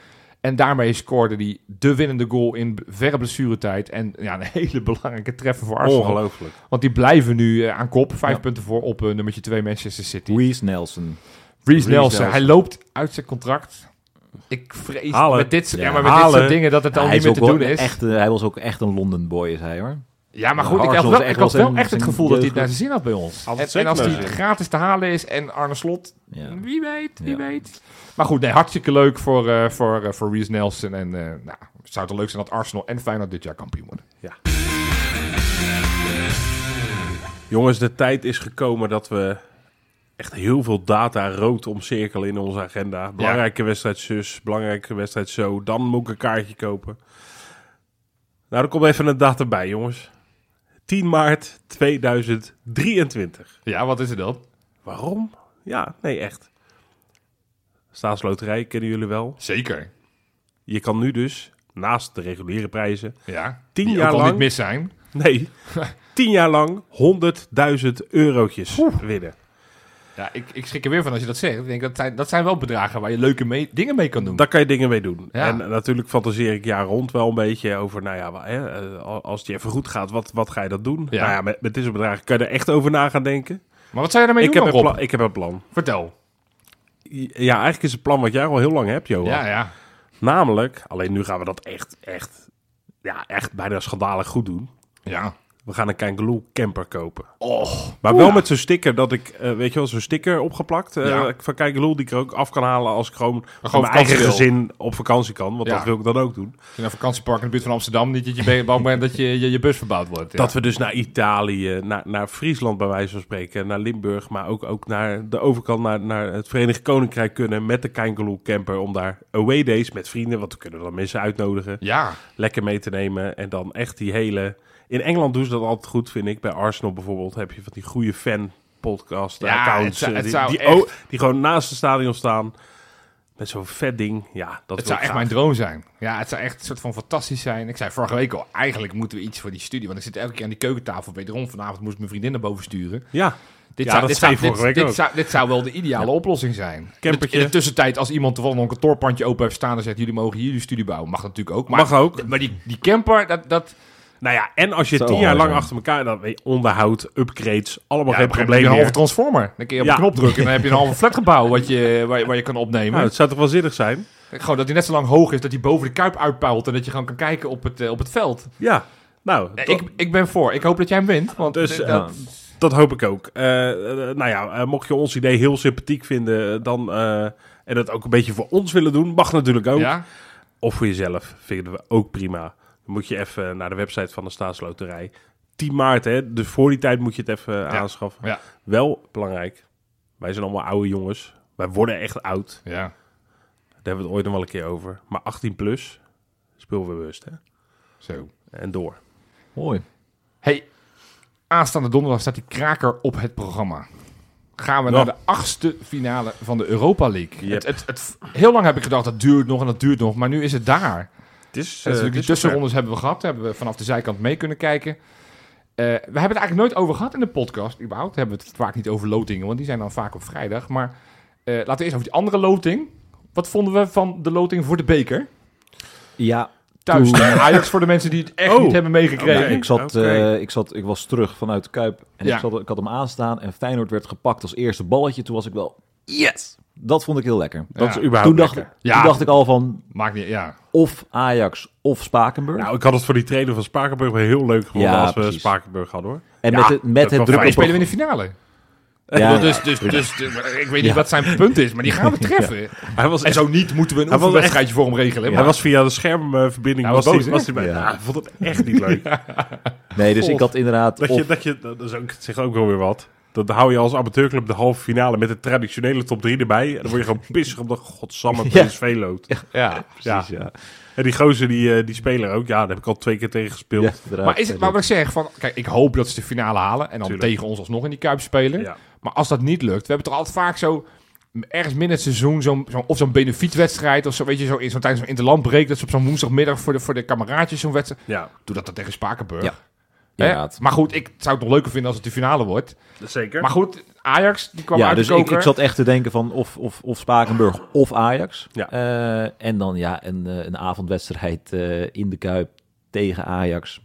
Speaker 2: En daarmee scoorde hij de winnende goal in b- verre blessuretijd. En ja, een <laughs> hele belangrijke treffer voor Arsenal.
Speaker 3: ongelooflijk.
Speaker 2: Want die blijven nu eh, aan kop. Vijf
Speaker 1: Ja.
Speaker 2: punten voor op eh, nummertje 2 Manchester City.
Speaker 1: Reece Nelson.
Speaker 2: Reece
Speaker 3: Reece
Speaker 2: Nelson.
Speaker 3: Nelson.
Speaker 2: Hij loopt uit zijn contract. Ik vrees
Speaker 3: Halen.
Speaker 2: met dit, soort- ja,
Speaker 1: Ja,
Speaker 2: maar met dit
Speaker 3: halen.
Speaker 2: soort dingen dat het al
Speaker 1: hij,
Speaker 2: niet
Speaker 1: is
Speaker 2: meer
Speaker 1: ook
Speaker 2: te
Speaker 1: wel
Speaker 2: doen is.
Speaker 1: Echt, eh, hij was ook echt een London boy is hij hoor.
Speaker 2: ja, maar
Speaker 1: Ja,
Speaker 2: goed, ik had
Speaker 1: Arsenal
Speaker 2: wel,
Speaker 1: is echt
Speaker 2: ik had
Speaker 1: wel
Speaker 2: wel
Speaker 1: zijn-
Speaker 2: echt het
Speaker 1: zijn
Speaker 2: gevoel dat hij het naar
Speaker 1: jeugd-
Speaker 2: zijn zin had bij ons.
Speaker 3: Had
Speaker 2: En,
Speaker 3: het
Speaker 2: en als hij
Speaker 3: zeker
Speaker 2: het gratis te halen is en Arne Slot,
Speaker 1: Ja.
Speaker 3: Mhm.
Speaker 2: wie weet, wie
Speaker 1: Ja.
Speaker 2: weet. Maar goed, nee, hartstikke leuk voor, eh, voor, eh, voor Reece Nelson. En eh, nou, het zou toch leuk zijn dat Arsenal en Feyenoord dit jaar kampioen worden.
Speaker 3: Jongens, de tijd is gekomen dat we echt heel veel data rood omcirkelen in onze agenda. Belangrijke wedstrijd zus, belangrijke wedstrijd zo. Dan moet ik een kaartje kopen. Nou, er komt even een datum bij, jongens. 10 maart 2023.
Speaker 2: Ja, wat is het dan?
Speaker 3: Waarom? Ja, nee, echt. Staatsloterij kennen jullie wel.
Speaker 2: Zeker.
Speaker 3: Je kan nu dus, naast de reguliere prijzen...
Speaker 2: Ja,
Speaker 3: Tien
Speaker 2: die ook
Speaker 3: jaar
Speaker 2: al
Speaker 3: lang.
Speaker 2: niet mis zijn.
Speaker 3: Nee, 10 jaar lang 100.000 eurotjes winnen.
Speaker 2: Ja, ik, ik schrik er weer van als je dat zegt. Ik denk, dat zijn, dat zijn wel bedragen waar je leuke mee, dingen mee kan doen.
Speaker 3: Daar kan je dingen mee doen.
Speaker 2: Ja.
Speaker 3: En natuurlijk fantaseer ik jaar rond wel een beetje over, nou ja, wa- hè, eh, als het je even goed gaat, wat, wat ga je dat doen?
Speaker 2: Ja.
Speaker 3: Nou ja, met, met dit soort bedragen kan je er echt over na gaan denken.
Speaker 2: Maar wat zou je daarmee
Speaker 3: Ik heb,
Speaker 2: doen
Speaker 3: een
Speaker 2: dan, Rob?
Speaker 3: pla- ik heb een plan.
Speaker 2: Vertel.
Speaker 3: Ja, eigenlijk is het plan wat jij al heel lang hebt, Johan.
Speaker 2: Ja, ja.
Speaker 3: Namelijk, alleen nu gaan we dat echt, echt, ja, echt bijna schandalig goed doen.
Speaker 2: Ja.
Speaker 3: We gaan een Kangaloo camper kopen.
Speaker 2: Oh.
Speaker 3: Maar wel met zo'n sticker dat ik, eh, weet je wel, zo'n sticker opgeplakt eh,
Speaker 2: Ja.
Speaker 3: van Kangaloo die ik er ook af kan halen als ik gewoon, van mijn
Speaker 2: vakantie
Speaker 3: eigen
Speaker 2: wil.
Speaker 3: gezin op vakantie kan. Want
Speaker 2: Ja.
Speaker 3: dat wil ik dan ook doen.
Speaker 2: Als je naar een vakantiepark in de buurt van Amsterdam, niet dat je ben- bang bent dat je, je, je bus verbouwd wordt. ja.
Speaker 3: Dat we dus naar Italië, naar, naar Friesland bij wijze van spreken, naar Limburg, maar ook, ook naar de overkant, naar, naar het Verenigd Koninkrijk kunnen met de Kangaloo camper om daar away days met vrienden, want we kunnen dan mensen uitnodigen,
Speaker 2: Ja.
Speaker 3: lekker mee te nemen en dan echt die hele... In Engeland doen ze dat altijd goed, vind ik. Bij Arsenal bijvoorbeeld heb je van die goede fan podcast
Speaker 2: Ja,
Speaker 3: accounts
Speaker 2: het zou-
Speaker 3: eh,
Speaker 2: het
Speaker 3: die,
Speaker 2: zou
Speaker 3: die,
Speaker 2: echt-
Speaker 3: oh, die gewoon naast het stadion staan met zo'n vet ding. Ja, dat
Speaker 2: Het
Speaker 3: wil
Speaker 2: zou
Speaker 3: ik
Speaker 2: echt
Speaker 3: graag.
Speaker 2: mijn droom zijn. Ja, het zou echt een soort van fantastisch zijn. Ik zei vorige week al, eigenlijk moeten we iets voor die studie. Want ik zit elke keer aan die keukentafel. Wederom, vanavond moest ik mijn vriendin naar boven sturen.
Speaker 3: Ja,
Speaker 2: Dit,
Speaker 3: Ja,
Speaker 2: zou,
Speaker 3: dat
Speaker 2: dit,
Speaker 3: zei
Speaker 2: zou,
Speaker 3: je vorige
Speaker 2: dit,
Speaker 3: week
Speaker 2: dit
Speaker 3: ook.
Speaker 2: zou, dit zou wel de ideale oplossing zijn.
Speaker 3: Campertje.
Speaker 2: In de tussentijd, als iemand toevallig nog een kantoorpandje open heeft staan... en zegt, jullie mogen hier jullie studie bouwen. Mag dat natuurlijk ook. Maar,
Speaker 3: Mag ook.
Speaker 2: Maar die, die camper, dat... dat
Speaker 3: Nou ja, en als je
Speaker 1: Zo,
Speaker 3: tien jaar lang
Speaker 1: mooi zo.
Speaker 3: achter elkaar, dan weet je, onderhoud, upgrades, allemaal
Speaker 2: ja,
Speaker 3: geen
Speaker 2: op een gegeven moment heb je
Speaker 3: probleem
Speaker 2: een halve
Speaker 3: meer.
Speaker 2: transformer. Dan kun je op
Speaker 3: Ja.
Speaker 2: een knop drukken en dan heb je een halve flatgebouw... Wat je, waar, je- waar je kan opnemen.
Speaker 3: Nou, het zou toch wel zinnig zijn?
Speaker 2: Gewoon dat hij net zo lang hoog is dat hij boven de kuip uitpuilt... en dat je gewoon kan kijken op het, eh, op het veld.
Speaker 3: Ja, nou,
Speaker 2: Nee,
Speaker 3: dat,
Speaker 2: ik, ik ben voor. Ik hoop dat jij hem wint. Want
Speaker 3: Dus,
Speaker 2: eh,
Speaker 3: eh,
Speaker 2: dat-
Speaker 3: dat hoop ik ook. Eh, eh, nou ja, eh, mocht je ons idee heel sympathiek vinden, dan, eh, en dat ook een beetje voor ons willen doen, mag natuurlijk ook.
Speaker 2: ja,
Speaker 3: Of voor jezelf, vinden we ook prima. Dan moet je even naar de website van de Staatsloterij. 10 maart, hè, dus voor die tijd moet je het even aanschaffen.
Speaker 2: ja.
Speaker 3: Wel belangrijk, wij zijn allemaal oude jongens. Wij worden echt oud.
Speaker 2: ja.
Speaker 3: Daar hebben we het ooit nog wel een keer over. Maar 18 plus, speel bewust hè.
Speaker 2: Zo.
Speaker 3: En door.
Speaker 1: Mooi.
Speaker 2: Hey, aanstaande donderdag staat die kraker op het programma. Gaan we
Speaker 3: Nou.
Speaker 2: naar de achtste finale van de Europa League.
Speaker 3: Yep.
Speaker 2: Het, het, het- heel lang heb ik gedacht, dat duurt nog en dat duurt nog. Maar nu is het daar.
Speaker 3: Het is, eh,
Speaker 2: Dus natuurlijk
Speaker 3: het
Speaker 2: die
Speaker 3: is
Speaker 2: tussenrondes hebben we gehad. Hebben we vanaf de zijkant mee kunnen kijken. Eh, we hebben het eigenlijk nooit over gehad in de podcast. Überhaupt hebben we het vaak niet over lotingen. Want die zijn dan vaak op vrijdag. Maar eh, laten we eerst over die andere loting. Wat vonden we van de loting voor de beker?
Speaker 1: Ja,
Speaker 2: Thuis
Speaker 1: Oeh.
Speaker 2: tegen Ajax voor de mensen die het echt
Speaker 3: Oh.
Speaker 2: niet hebben meegekregen.
Speaker 3: Oké.
Speaker 1: ik, zat,
Speaker 3: Oké.
Speaker 1: eh, ik, zat, ik was terug vanuit de Kuip en
Speaker 2: Ja.
Speaker 1: ik, zat, ik had hem aanstaan en Feyenoord werd gepakt als eerste balletje. Toen was ik wel, yes! Dat vond ik heel lekker.
Speaker 3: Dat
Speaker 2: Ja.
Speaker 3: is überhaupt
Speaker 1: Toen dacht,
Speaker 3: lekker.
Speaker 1: toen
Speaker 2: Ja.
Speaker 1: dacht ik al van
Speaker 2: Maakt niet, ja.
Speaker 1: of Ajax of Spakenburg.
Speaker 3: Nou, ik had het voor die trainer van Spakenburg wel heel leuk gevonden
Speaker 1: Ja,
Speaker 3: als we
Speaker 1: precies.
Speaker 3: Spakenburg hadden, hoor.
Speaker 1: en
Speaker 3: ja,
Speaker 1: met het,
Speaker 3: dat
Speaker 1: met het
Speaker 3: was
Speaker 1: druk
Speaker 3: fijn.
Speaker 1: op...
Speaker 2: Spelen we in de finale.
Speaker 3: <laughs>
Speaker 1: Ja, ja.
Speaker 2: Dus, dus, dus, dus, ik weet niet wat zijn punt is, maar die gaan we treffen.
Speaker 3: Hij was,
Speaker 2: En zo niet moeten we een
Speaker 3: Hij was
Speaker 2: oefenwedstrijdje voor hem regelen.
Speaker 3: hij
Speaker 2: Maar
Speaker 3: was via de schermverbinding
Speaker 2: Hij was
Speaker 3: was,
Speaker 2: boos, hè?
Speaker 3: hij, was hij bij.
Speaker 1: Ja.
Speaker 3: Ja, ik vond het echt niet
Speaker 1: <laughs>
Speaker 3: leuk.
Speaker 1: Nee, dus ik had inderdaad...
Speaker 3: Dat,
Speaker 1: of-
Speaker 3: je, dat, je, dat is ook, het zegt ook wel weer wat. Dat hou je als amateurclub de halve finale met de traditionele top 3 erbij. En dan word je
Speaker 1: <laughs>
Speaker 3: gewoon pissig op dat godsamme
Speaker 1: Ja.
Speaker 3: PSV loopt.
Speaker 2: ja.
Speaker 1: precies, ja.
Speaker 3: En die gozer, die, eh, die speler ook. Ja, daar heb ik al twee keer tegen gespeeld.
Speaker 1: Ja, inderdaad.
Speaker 2: Maar is het maar wat ik zeg, van, kijk, ik hoop dat ze de finale halen en dan
Speaker 3: Tuurlijk.
Speaker 2: tegen ons alsnog in die Kuip spelen.
Speaker 3: Ja.
Speaker 2: Maar als dat niet lukt, we hebben toch altijd vaak zo ergens midden het seizoen zo'n zo'n- of zo'n benefietwedstrijd of zo, weet je, zo, in- zo tijdens zo'n interlandbreek dat ze op zo'n woensdagmiddag voor de, voor de kameraadjes zo'n wedstrijd.
Speaker 3: ja
Speaker 2: Doe dat dan tegen Spakenburg.
Speaker 1: Ja,
Speaker 2: Hè?
Speaker 1: inderdaad.
Speaker 2: Maar goed, ik zou het nog leuker vinden als het de finale wordt.
Speaker 3: zeker.
Speaker 2: Maar goed, Ajax die kwam
Speaker 1: Ja,
Speaker 2: uit
Speaker 1: dus
Speaker 2: de
Speaker 1: ik,
Speaker 2: koker.
Speaker 1: ik zat echt te denken van of, of, of Spakenburg of Ajax.
Speaker 3: Ja.
Speaker 1: Eh, en dan ja, een, eh, een avondwedstrijd eh, in de Kuip tegen Ajax.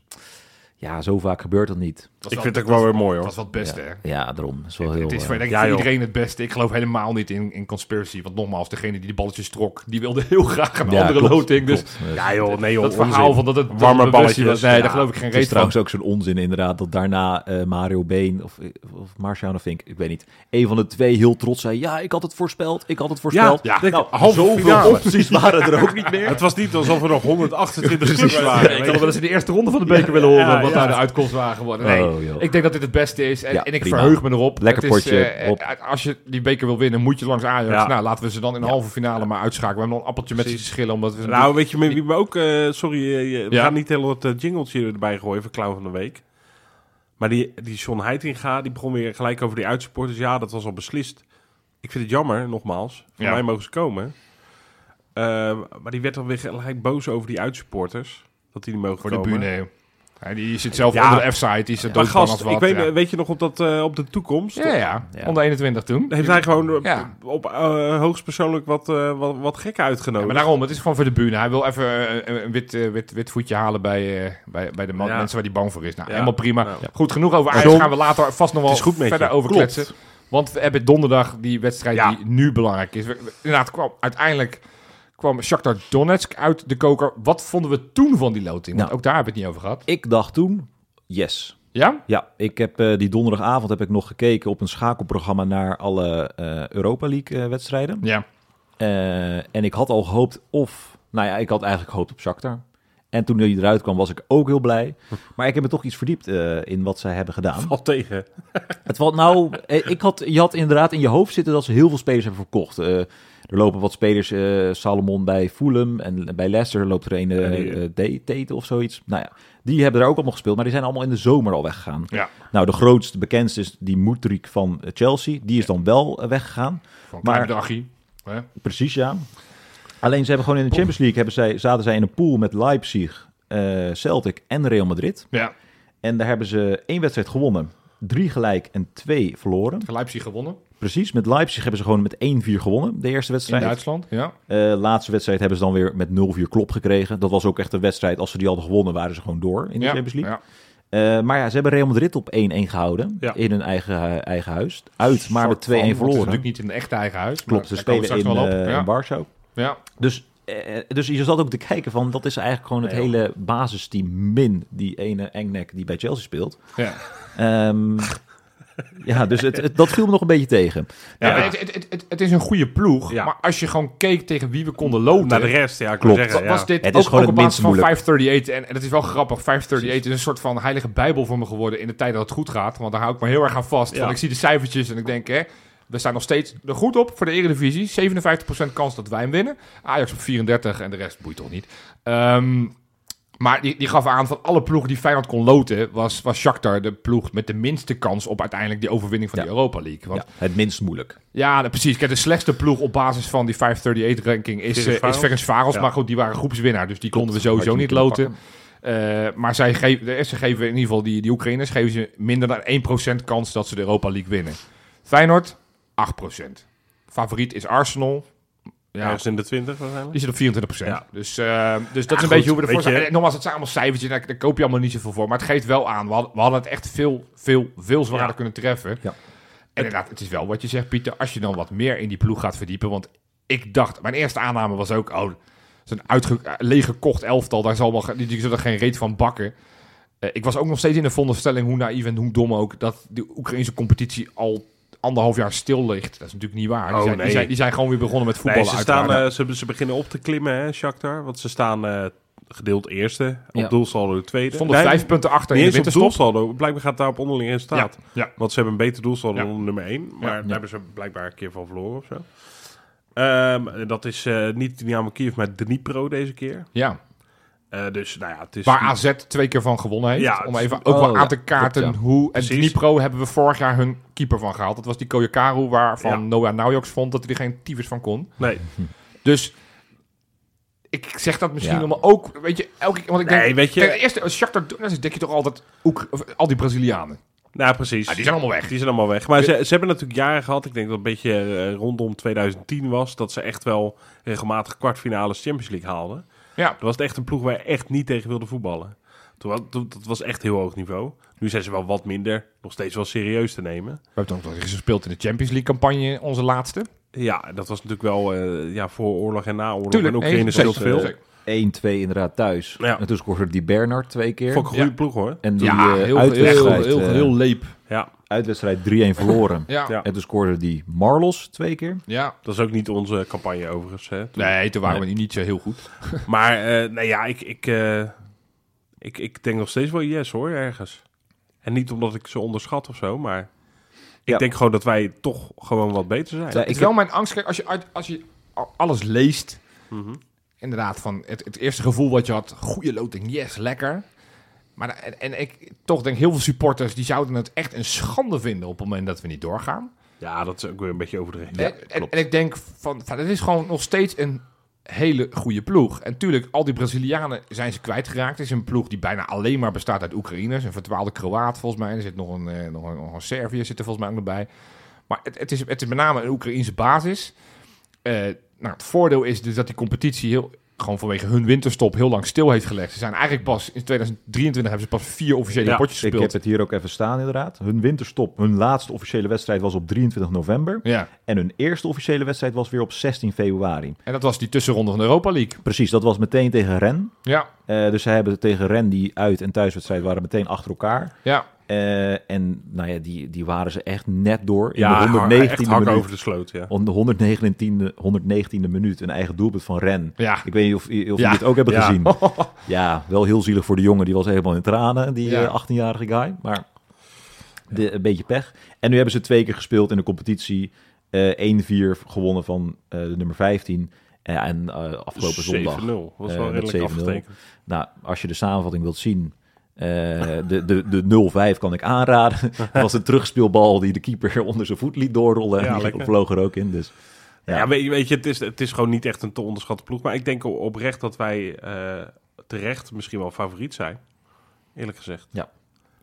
Speaker 1: Ja, zo vaak gebeurt dat niet.
Speaker 2: Dat is
Speaker 3: ik
Speaker 2: wel-
Speaker 3: vind het ook wel weer mooi,
Speaker 2: dat
Speaker 3: hoor.
Speaker 2: is wat het beste. hè.
Speaker 1: Ja, daarom. Dat is wel heel,
Speaker 2: Het is
Speaker 1: eh,
Speaker 2: voor, denk ik,
Speaker 3: ja,
Speaker 2: voor
Speaker 3: joh.
Speaker 2: iedereen het beste. Ik geloof helemaal niet in, in conspiracy. Want nogmaals, degene die de balletjes trok, die wilde heel graag een
Speaker 1: ja,
Speaker 2: andere
Speaker 1: klopt,
Speaker 2: loting. Dus
Speaker 1: klopt. Eh,
Speaker 3: Ja joh, nee joh.
Speaker 2: dat verhaal
Speaker 3: onzin.
Speaker 2: van dat het dat
Speaker 3: Warme
Speaker 2: het bewust
Speaker 3: balletjes,
Speaker 2: was, nee,
Speaker 3: ja.
Speaker 2: daar geloof ik geen
Speaker 1: Het is
Speaker 2: reet van.
Speaker 1: trouwens ook zo'n onzin inderdaad dat daarna eh, Mario Been of, of Marciano Vink, ik weet niet, een van de twee heel trots zei, ja, ik had het voorspeld, ik had het voorspeld.
Speaker 3: ja.
Speaker 1: nou,
Speaker 3: Halve
Speaker 1: zoveel
Speaker 3: finale.
Speaker 1: opties waren er ook niet meer.
Speaker 3: Het was niet alsof er nog 128 clubs waren.
Speaker 2: Ik
Speaker 3: weet
Speaker 2: had
Speaker 3: je.
Speaker 2: wel eens in de eerste ronde van de beker willen horen
Speaker 3: ja,
Speaker 2: wat
Speaker 3: ja.
Speaker 2: nou de uitkomst waren geworden. Nee,
Speaker 1: Oh, joh.
Speaker 2: ik denk dat dit het beste is en,
Speaker 1: Ja,
Speaker 2: en ik
Speaker 1: prima.
Speaker 2: verheug me erop.
Speaker 1: Lekker
Speaker 2: Het is,
Speaker 1: potje,
Speaker 2: eh,
Speaker 1: hop.
Speaker 2: eh, als je die beker wil winnen, moet je langs Ajax.
Speaker 3: Ja.
Speaker 2: Nou, laten we ze dan in de halve finale maar uitschakelen. We hebben nog een appeltje met ze te
Speaker 3: Precies.
Speaker 2: schillen. Omdat we
Speaker 3: Nou, weet je met wie we ook... eh, sorry, eh, je- we
Speaker 2: Ja.
Speaker 3: gaan niet heel wat eh, jingletje erbij gooien voor Clown van de Week. Maar die, die John Heitinga, die begon weer gelijk over die uitsupporters. Ja, dat was al beslist. Ik vind het jammer, nogmaals. Voor
Speaker 2: Ja.
Speaker 3: mij mogen ze komen. Eh, maar die werd dan weer gelijk boos over die uitsupporters. Dat die niet mogen
Speaker 2: voor de
Speaker 3: komen.
Speaker 2: bühne. Ja, die zit zelf
Speaker 3: Ja.
Speaker 2: onder de F-site. Die zit
Speaker 3: Maar
Speaker 2: doodbang als
Speaker 3: gast,
Speaker 2: wat.
Speaker 3: ik weet,
Speaker 2: ja.
Speaker 3: weet je nog op, dat, eh, op de toekomst?
Speaker 2: Ja, ja,
Speaker 1: Ja.
Speaker 2: onder 21 toen.
Speaker 3: Heeft hij gewoon eh,
Speaker 2: Ja.
Speaker 3: op eh, hoogstpersoonlijk wat, eh, wat, wat gekken
Speaker 2: Ja,
Speaker 3: uitgenodigd?
Speaker 2: maar daarom, het is gewoon voor de bühne. Hij wil even eh, een, een wit, eh, wit, wit voetje halen bij, eh, bij, bij de man-
Speaker 3: Ja.
Speaker 2: mensen waar hij bang voor is. Nou,
Speaker 3: Ja.
Speaker 2: helemaal prima.
Speaker 3: Ja.
Speaker 2: Goed genoeg over Ajax
Speaker 3: Daarom,
Speaker 2: gaan we later vast nog wel
Speaker 3: is goed met
Speaker 2: verder
Speaker 3: je.
Speaker 2: over
Speaker 3: Klopt.
Speaker 2: kletsen. Want we hebben donderdag die wedstrijd
Speaker 3: Ja.
Speaker 2: die nu belangrijk is. We- we- inderdaad, kwam uiteindelijk kwam Shakhtar Donetsk uit de koker. Wat vonden we toen van die loting? Want
Speaker 1: Nou.
Speaker 2: ook daar hebben we het niet over gehad.
Speaker 1: Ik dacht toen, yes.
Speaker 2: Ja?
Speaker 1: Ja, ik heb eh, die donderdagavond heb ik nog gekeken op een schakelprogramma naar alle eh, Europa League eh, wedstrijden.
Speaker 2: Ja.
Speaker 1: Eh, en ik had al gehoopt of... Nou ja, ik had eigenlijk gehoopt op Shakhtar. En toen die eruit kwam was ik ook heel blij. Maar ik heb me toch iets verdiept eh, in wat zij hebben gedaan.
Speaker 3: Valt tegen.
Speaker 1: Het valt nou, eh, ik had, je had inderdaad in je hoofd zitten dat ze heel veel spelers hebben verkocht. Eh, er lopen wat spelers, eh, Salomon bij Fulham en bij Leicester loopt er een eh, eh, D- Tate of zoiets. Nou ja, die hebben daar ook allemaal gespeeld, maar die zijn allemaal in de zomer al weggegaan.
Speaker 2: Ja.
Speaker 1: Nou, de grootste, bekendste is die Moedrik van eh, Chelsea. Die is dan wel eh, weggegaan.
Speaker 2: Van een
Speaker 1: Maar-
Speaker 2: klein dagje. Hè?
Speaker 1: Precies, ja. Alleen ze hebben gewoon in de Champions League hebben zij, zaten zij in een pool met Leipzig, eh, Celtic en Real Madrid.
Speaker 2: Ja.
Speaker 1: En daar hebben ze één wedstrijd gewonnen, drie gelijk en twee verloren.
Speaker 2: Leipzig gewonnen.
Speaker 1: Precies, met Leipzig hebben ze gewoon met 1-4 gewonnen, de eerste
Speaker 2: In
Speaker 1: wedstrijd.
Speaker 2: Duitsland. Ja.
Speaker 1: Eh, laatste wedstrijd hebben ze dan weer met 0-4 klop gekregen. Dat was ook echt een wedstrijd, als ze die hadden gewonnen, waren ze gewoon door in de
Speaker 2: ja.
Speaker 1: Champions League.
Speaker 2: Ja.
Speaker 1: Eh, maar ja, ze hebben Real Madrid op 1-1 gehouden
Speaker 3: Ja.
Speaker 1: in hun eigen, eh, eigen huis. Uit, maar
Speaker 2: Soort
Speaker 1: met 2-1
Speaker 2: van, want het is
Speaker 1: verloren.
Speaker 2: natuurlijk niet in het echte eigen huis.
Speaker 1: Klopt, ze
Speaker 2: maar daar komen
Speaker 1: spelen
Speaker 2: we
Speaker 1: in,
Speaker 2: straks wel op.
Speaker 1: eh,
Speaker 2: ja.
Speaker 1: in Warschau.
Speaker 2: ja.
Speaker 1: Dus, eh, dus je zat ook te kijken van, dat is eigenlijk gewoon het hele basisteam min die ene engnek die bij Chelsea speelt.
Speaker 2: ja.
Speaker 1: Ehm, <laughs> ja, dus het, het- dat viel me nog een beetje tegen.
Speaker 2: Ja, maar Het, het, het, het is een goede ploeg.
Speaker 3: Ja.
Speaker 2: Maar als je gewoon keek tegen wie we konden loten.
Speaker 3: Naar de rest, ja, ik
Speaker 1: Klopt.
Speaker 3: wil zeggen.
Speaker 2: was
Speaker 3: ja.
Speaker 2: dit
Speaker 1: Het
Speaker 2: ook,
Speaker 1: is gewoon
Speaker 2: ook
Speaker 1: het
Speaker 2: op basis
Speaker 1: minst
Speaker 2: van
Speaker 1: moeilijk.
Speaker 2: 538. En, en dat is wel grappig. 538 is een soort van heilige bijbel voor me geworden in de tijd dat het goed gaat. Want daar hou ik me heel erg aan vast.
Speaker 3: Ja.
Speaker 2: Van, ik zie de cijfertjes en ik denk, hè, we staan nog steeds er goed op voor de Eredivisie. 57% kans dat wij hem winnen. Ajax op 34 en de rest boeit toch niet. Ehm, maar die, die gaf aan van alle ploegen die Feyenoord kon loten... was, was Shakhtar de ploeg met de minste kans op uiteindelijk die overwinning van
Speaker 1: Ja.
Speaker 2: de Europa League. Want
Speaker 1: Ja, het minst moeilijk.
Speaker 2: ja, nou, precies. Kijk, de slechtste ploeg op basis van die 538-ranking is,
Speaker 3: Ferencvaros.
Speaker 2: eh, is Ferencvaros.
Speaker 3: Ja.
Speaker 2: Maar goed, die waren groepswinnaar, dus die konden we sowieso
Speaker 1: Had je
Speaker 2: niet
Speaker 1: kunnen
Speaker 2: loten. Eh, maar zij geven, de ze geven in ieder geval die, die Oekraïners geven ze minder dan 1% kans dat ze de Europa League winnen. Feyenoord, 8%. Favoriet is Arsenal. Ja,
Speaker 3: Ergens in de 20 waarschijnlijk.
Speaker 2: die zit op 24%.
Speaker 3: Ja.
Speaker 2: Dus, eh, dus dat is
Speaker 3: goed,
Speaker 2: een beetje hoe we ervoor
Speaker 3: weet
Speaker 2: zijn.
Speaker 3: je.
Speaker 2: En Nogmaals, het zijn allemaal cijfertjes. Daar, daar koop je allemaal niet zoveel voor. Maar het geeft wel aan. We hadden, we hadden het echt veel, veel, veel zwaarder
Speaker 3: Ja.
Speaker 2: kunnen treffen.
Speaker 1: Ja.
Speaker 2: En inderdaad, het is wel wat je zegt, Pieter. Als je dan wat meer in die ploeg gaat verdiepen. Want ik dacht, mijn eerste aanname was ook... Oh, zo'n uitge- eh, leeggekocht elftal. Daar zal wel, ge- die, die zullen er geen reet van bakken. Eh, ik was ook nog steeds in de veronderstelling, hoe naïef en hoe dom ook... dat de Oekraïnse competitie al anderhalf jaar stil ligt. Dat is natuurlijk niet waar. Die,
Speaker 3: Oh,
Speaker 2: zijn,
Speaker 3: nee.
Speaker 2: die, zijn, die zijn gewoon weer begonnen met voetballen.
Speaker 3: Nee, ze, staan,
Speaker 2: uiteraard.
Speaker 3: eh, ze, ze beginnen op te klimmen, hè, Shakhtar. Want ze staan eh, gedeeld eerste, op
Speaker 1: Ja.
Speaker 3: doelsaldo tweede.
Speaker 2: Stonden
Speaker 3: Nee,
Speaker 2: vijf punten achter
Speaker 3: Niet
Speaker 2: in de
Speaker 3: eens op
Speaker 2: winterstop.
Speaker 3: doelsaldo. Blijkbaar gaat daar op onderling resultaat.
Speaker 2: Ja.
Speaker 3: Want ze hebben een beter doelsaldo
Speaker 2: Ja.
Speaker 3: dan nummer 1. Maar
Speaker 2: Ja.
Speaker 3: daar hebben ze blijkbaar een keer van verloren of zo. Ehm, en dat is eh niet Dynamo Kiev, maar Dnipro deze keer.
Speaker 2: Ja.
Speaker 3: Eh, dus nou ja, het is...
Speaker 2: Waar AZ twee keer van gewonnen heeft.
Speaker 3: Ja,
Speaker 2: om
Speaker 3: het-
Speaker 2: even ook wel
Speaker 1: oh,
Speaker 2: aan
Speaker 1: ja,
Speaker 2: te kaarten
Speaker 1: klopt, ja.
Speaker 2: hoe... En
Speaker 3: Precies.
Speaker 2: Dnipro hebben we vorig jaar hun keeper van gehaald. Dat was die Koyakaru waarvan
Speaker 3: Ja.
Speaker 2: Noah Naujoks vond dat hij er geen tyfus van kon.
Speaker 3: Nee,
Speaker 2: Dus ik zeg dat misschien
Speaker 1: Ja.
Speaker 2: om ook... Weet je, elke keer... Want ik
Speaker 3: Nee,
Speaker 2: denk,
Speaker 3: weet je-
Speaker 2: Ten eerste, als Shakhtar Donetsk denk je toch altijd... Oek, of al die Brazilianen.
Speaker 3: nou precies.
Speaker 2: Ja, Ah, die zijn allemaal weg.
Speaker 3: Die zijn allemaal weg. Maar ze, ze hebben natuurlijk jaren gehad. Ik denk dat het een beetje eh, rondom 2010 was. Dat ze echt wel regelmatig kwartfinales Champions League haalden.
Speaker 2: Ja.
Speaker 3: Dat was het echt een ploeg waar je echt niet tegen wilde voetballen. Toen, wa- toen- dat was echt heel hoog niveau. Nu zijn ze wel wat minder. Nog steeds wel serieus te nemen.
Speaker 2: We hebben toch nog eens gespeeld in de Champions League campagne, onze laatste.
Speaker 3: Ja, dat was natuurlijk wel eh, ja, voor oorlog en na oorlog.
Speaker 2: Tuurlijk,
Speaker 3: en
Speaker 2: nee,
Speaker 3: Oekraïne
Speaker 2: zeker,
Speaker 3: speelt veel.
Speaker 2: zeker.
Speaker 1: 1-2 inderdaad thuis.
Speaker 3: Ja.
Speaker 1: En toen scoorde die Bernard twee keer.
Speaker 3: Vond ik een goede
Speaker 2: Ja.
Speaker 3: ploeg hoor.
Speaker 1: En die
Speaker 2: Ja,
Speaker 1: eh,
Speaker 2: heel, heel, heel,
Speaker 1: uitwedstrijd,
Speaker 2: heel,
Speaker 1: eh,
Speaker 2: leep.
Speaker 3: Ja,
Speaker 1: uitwedstrijd 3-1 verloren.
Speaker 2: Ja.
Speaker 3: Ja.
Speaker 2: ja.
Speaker 1: En toen scoorde die Marlos twee keer.
Speaker 3: dat is ook niet onze campagne overigens. Hè.
Speaker 2: Nee, toen waren we niet zo heel goed.
Speaker 3: Maar eh, nou ja, ik, ik, eh, ik, ik denk nog steeds wel yes hoor, ergens. En niet omdat ik ze onderschat of zo, maar ik
Speaker 1: Ja.
Speaker 3: denk gewoon dat wij toch gewoon wat beter zijn.
Speaker 1: Ja,
Speaker 2: Het is
Speaker 1: ik
Speaker 2: wel mijn angst. Kijk, als je, uit- als je al- alles leest. Inderdaad, van het, het eerste gevoel wat je had. Goede loting, yes, lekker. Maar da- en, en ik toch denk heel veel supporters die zouden het echt een schande vinden op het moment dat we niet doorgaan.
Speaker 3: Ja, dat is ook weer een beetje overdreven.
Speaker 2: En- en, en ik denk van, van, het is gewoon nog steeds een hele goede ploeg. En tuurlijk, al die Brazilianen zijn ze kwijtgeraakt. Het is een ploeg die bijna alleen maar bestaat uit Oekraïners. Een verdwaalde Kroaat volgens mij. Er zit nog een, eh, nog een, nog een Servië zit er volgens mij ook nog bij. Maar het, het, is, het is met name een Oekraïense basis. Eh, nou, het voordeel is dus dat die competitie heel gewoon vanwege hun winterstop heel lang stil heeft gelegd. Ze zijn eigenlijk pas in 2023 hebben ze pas vier officiële
Speaker 3: Ja,
Speaker 2: potjes
Speaker 1: Ik heb
Speaker 2: gespeeld.
Speaker 1: het hier ook even staan, inderdaad. Hun winterstop, hun laatste officiële wedstrijd was op 23 november.
Speaker 2: Ja,
Speaker 1: En hun eerste officiële wedstrijd was weer op 16 februari.
Speaker 2: en dat was die tussenronde van de Europa League.
Speaker 1: Precies, dat was meteen tegen Ren.
Speaker 2: Ja,
Speaker 1: Eh, dus zij hebben tegen Ren die uit- en thuiswedstrijd waren meteen achter elkaar.
Speaker 2: ja.
Speaker 1: Eh, en nou ja, die, die waren ze echt net door. In
Speaker 3: Ja,
Speaker 1: de
Speaker 3: hak-
Speaker 1: 119e
Speaker 3: echt hak
Speaker 1: minuut.
Speaker 3: over de sloot, ja.
Speaker 1: Om de 119e, 119e minuut een eigen doelpunt van Ren.
Speaker 2: Ja.
Speaker 1: Ik weet niet of, of jullie
Speaker 2: Ah. Ja.
Speaker 1: het ook hebben
Speaker 3: Ja.
Speaker 1: gezien. Ja, wel heel zielig voor de jongen. Die was helemaal in tranen, die
Speaker 2: Ja.
Speaker 1: eh, 18-jarige guy. Maar de, een beetje pech. En nu hebben ze twee keer gespeeld in de competitie. Eh 1-4 gewonnen van eh, de nummer 15. Eh, en eh, afgelopen zondag.
Speaker 3: 7-0. Was
Speaker 1: eh,
Speaker 3: wel
Speaker 1: met
Speaker 3: redelijk
Speaker 1: 7-0.
Speaker 3: afgetekend.
Speaker 1: Nou, als je de samenvatting wilt zien, eh, de, de, de 0-5 kan ik aanraden. Het was een terugspeelbal die de keeper <laughs> onder zijn voet liet doorrollen.
Speaker 3: Ja,
Speaker 1: en die
Speaker 3: lekker.
Speaker 1: vloog er ook in. Dus
Speaker 3: Ja,
Speaker 1: Ja.
Speaker 3: weet, je- weet je, het is, het is gewoon niet echt een te onderschatte ploeg. Maar ik denk oprecht dat wij eh, terecht misschien wel favoriet zijn. Eerlijk gezegd.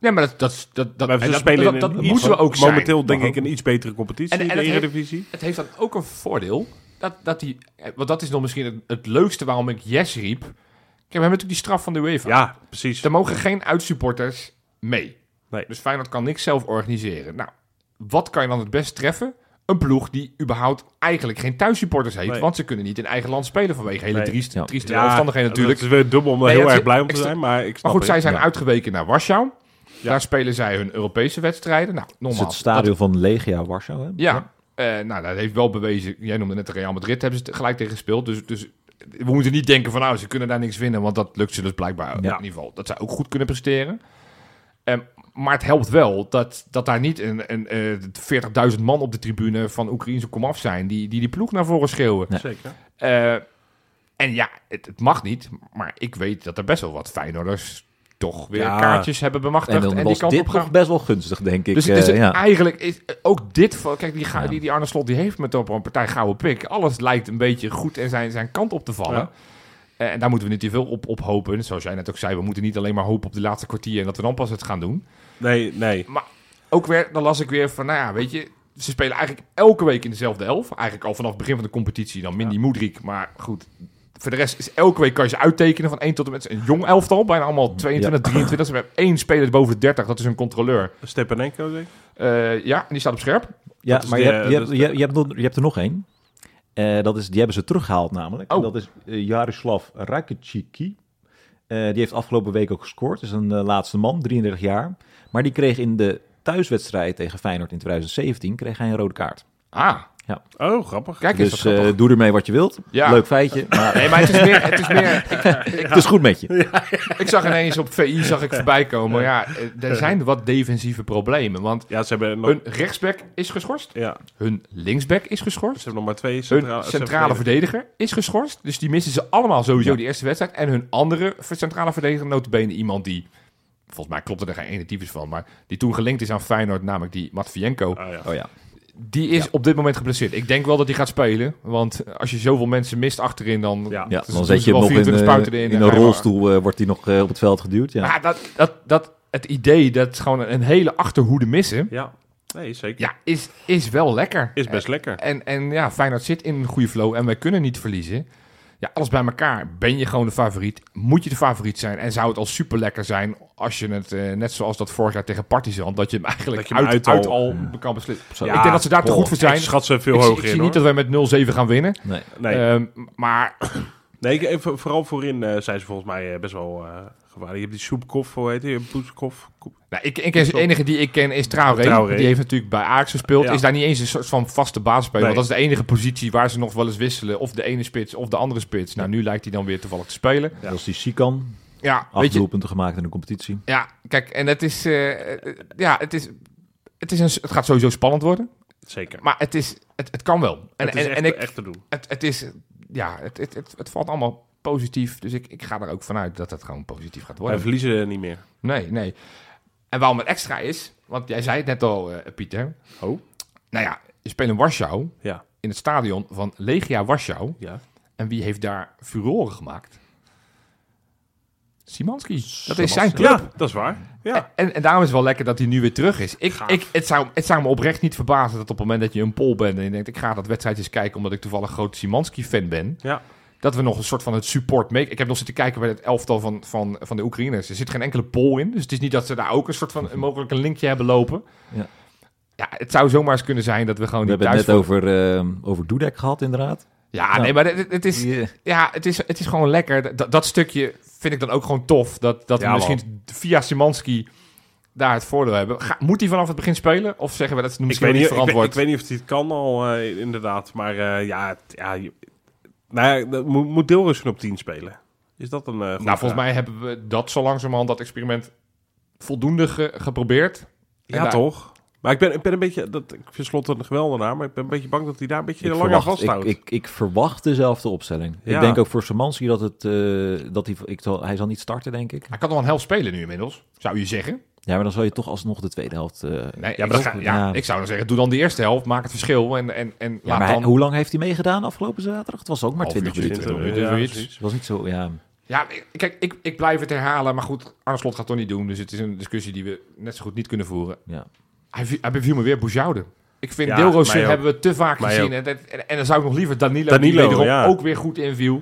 Speaker 2: Nee, maar dat, dat, dat, dat,
Speaker 3: Maar
Speaker 2: en
Speaker 3: ze
Speaker 2: dat,
Speaker 3: spelen
Speaker 2: dat,
Speaker 3: in
Speaker 2: dat
Speaker 3: een iets-
Speaker 2: moeten we ook zijn.
Speaker 3: Momenteel denk
Speaker 2: Mag
Speaker 3: ik een iets betere competitie
Speaker 2: En- en
Speaker 3: in de
Speaker 2: het heeft-
Speaker 3: Eredivisie.
Speaker 2: Het heeft dan ook een voordeel. Dat, dat die, eh, want dat is nog misschien het, het leukste waarom ik yes riep. Kijk, we hebben natuurlijk die straf van de UEFA.
Speaker 3: Ja, precies.
Speaker 2: Er mogen geen uitsupporters mee.
Speaker 3: Nee.
Speaker 2: Dus Feyenoord kan niks zelf organiseren. Nou, wat kan je dan het best treffen? Een ploeg die überhaupt eigenlijk geen thuissupporters heeft.
Speaker 3: Nee.
Speaker 2: Want ze kunnen niet in eigen land spelen vanwege hele
Speaker 3: Nee.
Speaker 2: drieste,
Speaker 1: Ja.
Speaker 2: trieste
Speaker 3: Ja,
Speaker 2: omstandigheden natuurlijk.
Speaker 3: Het is weer dubbel om daar
Speaker 2: Nee,
Speaker 3: heel
Speaker 2: het-
Speaker 3: erg blij om te
Speaker 2: ik sta-
Speaker 3: zijn. Maar, ik
Speaker 2: Maar
Speaker 3: snap
Speaker 2: goed, zij
Speaker 3: het.
Speaker 2: zijn
Speaker 1: ja.
Speaker 2: uitgeweken naar Warschau.
Speaker 3: Ja.
Speaker 2: Daar spelen zij hun Europese wedstrijden. Nou,
Speaker 1: het is
Speaker 2: normaal.
Speaker 1: het stadion van Legia Warschau. Hè?
Speaker 2: Ja, Eh, nou, dat heeft wel bewezen. Jij noemde net de Real Madrid, hebben ze het gelijk tegen gespeeld. Dus, dus we moeten niet denken van, nou, ze kunnen daar niks winnen. Want dat lukt ze dus blijkbaar in
Speaker 1: Ja.
Speaker 2: ieder geval. Dat zij ook goed kunnen presteren. Ehm, maar het helpt wel dat, dat daar niet een, een, eh 40.000 man op de tribune van Oekraïnse komaf zijn... die die, die ploeg naar voren schreeuwen.
Speaker 1: Ja.
Speaker 3: Zeker.
Speaker 2: Eh, en ja, het, het mag niet. Maar ik weet dat er best wel wat Feyenoorders toch weer
Speaker 3: Ja.
Speaker 2: kaartjes hebben bemachtigd.
Speaker 1: En
Speaker 2: En,
Speaker 1: dan
Speaker 2: die
Speaker 1: was
Speaker 2: kant
Speaker 1: dit
Speaker 2: op gaan.
Speaker 1: nog best wel gunstig, denk ik.
Speaker 2: Dus,
Speaker 1: eh,
Speaker 2: dus het-
Speaker 1: ja.
Speaker 2: eigenlijk is eh, ook dit... van- Kijk, die, ga-
Speaker 1: Ja.
Speaker 2: die, die Arne Slot die heeft met op een partij Gouden Pik. Alles lijkt een beetje goed en zijn, zijn kant op te vallen.
Speaker 3: Ja.
Speaker 2: Eh, en daar moeten we niet te veel op, op hopen. Zoals jij net ook zei, we moeten niet alleen maar hopen op de laatste kwartier... en dat we dan pas het gaan doen.
Speaker 3: Nee, nee.
Speaker 2: Ook weer, dan las ik weer van, nou ja, weet je... Ze spelen eigenlijk elke week in dezelfde elf. Eigenlijk al vanaf het begin van de competitie. Dan Mindy Moedrik, maar goed... Voor de rest is elke week kan je ze uittekenen van 1 tot en met een jong elftal. Bijna allemaal 22, 23. Ze hebben één speler boven de 30, dat is een controleur.
Speaker 3: Stepanenko denk ik.
Speaker 2: Eh, ja, en die staat op scherp.
Speaker 1: Ja,
Speaker 3: Dat is
Speaker 1: maar
Speaker 3: de-
Speaker 1: je, hebt, je,
Speaker 3: dat
Speaker 1: hebt,
Speaker 3: is
Speaker 1: je, hebt- je hebt nog- je hebt er nog één. Eh, dat is, die hebben ze teruggehaald namelijk.
Speaker 2: Oh.
Speaker 1: Dat is eh, Jaroslav Rakiciki. Eh, die heeft afgelopen week ook gescoord. Is een eh, laatste man, 33 jaar. Maar die kreeg in de thuiswedstrijd tegen Feyenoord in 2017... kreeg hij een rode kaart.
Speaker 2: Ah,
Speaker 3: Oh, grappig.
Speaker 2: Kijk eens,
Speaker 1: dus
Speaker 2: dat
Speaker 1: eh,
Speaker 2: grappig.
Speaker 1: doe ermee wat je wilt.
Speaker 2: Ja.
Speaker 1: Leuk feitje. Maar
Speaker 2: Nee, maar het is meer...
Speaker 1: <laughs>
Speaker 2: Het is meer ik,
Speaker 1: het is goed met je.
Speaker 2: ik zag ineens op VI zag ik voorbij komen. Ja, eh, er zijn wat defensieve problemen. Want
Speaker 3: Ja, ze hebben nog,
Speaker 2: hun rechtsback is geschorst.
Speaker 3: ja, ze
Speaker 2: Hun linksback is geschorst.
Speaker 3: hebben nog maar twee centrale,
Speaker 2: Hun centrale verdediger is geschorst. Dus die missen ze allemaal sowieso
Speaker 1: Ja.
Speaker 2: die eerste wedstrijd. En hun andere ver- centrale verdediger, notabene iemand die... Volgens mij klopt er geen ene tyfus van. Maar die toen gelinkt is aan Feyenoord, namelijk die Matvienko.
Speaker 3: Ah, ja.
Speaker 1: Oh ja.
Speaker 2: Die is op dit moment geblesseerd. Ik denk wel dat hij gaat spelen. Want als je zoveel mensen mist achterin, dan...
Speaker 3: Ja.
Speaker 1: ja
Speaker 2: Dus
Speaker 1: dan
Speaker 2: doen
Speaker 1: zet
Speaker 2: ze
Speaker 1: je
Speaker 2: wel
Speaker 1: hem nog in,
Speaker 2: 24
Speaker 1: eh,
Speaker 2: spuiten erin
Speaker 1: in
Speaker 2: en
Speaker 1: een
Speaker 2: ga je maar.
Speaker 1: rolstoel. eh, wordt hij nog eh, op het veld geduwd. Ja.
Speaker 2: Maar dat, dat, dat, het idee dat gewoon een hele achterhoede missen,
Speaker 3: Ja, Eh, nee, zeker.
Speaker 2: ja, is, is wel lekker. Eh,
Speaker 3: Is best lekker.
Speaker 2: En, en ja, Feyenoord zit in een goede flow en wij kunnen niet verliezen. Ja, alles bij elkaar. Ben je gewoon de favoriet? Moet je de favoriet zijn? En zou het al super lekker zijn als je het, eh, net zoals dat vorig jaar tegen Partizan, dat je hem eigenlijk
Speaker 3: Dat je hem
Speaker 2: uit,
Speaker 3: uit
Speaker 2: uit
Speaker 3: al-
Speaker 2: al kan beslissen.
Speaker 1: Zo.
Speaker 2: ik denk dat ze daar te
Speaker 1: Goh.
Speaker 2: goed voor
Speaker 3: Ik
Speaker 2: zijn.
Speaker 3: schat ze veel
Speaker 2: Ik zie-
Speaker 3: hoger in,
Speaker 2: ik zie
Speaker 3: hoor.
Speaker 2: niet dat wij met 0-7 gaan winnen.
Speaker 1: Nee.
Speaker 3: Nee,
Speaker 2: Ehm, maar
Speaker 3: nee ik- eh, voor- vooral voorin eh, zijn ze volgens mij eh, best wel eh gewaardeerd. Je hebt die Soepkoff, hoe heet die? Boetkoff.
Speaker 2: Nou, ik, ik, de enige die ik ken is Traoré.
Speaker 3: Traoré.
Speaker 2: Die heeft natuurlijk bij Ajax gespeeld.
Speaker 3: Ja.
Speaker 2: Is daar niet eens een soort van vaste basisspeler.
Speaker 3: Nee.
Speaker 2: Want dat is de enige positie waar ze nog wel eens wisselen. Of de ene spits of de andere spits. Nou, nu lijkt hij dan weer toevallig te spelen.
Speaker 1: Dat is die Sikan.
Speaker 2: Ja, weet
Speaker 1: Acht
Speaker 2: je.
Speaker 1: doelpunten gemaakt in de competitie.
Speaker 2: Ja, kijk, en het is... eh, eh, ja, het is... Het, is een, het gaat sowieso spannend worden.
Speaker 3: Zeker.
Speaker 2: Maar het, is, het, het kan wel. En,
Speaker 3: het is
Speaker 2: en,
Speaker 3: echt,
Speaker 2: en ik,
Speaker 3: echt te doen.
Speaker 2: het, het is... Ja, het, het, het, het valt allemaal positief. Dus ik, ik ga er ook vanuit dat het gewoon positief gaat
Speaker 3: Wij
Speaker 2: worden.
Speaker 3: verliezen niet meer.
Speaker 2: Nee, nee. En waarom het extra is, want jij zei het net al, eh, Pieter.
Speaker 3: Oh.
Speaker 2: Nou ja, je speelt in Warschau,
Speaker 3: Ja,
Speaker 2: in het stadion van Legia Warschau.
Speaker 3: ja.
Speaker 2: En wie heeft daar furoren gemaakt? Simanski. Dat is
Speaker 1: Simanski.
Speaker 2: zijn club.
Speaker 3: Ja, dat is waar. Ja.
Speaker 2: En, en daarom is het wel lekker dat hij nu weer terug is. Ik,
Speaker 3: Gaaf.
Speaker 2: ik, het, zou, het zou me oprecht niet verbazen dat op het moment dat je een pol bent... en je denkt, ik ga dat wedstrijd eens kijken omdat ik toevallig groot Simanski-fan ben...
Speaker 3: Ja.
Speaker 2: Dat we nog een soort van het support make. Ik heb nog zitten kijken bij het elftal van, van, van de Oekraïners. Er zit geen enkele pol in. Dus het is niet dat ze daar ook een soort van een mogelijk een linkje hebben lopen.
Speaker 1: Ja.
Speaker 2: Ja, het zou zomaar eens kunnen zijn dat we gewoon
Speaker 1: We
Speaker 2: die
Speaker 1: hebben het
Speaker 2: thuis...
Speaker 1: net over, eh, over Dudek gehad, inderdaad.
Speaker 2: Ja,
Speaker 1: Ja.
Speaker 2: nee, maar het, het is,
Speaker 1: Die, eh,
Speaker 2: ja, het, is, het is gewoon lekker. Dat, dat stukje vind ik dan ook gewoon tof. Dat, dat
Speaker 3: Ja,
Speaker 2: we misschien via Simanski daar het voordeel hebben. Ga- moet hij vanaf het begin spelen? Of zeggen we dat is
Speaker 3: Ik
Speaker 2: misschien
Speaker 3: weet, niet,
Speaker 2: niet
Speaker 3: ik, weet, ik
Speaker 2: verantwoord?
Speaker 3: weet niet of hij het kan al, eh, inderdaad. Maar eh, ja, het- ja, je- nou ja, dat moet, moet Dilrussen op 10 spelen? Is dat een eh, goede
Speaker 2: Nou,
Speaker 3: vraag?
Speaker 2: volgens mij hebben we dat zo langzamerhand, dat experiment, voldoende ge- geprobeerd.
Speaker 3: Ja,
Speaker 2: daar-
Speaker 3: toch? Maar ik ben, ik ben een beetje... Dat, ik vind Slot een geweldenaar, maar ik ben een beetje bang dat hij daar een beetje
Speaker 1: ik,
Speaker 3: lang aan
Speaker 1: verwacht,
Speaker 3: vasthoudt.
Speaker 1: ik, ik, ik verwacht dezelfde opstelling.
Speaker 3: Ja.
Speaker 1: Ik denk ook voor Samanski dat, het, eh, dat hij, ik zal, hij zal niet starten, denk ik.
Speaker 2: Hij kan nog een helft spelen nu inmiddels, zou je zeggen.
Speaker 1: Ja, maar dan zal je toch alsnog de tweede helft... eh,
Speaker 2: Nee,
Speaker 3: Ja,
Speaker 2: ik,
Speaker 3: maar dat
Speaker 2: zou-
Speaker 1: ga-
Speaker 2: ja,
Speaker 1: ja.
Speaker 2: ik zou dan zeggen, doe dan de eerste helft, maak het verschil en, en, en
Speaker 1: ja,
Speaker 2: laat
Speaker 1: maar hij-
Speaker 2: dan...
Speaker 1: hoe lang heeft hij meegedaan afgelopen zaterdag? Het was ook maar
Speaker 2: Half
Speaker 1: 20
Speaker 2: uurtje,
Speaker 1: minuten.
Speaker 2: twintig
Speaker 3: minuten,
Speaker 2: minuten,
Speaker 3: eh, ja,
Speaker 2: zoiets.
Speaker 3: precies.
Speaker 1: Het was niet zo, ja...
Speaker 2: Ja, kijk, ik, ik blijf het herhalen, maar goed, Arne Slot gaat het toch niet doen. Dus het is een discussie die we net zo goed niet kunnen voeren.
Speaker 1: ja.
Speaker 2: Hij, vi- hij beviel me weer Boujoude. Ik vind
Speaker 3: Ja,
Speaker 2: Deelroos
Speaker 3: mij ook.
Speaker 2: hebben we te vaak
Speaker 3: Mij
Speaker 2: gezien.
Speaker 3: ook.
Speaker 2: En, dat- en, en dan zou ik nog liever Danilo,
Speaker 3: Danilo,
Speaker 2: die wederom
Speaker 3: ja.
Speaker 2: ook weer goed inviel.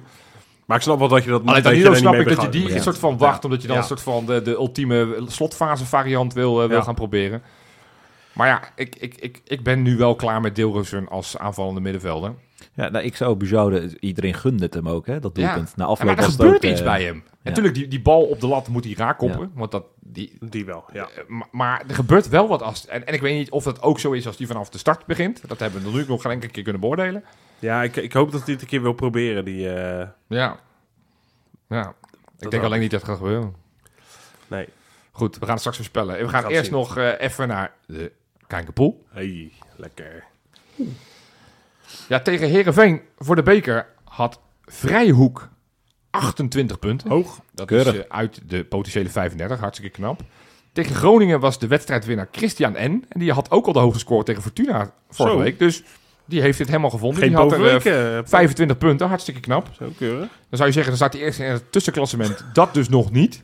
Speaker 3: Maar ik snap wel dat je dat...
Speaker 2: Alleen
Speaker 3: dat je
Speaker 2: Danilo
Speaker 3: daar niet
Speaker 2: snap
Speaker 3: mee
Speaker 2: ik dat je
Speaker 3: begaan-
Speaker 2: die
Speaker 1: Ja.
Speaker 2: een soort van wacht, omdat je dan
Speaker 3: Ja.
Speaker 2: een soort van de, de ultieme slotfase variant wil, eh, wil
Speaker 3: Ja.
Speaker 2: gaan proberen. Maar ja, ik, ik, ik, ik ben nu wel klaar met Deelrozen als aanvallende middenvelder.
Speaker 1: Ja, nou, ik zou Bujoude, iedereen gunde het hem ook, hè, dat
Speaker 2: Ja.
Speaker 1: doelpunt. Na
Speaker 2: Ja, maar
Speaker 1: afloop
Speaker 2: er
Speaker 1: was het ook,
Speaker 2: gebeurt iets
Speaker 1: eh,
Speaker 2: bij hem. Natuurlijk, die, die bal op de lat moet hij raak koppen, want dat, die,
Speaker 3: Die wel, ja.
Speaker 2: Eh, ma- Maar er gebeurt wel wat als. En, en ik weet niet of dat ook zo is als die vanaf de start begint. Dat hebben we natuurlijk nog geen enkele keer kunnen beoordelen.
Speaker 3: Ja, ik, ik hoop dat hij het een keer wil proberen, die... eh,
Speaker 2: Ja. ja. Ik denk
Speaker 3: wel.
Speaker 2: alleen niet dat het gaat gebeuren.
Speaker 3: nee.
Speaker 2: Goed, we gaan het straks voorspellen. En We gaan
Speaker 3: Gaat
Speaker 2: eerst
Speaker 3: zien.
Speaker 2: nog eh, even naar de Kijkenpoel.
Speaker 3: Hey, lekker.
Speaker 2: Ja, tegen Herenveen voor de beker had Vrijhoek 28 punten.
Speaker 3: Hoog.
Speaker 2: Dat
Speaker 1: Keurig.
Speaker 2: is eh, uit de potentiële 35, hartstikke knap. Tegen Groningen was de wedstrijdwinnaar Christian N. En die had ook al de hoogste score tegen Fortuna vorige
Speaker 3: Zo.
Speaker 2: week. Dus die heeft dit helemaal gevonden.
Speaker 3: Geen
Speaker 2: die had er eh,
Speaker 3: bovenweken.
Speaker 2: 25 punten, hartstikke knap.
Speaker 3: Zo keurig.
Speaker 2: Dan zou je zeggen, dan staat hij eerst in het tussenklassement. Dat dus nog niet.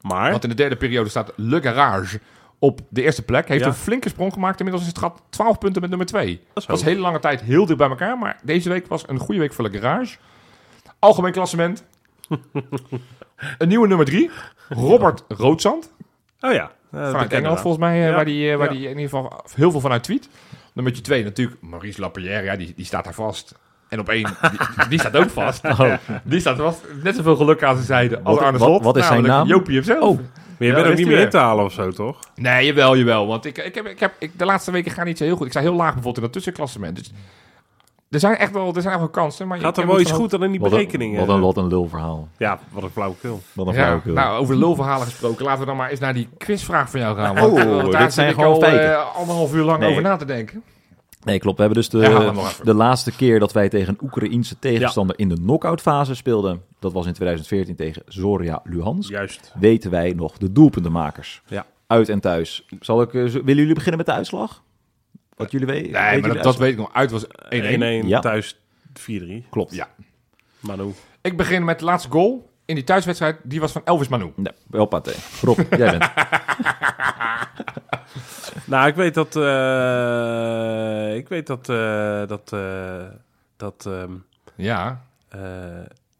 Speaker 3: Maar...
Speaker 2: Want in de derde periode staat Le Garage op de eerste plek. Heeft
Speaker 3: Ja.
Speaker 2: een flinke sprong gemaakt. Inmiddels is het gat 12 punten met nummer 2. Dat
Speaker 3: is
Speaker 2: was
Speaker 3: hoog.
Speaker 2: hele lange tijd heel dicht bij elkaar. Maar deze week was een goede week voor Le Garage. Algemeen
Speaker 3: <laughs>
Speaker 2: klassement. een nieuwe nummer 3. Robert Roodzand.
Speaker 3: Oh ja. eh, dat
Speaker 2: Vanuit
Speaker 3: kennen
Speaker 2: Engeland
Speaker 3: we
Speaker 2: volgens mij. eh,
Speaker 3: Ja,
Speaker 2: Waar die, eh, waar
Speaker 3: ja.
Speaker 2: die in ieder geval heel veel vanuit tweet. Nummertje 2 natuurlijk. Maurice Lapierre. Ja, die, die staat daar vast. En op één, die, die staat ook
Speaker 3: <laughs>
Speaker 2: vast.
Speaker 3: Oh.
Speaker 2: Die staat vast. Net zoveel geluk aan zijn zijde als
Speaker 1: Wat-
Speaker 2: Arne
Speaker 1: wat-
Speaker 2: Slot.
Speaker 1: wat is zijn
Speaker 2: namelijk
Speaker 1: naam?
Speaker 2: Jopie hemzelf.
Speaker 1: Oh,
Speaker 3: dan. Maar je
Speaker 2: Ja,
Speaker 3: bent
Speaker 2: daar
Speaker 3: ook
Speaker 2: is
Speaker 3: niet
Speaker 2: hij
Speaker 3: meer in te halen of zo, toch?
Speaker 2: Nee, jawel, jawel. Want ik, ik heb, ik heb, ik, de laatste weken gaan niet zo heel goed. Ik sta heel laag bijvoorbeeld in dat tussenklassement. Dus er zijn echt wel, er zijn echt wel kansen. Maar je-
Speaker 3: Gaat
Speaker 2: je
Speaker 3: er wel
Speaker 2: moet
Speaker 3: iets
Speaker 2: gewoon-
Speaker 3: goed aan in die eh?
Speaker 1: Wat een,
Speaker 3: berekeningen?
Speaker 1: wat, een, wat een lulverhaal.
Speaker 3: Ja, wat een flauwekul.
Speaker 1: Wat een
Speaker 2: eh. Ja,
Speaker 1: flauwekul.
Speaker 2: nou, over lulverhalen gesproken. Laten we dan maar eens naar die quizvraag van jou gaan.
Speaker 1: Oh,
Speaker 2: want daar
Speaker 1: dit zijn
Speaker 2: zit ik
Speaker 1: gewoon
Speaker 2: al
Speaker 1: feiten.
Speaker 2: eh, anderhalf uur lang
Speaker 1: Nee.
Speaker 2: over na te denken.
Speaker 1: Nee, klopt. We hebben dus de,
Speaker 2: Ja, laat maar even.
Speaker 1: de laatste keer dat wij tegen een Oekraïense tegenstander in de knock-outfase speelden. Dat was in 2014 tegen Zoria Luhansk.
Speaker 3: Juist.
Speaker 1: Weten wij nog de doelpuntenmakers.
Speaker 3: Ja.
Speaker 1: Uit en thuis. Zal ik, eh, zo- willen jullie beginnen met de uitslag? Wat jullie weten?
Speaker 2: Eh, Nee, maar dat, dat weet ik nog. Uit was 1-1.
Speaker 3: 1-1
Speaker 1: Ja.
Speaker 3: thuis 4-3.
Speaker 1: klopt.
Speaker 2: Ja.
Speaker 3: Manu.
Speaker 2: Ik begin met de laatste goal in die thuiswedstrijd. Die was van Elvis Manu.
Speaker 1: Nee, wel paté. Rob,
Speaker 2: <laughs>
Speaker 1: jij bent.
Speaker 3: Nou, ik weet dat... eh, ik weet dat... eh, dat... eh, dat... ehm
Speaker 2: Ja.
Speaker 3: eh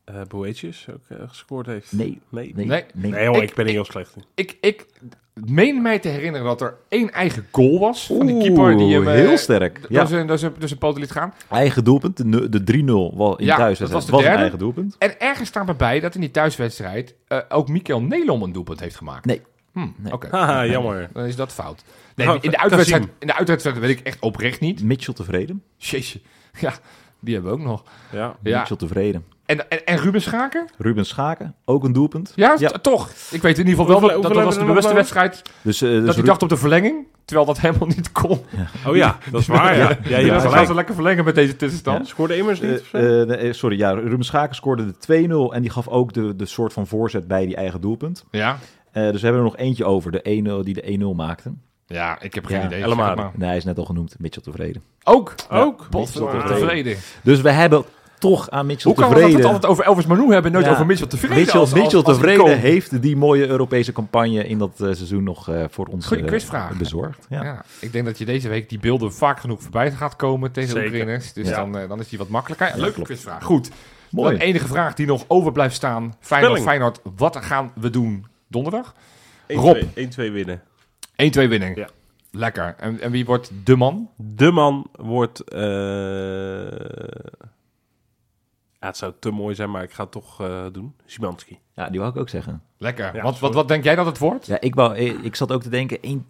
Speaker 3: eh, Boetjes ook eh, gescoord heeft.
Speaker 1: Nee,
Speaker 3: Nee.
Speaker 1: nee,
Speaker 2: Nee.
Speaker 1: nee.
Speaker 3: Nee, hoor,
Speaker 2: Ik-
Speaker 3: ik, ben hier heel slecht in.
Speaker 2: Ik, ik meen mij te herinneren dat er één eigen goal was van die
Speaker 1: Oeh,
Speaker 2: keeper. Die hem, eh,
Speaker 1: heel sterk.
Speaker 2: d-
Speaker 1: Ja.
Speaker 2: door zijn- door zijn- door zijn poten liet gaan.
Speaker 1: Eigen doelpunt, de, nu- de 3-0 wel in
Speaker 2: Ja,
Speaker 1: thuis.
Speaker 2: dat
Speaker 1: Dat
Speaker 2: was
Speaker 1: was,
Speaker 2: de
Speaker 1: een
Speaker 2: derde.
Speaker 1: eigen doelpunt.
Speaker 2: En ergens staat me bij dat in die thuiswedstrijd eh, ook Mikael Nelom een doelpunt heeft gemaakt.
Speaker 1: Nee.
Speaker 2: Hm, Oké,
Speaker 3: <laughs> Haha, jammer.
Speaker 2: dan is dat fout. Nee,
Speaker 3: Oh,
Speaker 2: in, de
Speaker 3: Kazim.
Speaker 2: uitwedstrijd, in de uitwedstrijd weet ik echt oprecht niet.
Speaker 1: Mitchell tevreden.
Speaker 2: Jeetje. <laughs> Ja, die hebben we ook nog.
Speaker 3: Ja.
Speaker 2: Ja.
Speaker 1: Mitchell tevreden.
Speaker 2: En, en, en Ruben Schaken?
Speaker 1: Ruben Schaken, ook een doelpunt.
Speaker 2: Ja, t- toch. Ik weet in ieder geval wel
Speaker 3: Hoeveel-
Speaker 2: dat- dat
Speaker 3: hoeveel
Speaker 2: dat was
Speaker 3: hebben we
Speaker 2: de
Speaker 3: er
Speaker 2: bewuste
Speaker 3: nog?
Speaker 2: wedstrijd.
Speaker 1: Dus, eh, dus
Speaker 2: dat hij
Speaker 1: Ru-
Speaker 2: dacht op de verlenging, terwijl dat <laughs> helemaal niet kon.
Speaker 3: Oh ja, dat is waar. Ja, ja, je
Speaker 2: Ja,
Speaker 3: hebt
Speaker 2: ze gaan
Speaker 3: gelijk.
Speaker 2: ze lekker verlengen met deze tussenstand.
Speaker 3: Scoorde immers niet? of zo?
Speaker 1: Eh, eh, nee, sorry, ja, Ruben Schaken scoorde de 2-0 en die gaf ook de, de soort van voorzet bij die eigen doelpunt.
Speaker 2: Ja.
Speaker 1: Eh, dus we hebben er nog eentje over, de 1-0 die de 1-0 maakte.
Speaker 2: Ja, ik heb geen
Speaker 1: Ja,
Speaker 2: idee.
Speaker 3: helemaal
Speaker 2: zeg maar.
Speaker 1: Nee, hij is net al genoemd, Mitchell tevreden.
Speaker 2: Ook.
Speaker 3: Ook.
Speaker 2: Potverdorie.
Speaker 1: Mitchell tevreden.
Speaker 2: tevreden.
Speaker 1: Dus we hebben toch aan Mitchell
Speaker 2: Hoe kan we
Speaker 1: tevreden.
Speaker 2: dat het altijd over Elvis Manu hebben en nooit
Speaker 1: Ja.
Speaker 2: over Mitchell tevreden?
Speaker 1: Mitchell,
Speaker 2: als- als-
Speaker 1: Mitchell
Speaker 2: als
Speaker 1: tevreden
Speaker 2: icoon?
Speaker 1: heeft die mooie Europese campagne in dat eh, seizoen nog eh, voor ons
Speaker 2: Goeie
Speaker 1: eh,
Speaker 2: quizvraag.
Speaker 1: bezorgd. Ja.
Speaker 2: Ja. ik denk dat je deze week die beelden vaak genoeg voorbij gaat komen tegen de
Speaker 3: Zeker.
Speaker 2: Oekraïners. Dus
Speaker 3: Ja.
Speaker 2: dan, eh, dan is die wat makkelijker. Leuke
Speaker 1: klopt.
Speaker 2: quizvraag. Goed.
Speaker 1: Mooi.
Speaker 2: De enige vraag die nog over blijft staan. Feyenoord,
Speaker 3: Spelling.
Speaker 2: Feyenoord, wat gaan we doen donderdag?
Speaker 3: 1-2
Speaker 2: Rob.
Speaker 3: 1-2 winnen.
Speaker 2: 1-2 winning.
Speaker 3: Ja.
Speaker 2: Lekker. En, en wie wordt de man?
Speaker 3: De man wordt. eh, Ja, het zou te mooi zijn, maar ik ga het toch eh, doen. Simanski.
Speaker 1: Ja, die wou ik ook zeggen.
Speaker 2: Lekker.
Speaker 3: Ja,
Speaker 2: wat, wat,
Speaker 3: sorry.
Speaker 2: wat denk jij dat het wordt?
Speaker 1: Ja, ik, wou, eh, ik, ik zat ook te denken, 1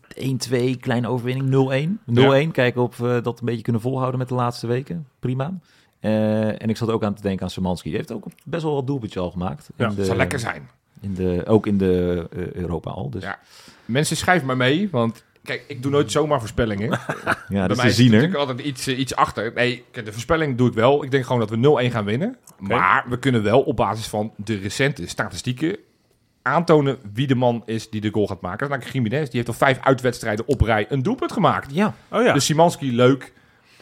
Speaker 1: 1-2, kleine overwinning, 0-1. 0-1, kijken of we dat een beetje kunnen volhouden met de laatste weken. Prima. Eh, en ik zat ook aan te denken aan Samanski. Die heeft ook best wel wat doelpuntje al gemaakt.
Speaker 3: Ja,
Speaker 1: in
Speaker 2: Dat zou lekker zijn.
Speaker 1: In de, ook in de eh, Europa al. Dus,
Speaker 2: Ja.
Speaker 1: ja,
Speaker 2: Mensen, schrijf maar mee, want... Kijk, ik doe nooit zomaar voorspellingen.
Speaker 1: dat
Speaker 2: Bij mij
Speaker 1: is de
Speaker 2: zit
Speaker 1: ziener.
Speaker 2: natuurlijk altijd iets, eh, iets achter. Nee, kijk, de voorspelling doe ik wel. Ik denk gewoon dat we 0-1 gaan winnen. Maar we kunnen wel op basis van de recente statistieken aantonen wie de man is die de goal gaat maken. Dat is namelijk Jiménez. Die heeft al vijf uitwedstrijden op rij een doelpunt gemaakt.
Speaker 1: Ja,
Speaker 3: Oh ja.
Speaker 2: Dus Simanski, leuk.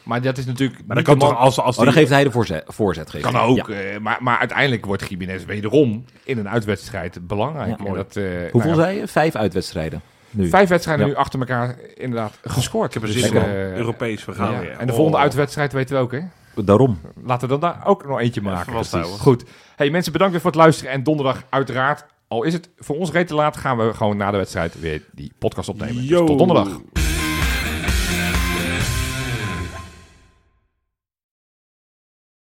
Speaker 2: Maar dat is natuurlijk
Speaker 3: maar dan
Speaker 2: niet
Speaker 3: kan
Speaker 2: de man-
Speaker 3: toch als, als
Speaker 1: oh, dan
Speaker 3: die-
Speaker 1: geeft hij de voorzet, voorzet geven.
Speaker 2: Kan ook.
Speaker 1: Ja.
Speaker 2: eh, maar, maar uiteindelijk wordt Jiménez wederom in een uitwedstrijd belangrijk.
Speaker 1: Ja,
Speaker 2: En
Speaker 1: mooi.
Speaker 2: dat, eh, nou
Speaker 1: Hoeveel
Speaker 2: ja,
Speaker 1: zei je? Vijf uitwedstrijden. Nu.
Speaker 2: Vijf wedstrijden
Speaker 1: Ja.
Speaker 2: nu achter elkaar inderdaad
Speaker 3: Ik
Speaker 2: gescoord.
Speaker 3: heb er
Speaker 2: Dus,
Speaker 3: zin in.
Speaker 2: eh,
Speaker 3: Europees, we gaan
Speaker 2: ja.
Speaker 3: weer.
Speaker 2: En de volgende
Speaker 3: Oh.
Speaker 2: uitwedstrijd weten we ook, hè?
Speaker 1: Daarom.
Speaker 2: Laten we dan daar ook nog eentje maken.
Speaker 3: Even vasthouden.
Speaker 2: Goed. Hey mensen, bedankt weer voor het luisteren. En donderdag uiteraard, al is het voor ons reet te laat, gaan we gewoon na de wedstrijd weer die podcast opnemen. Dus
Speaker 3: Yo.
Speaker 2: tot donderdag.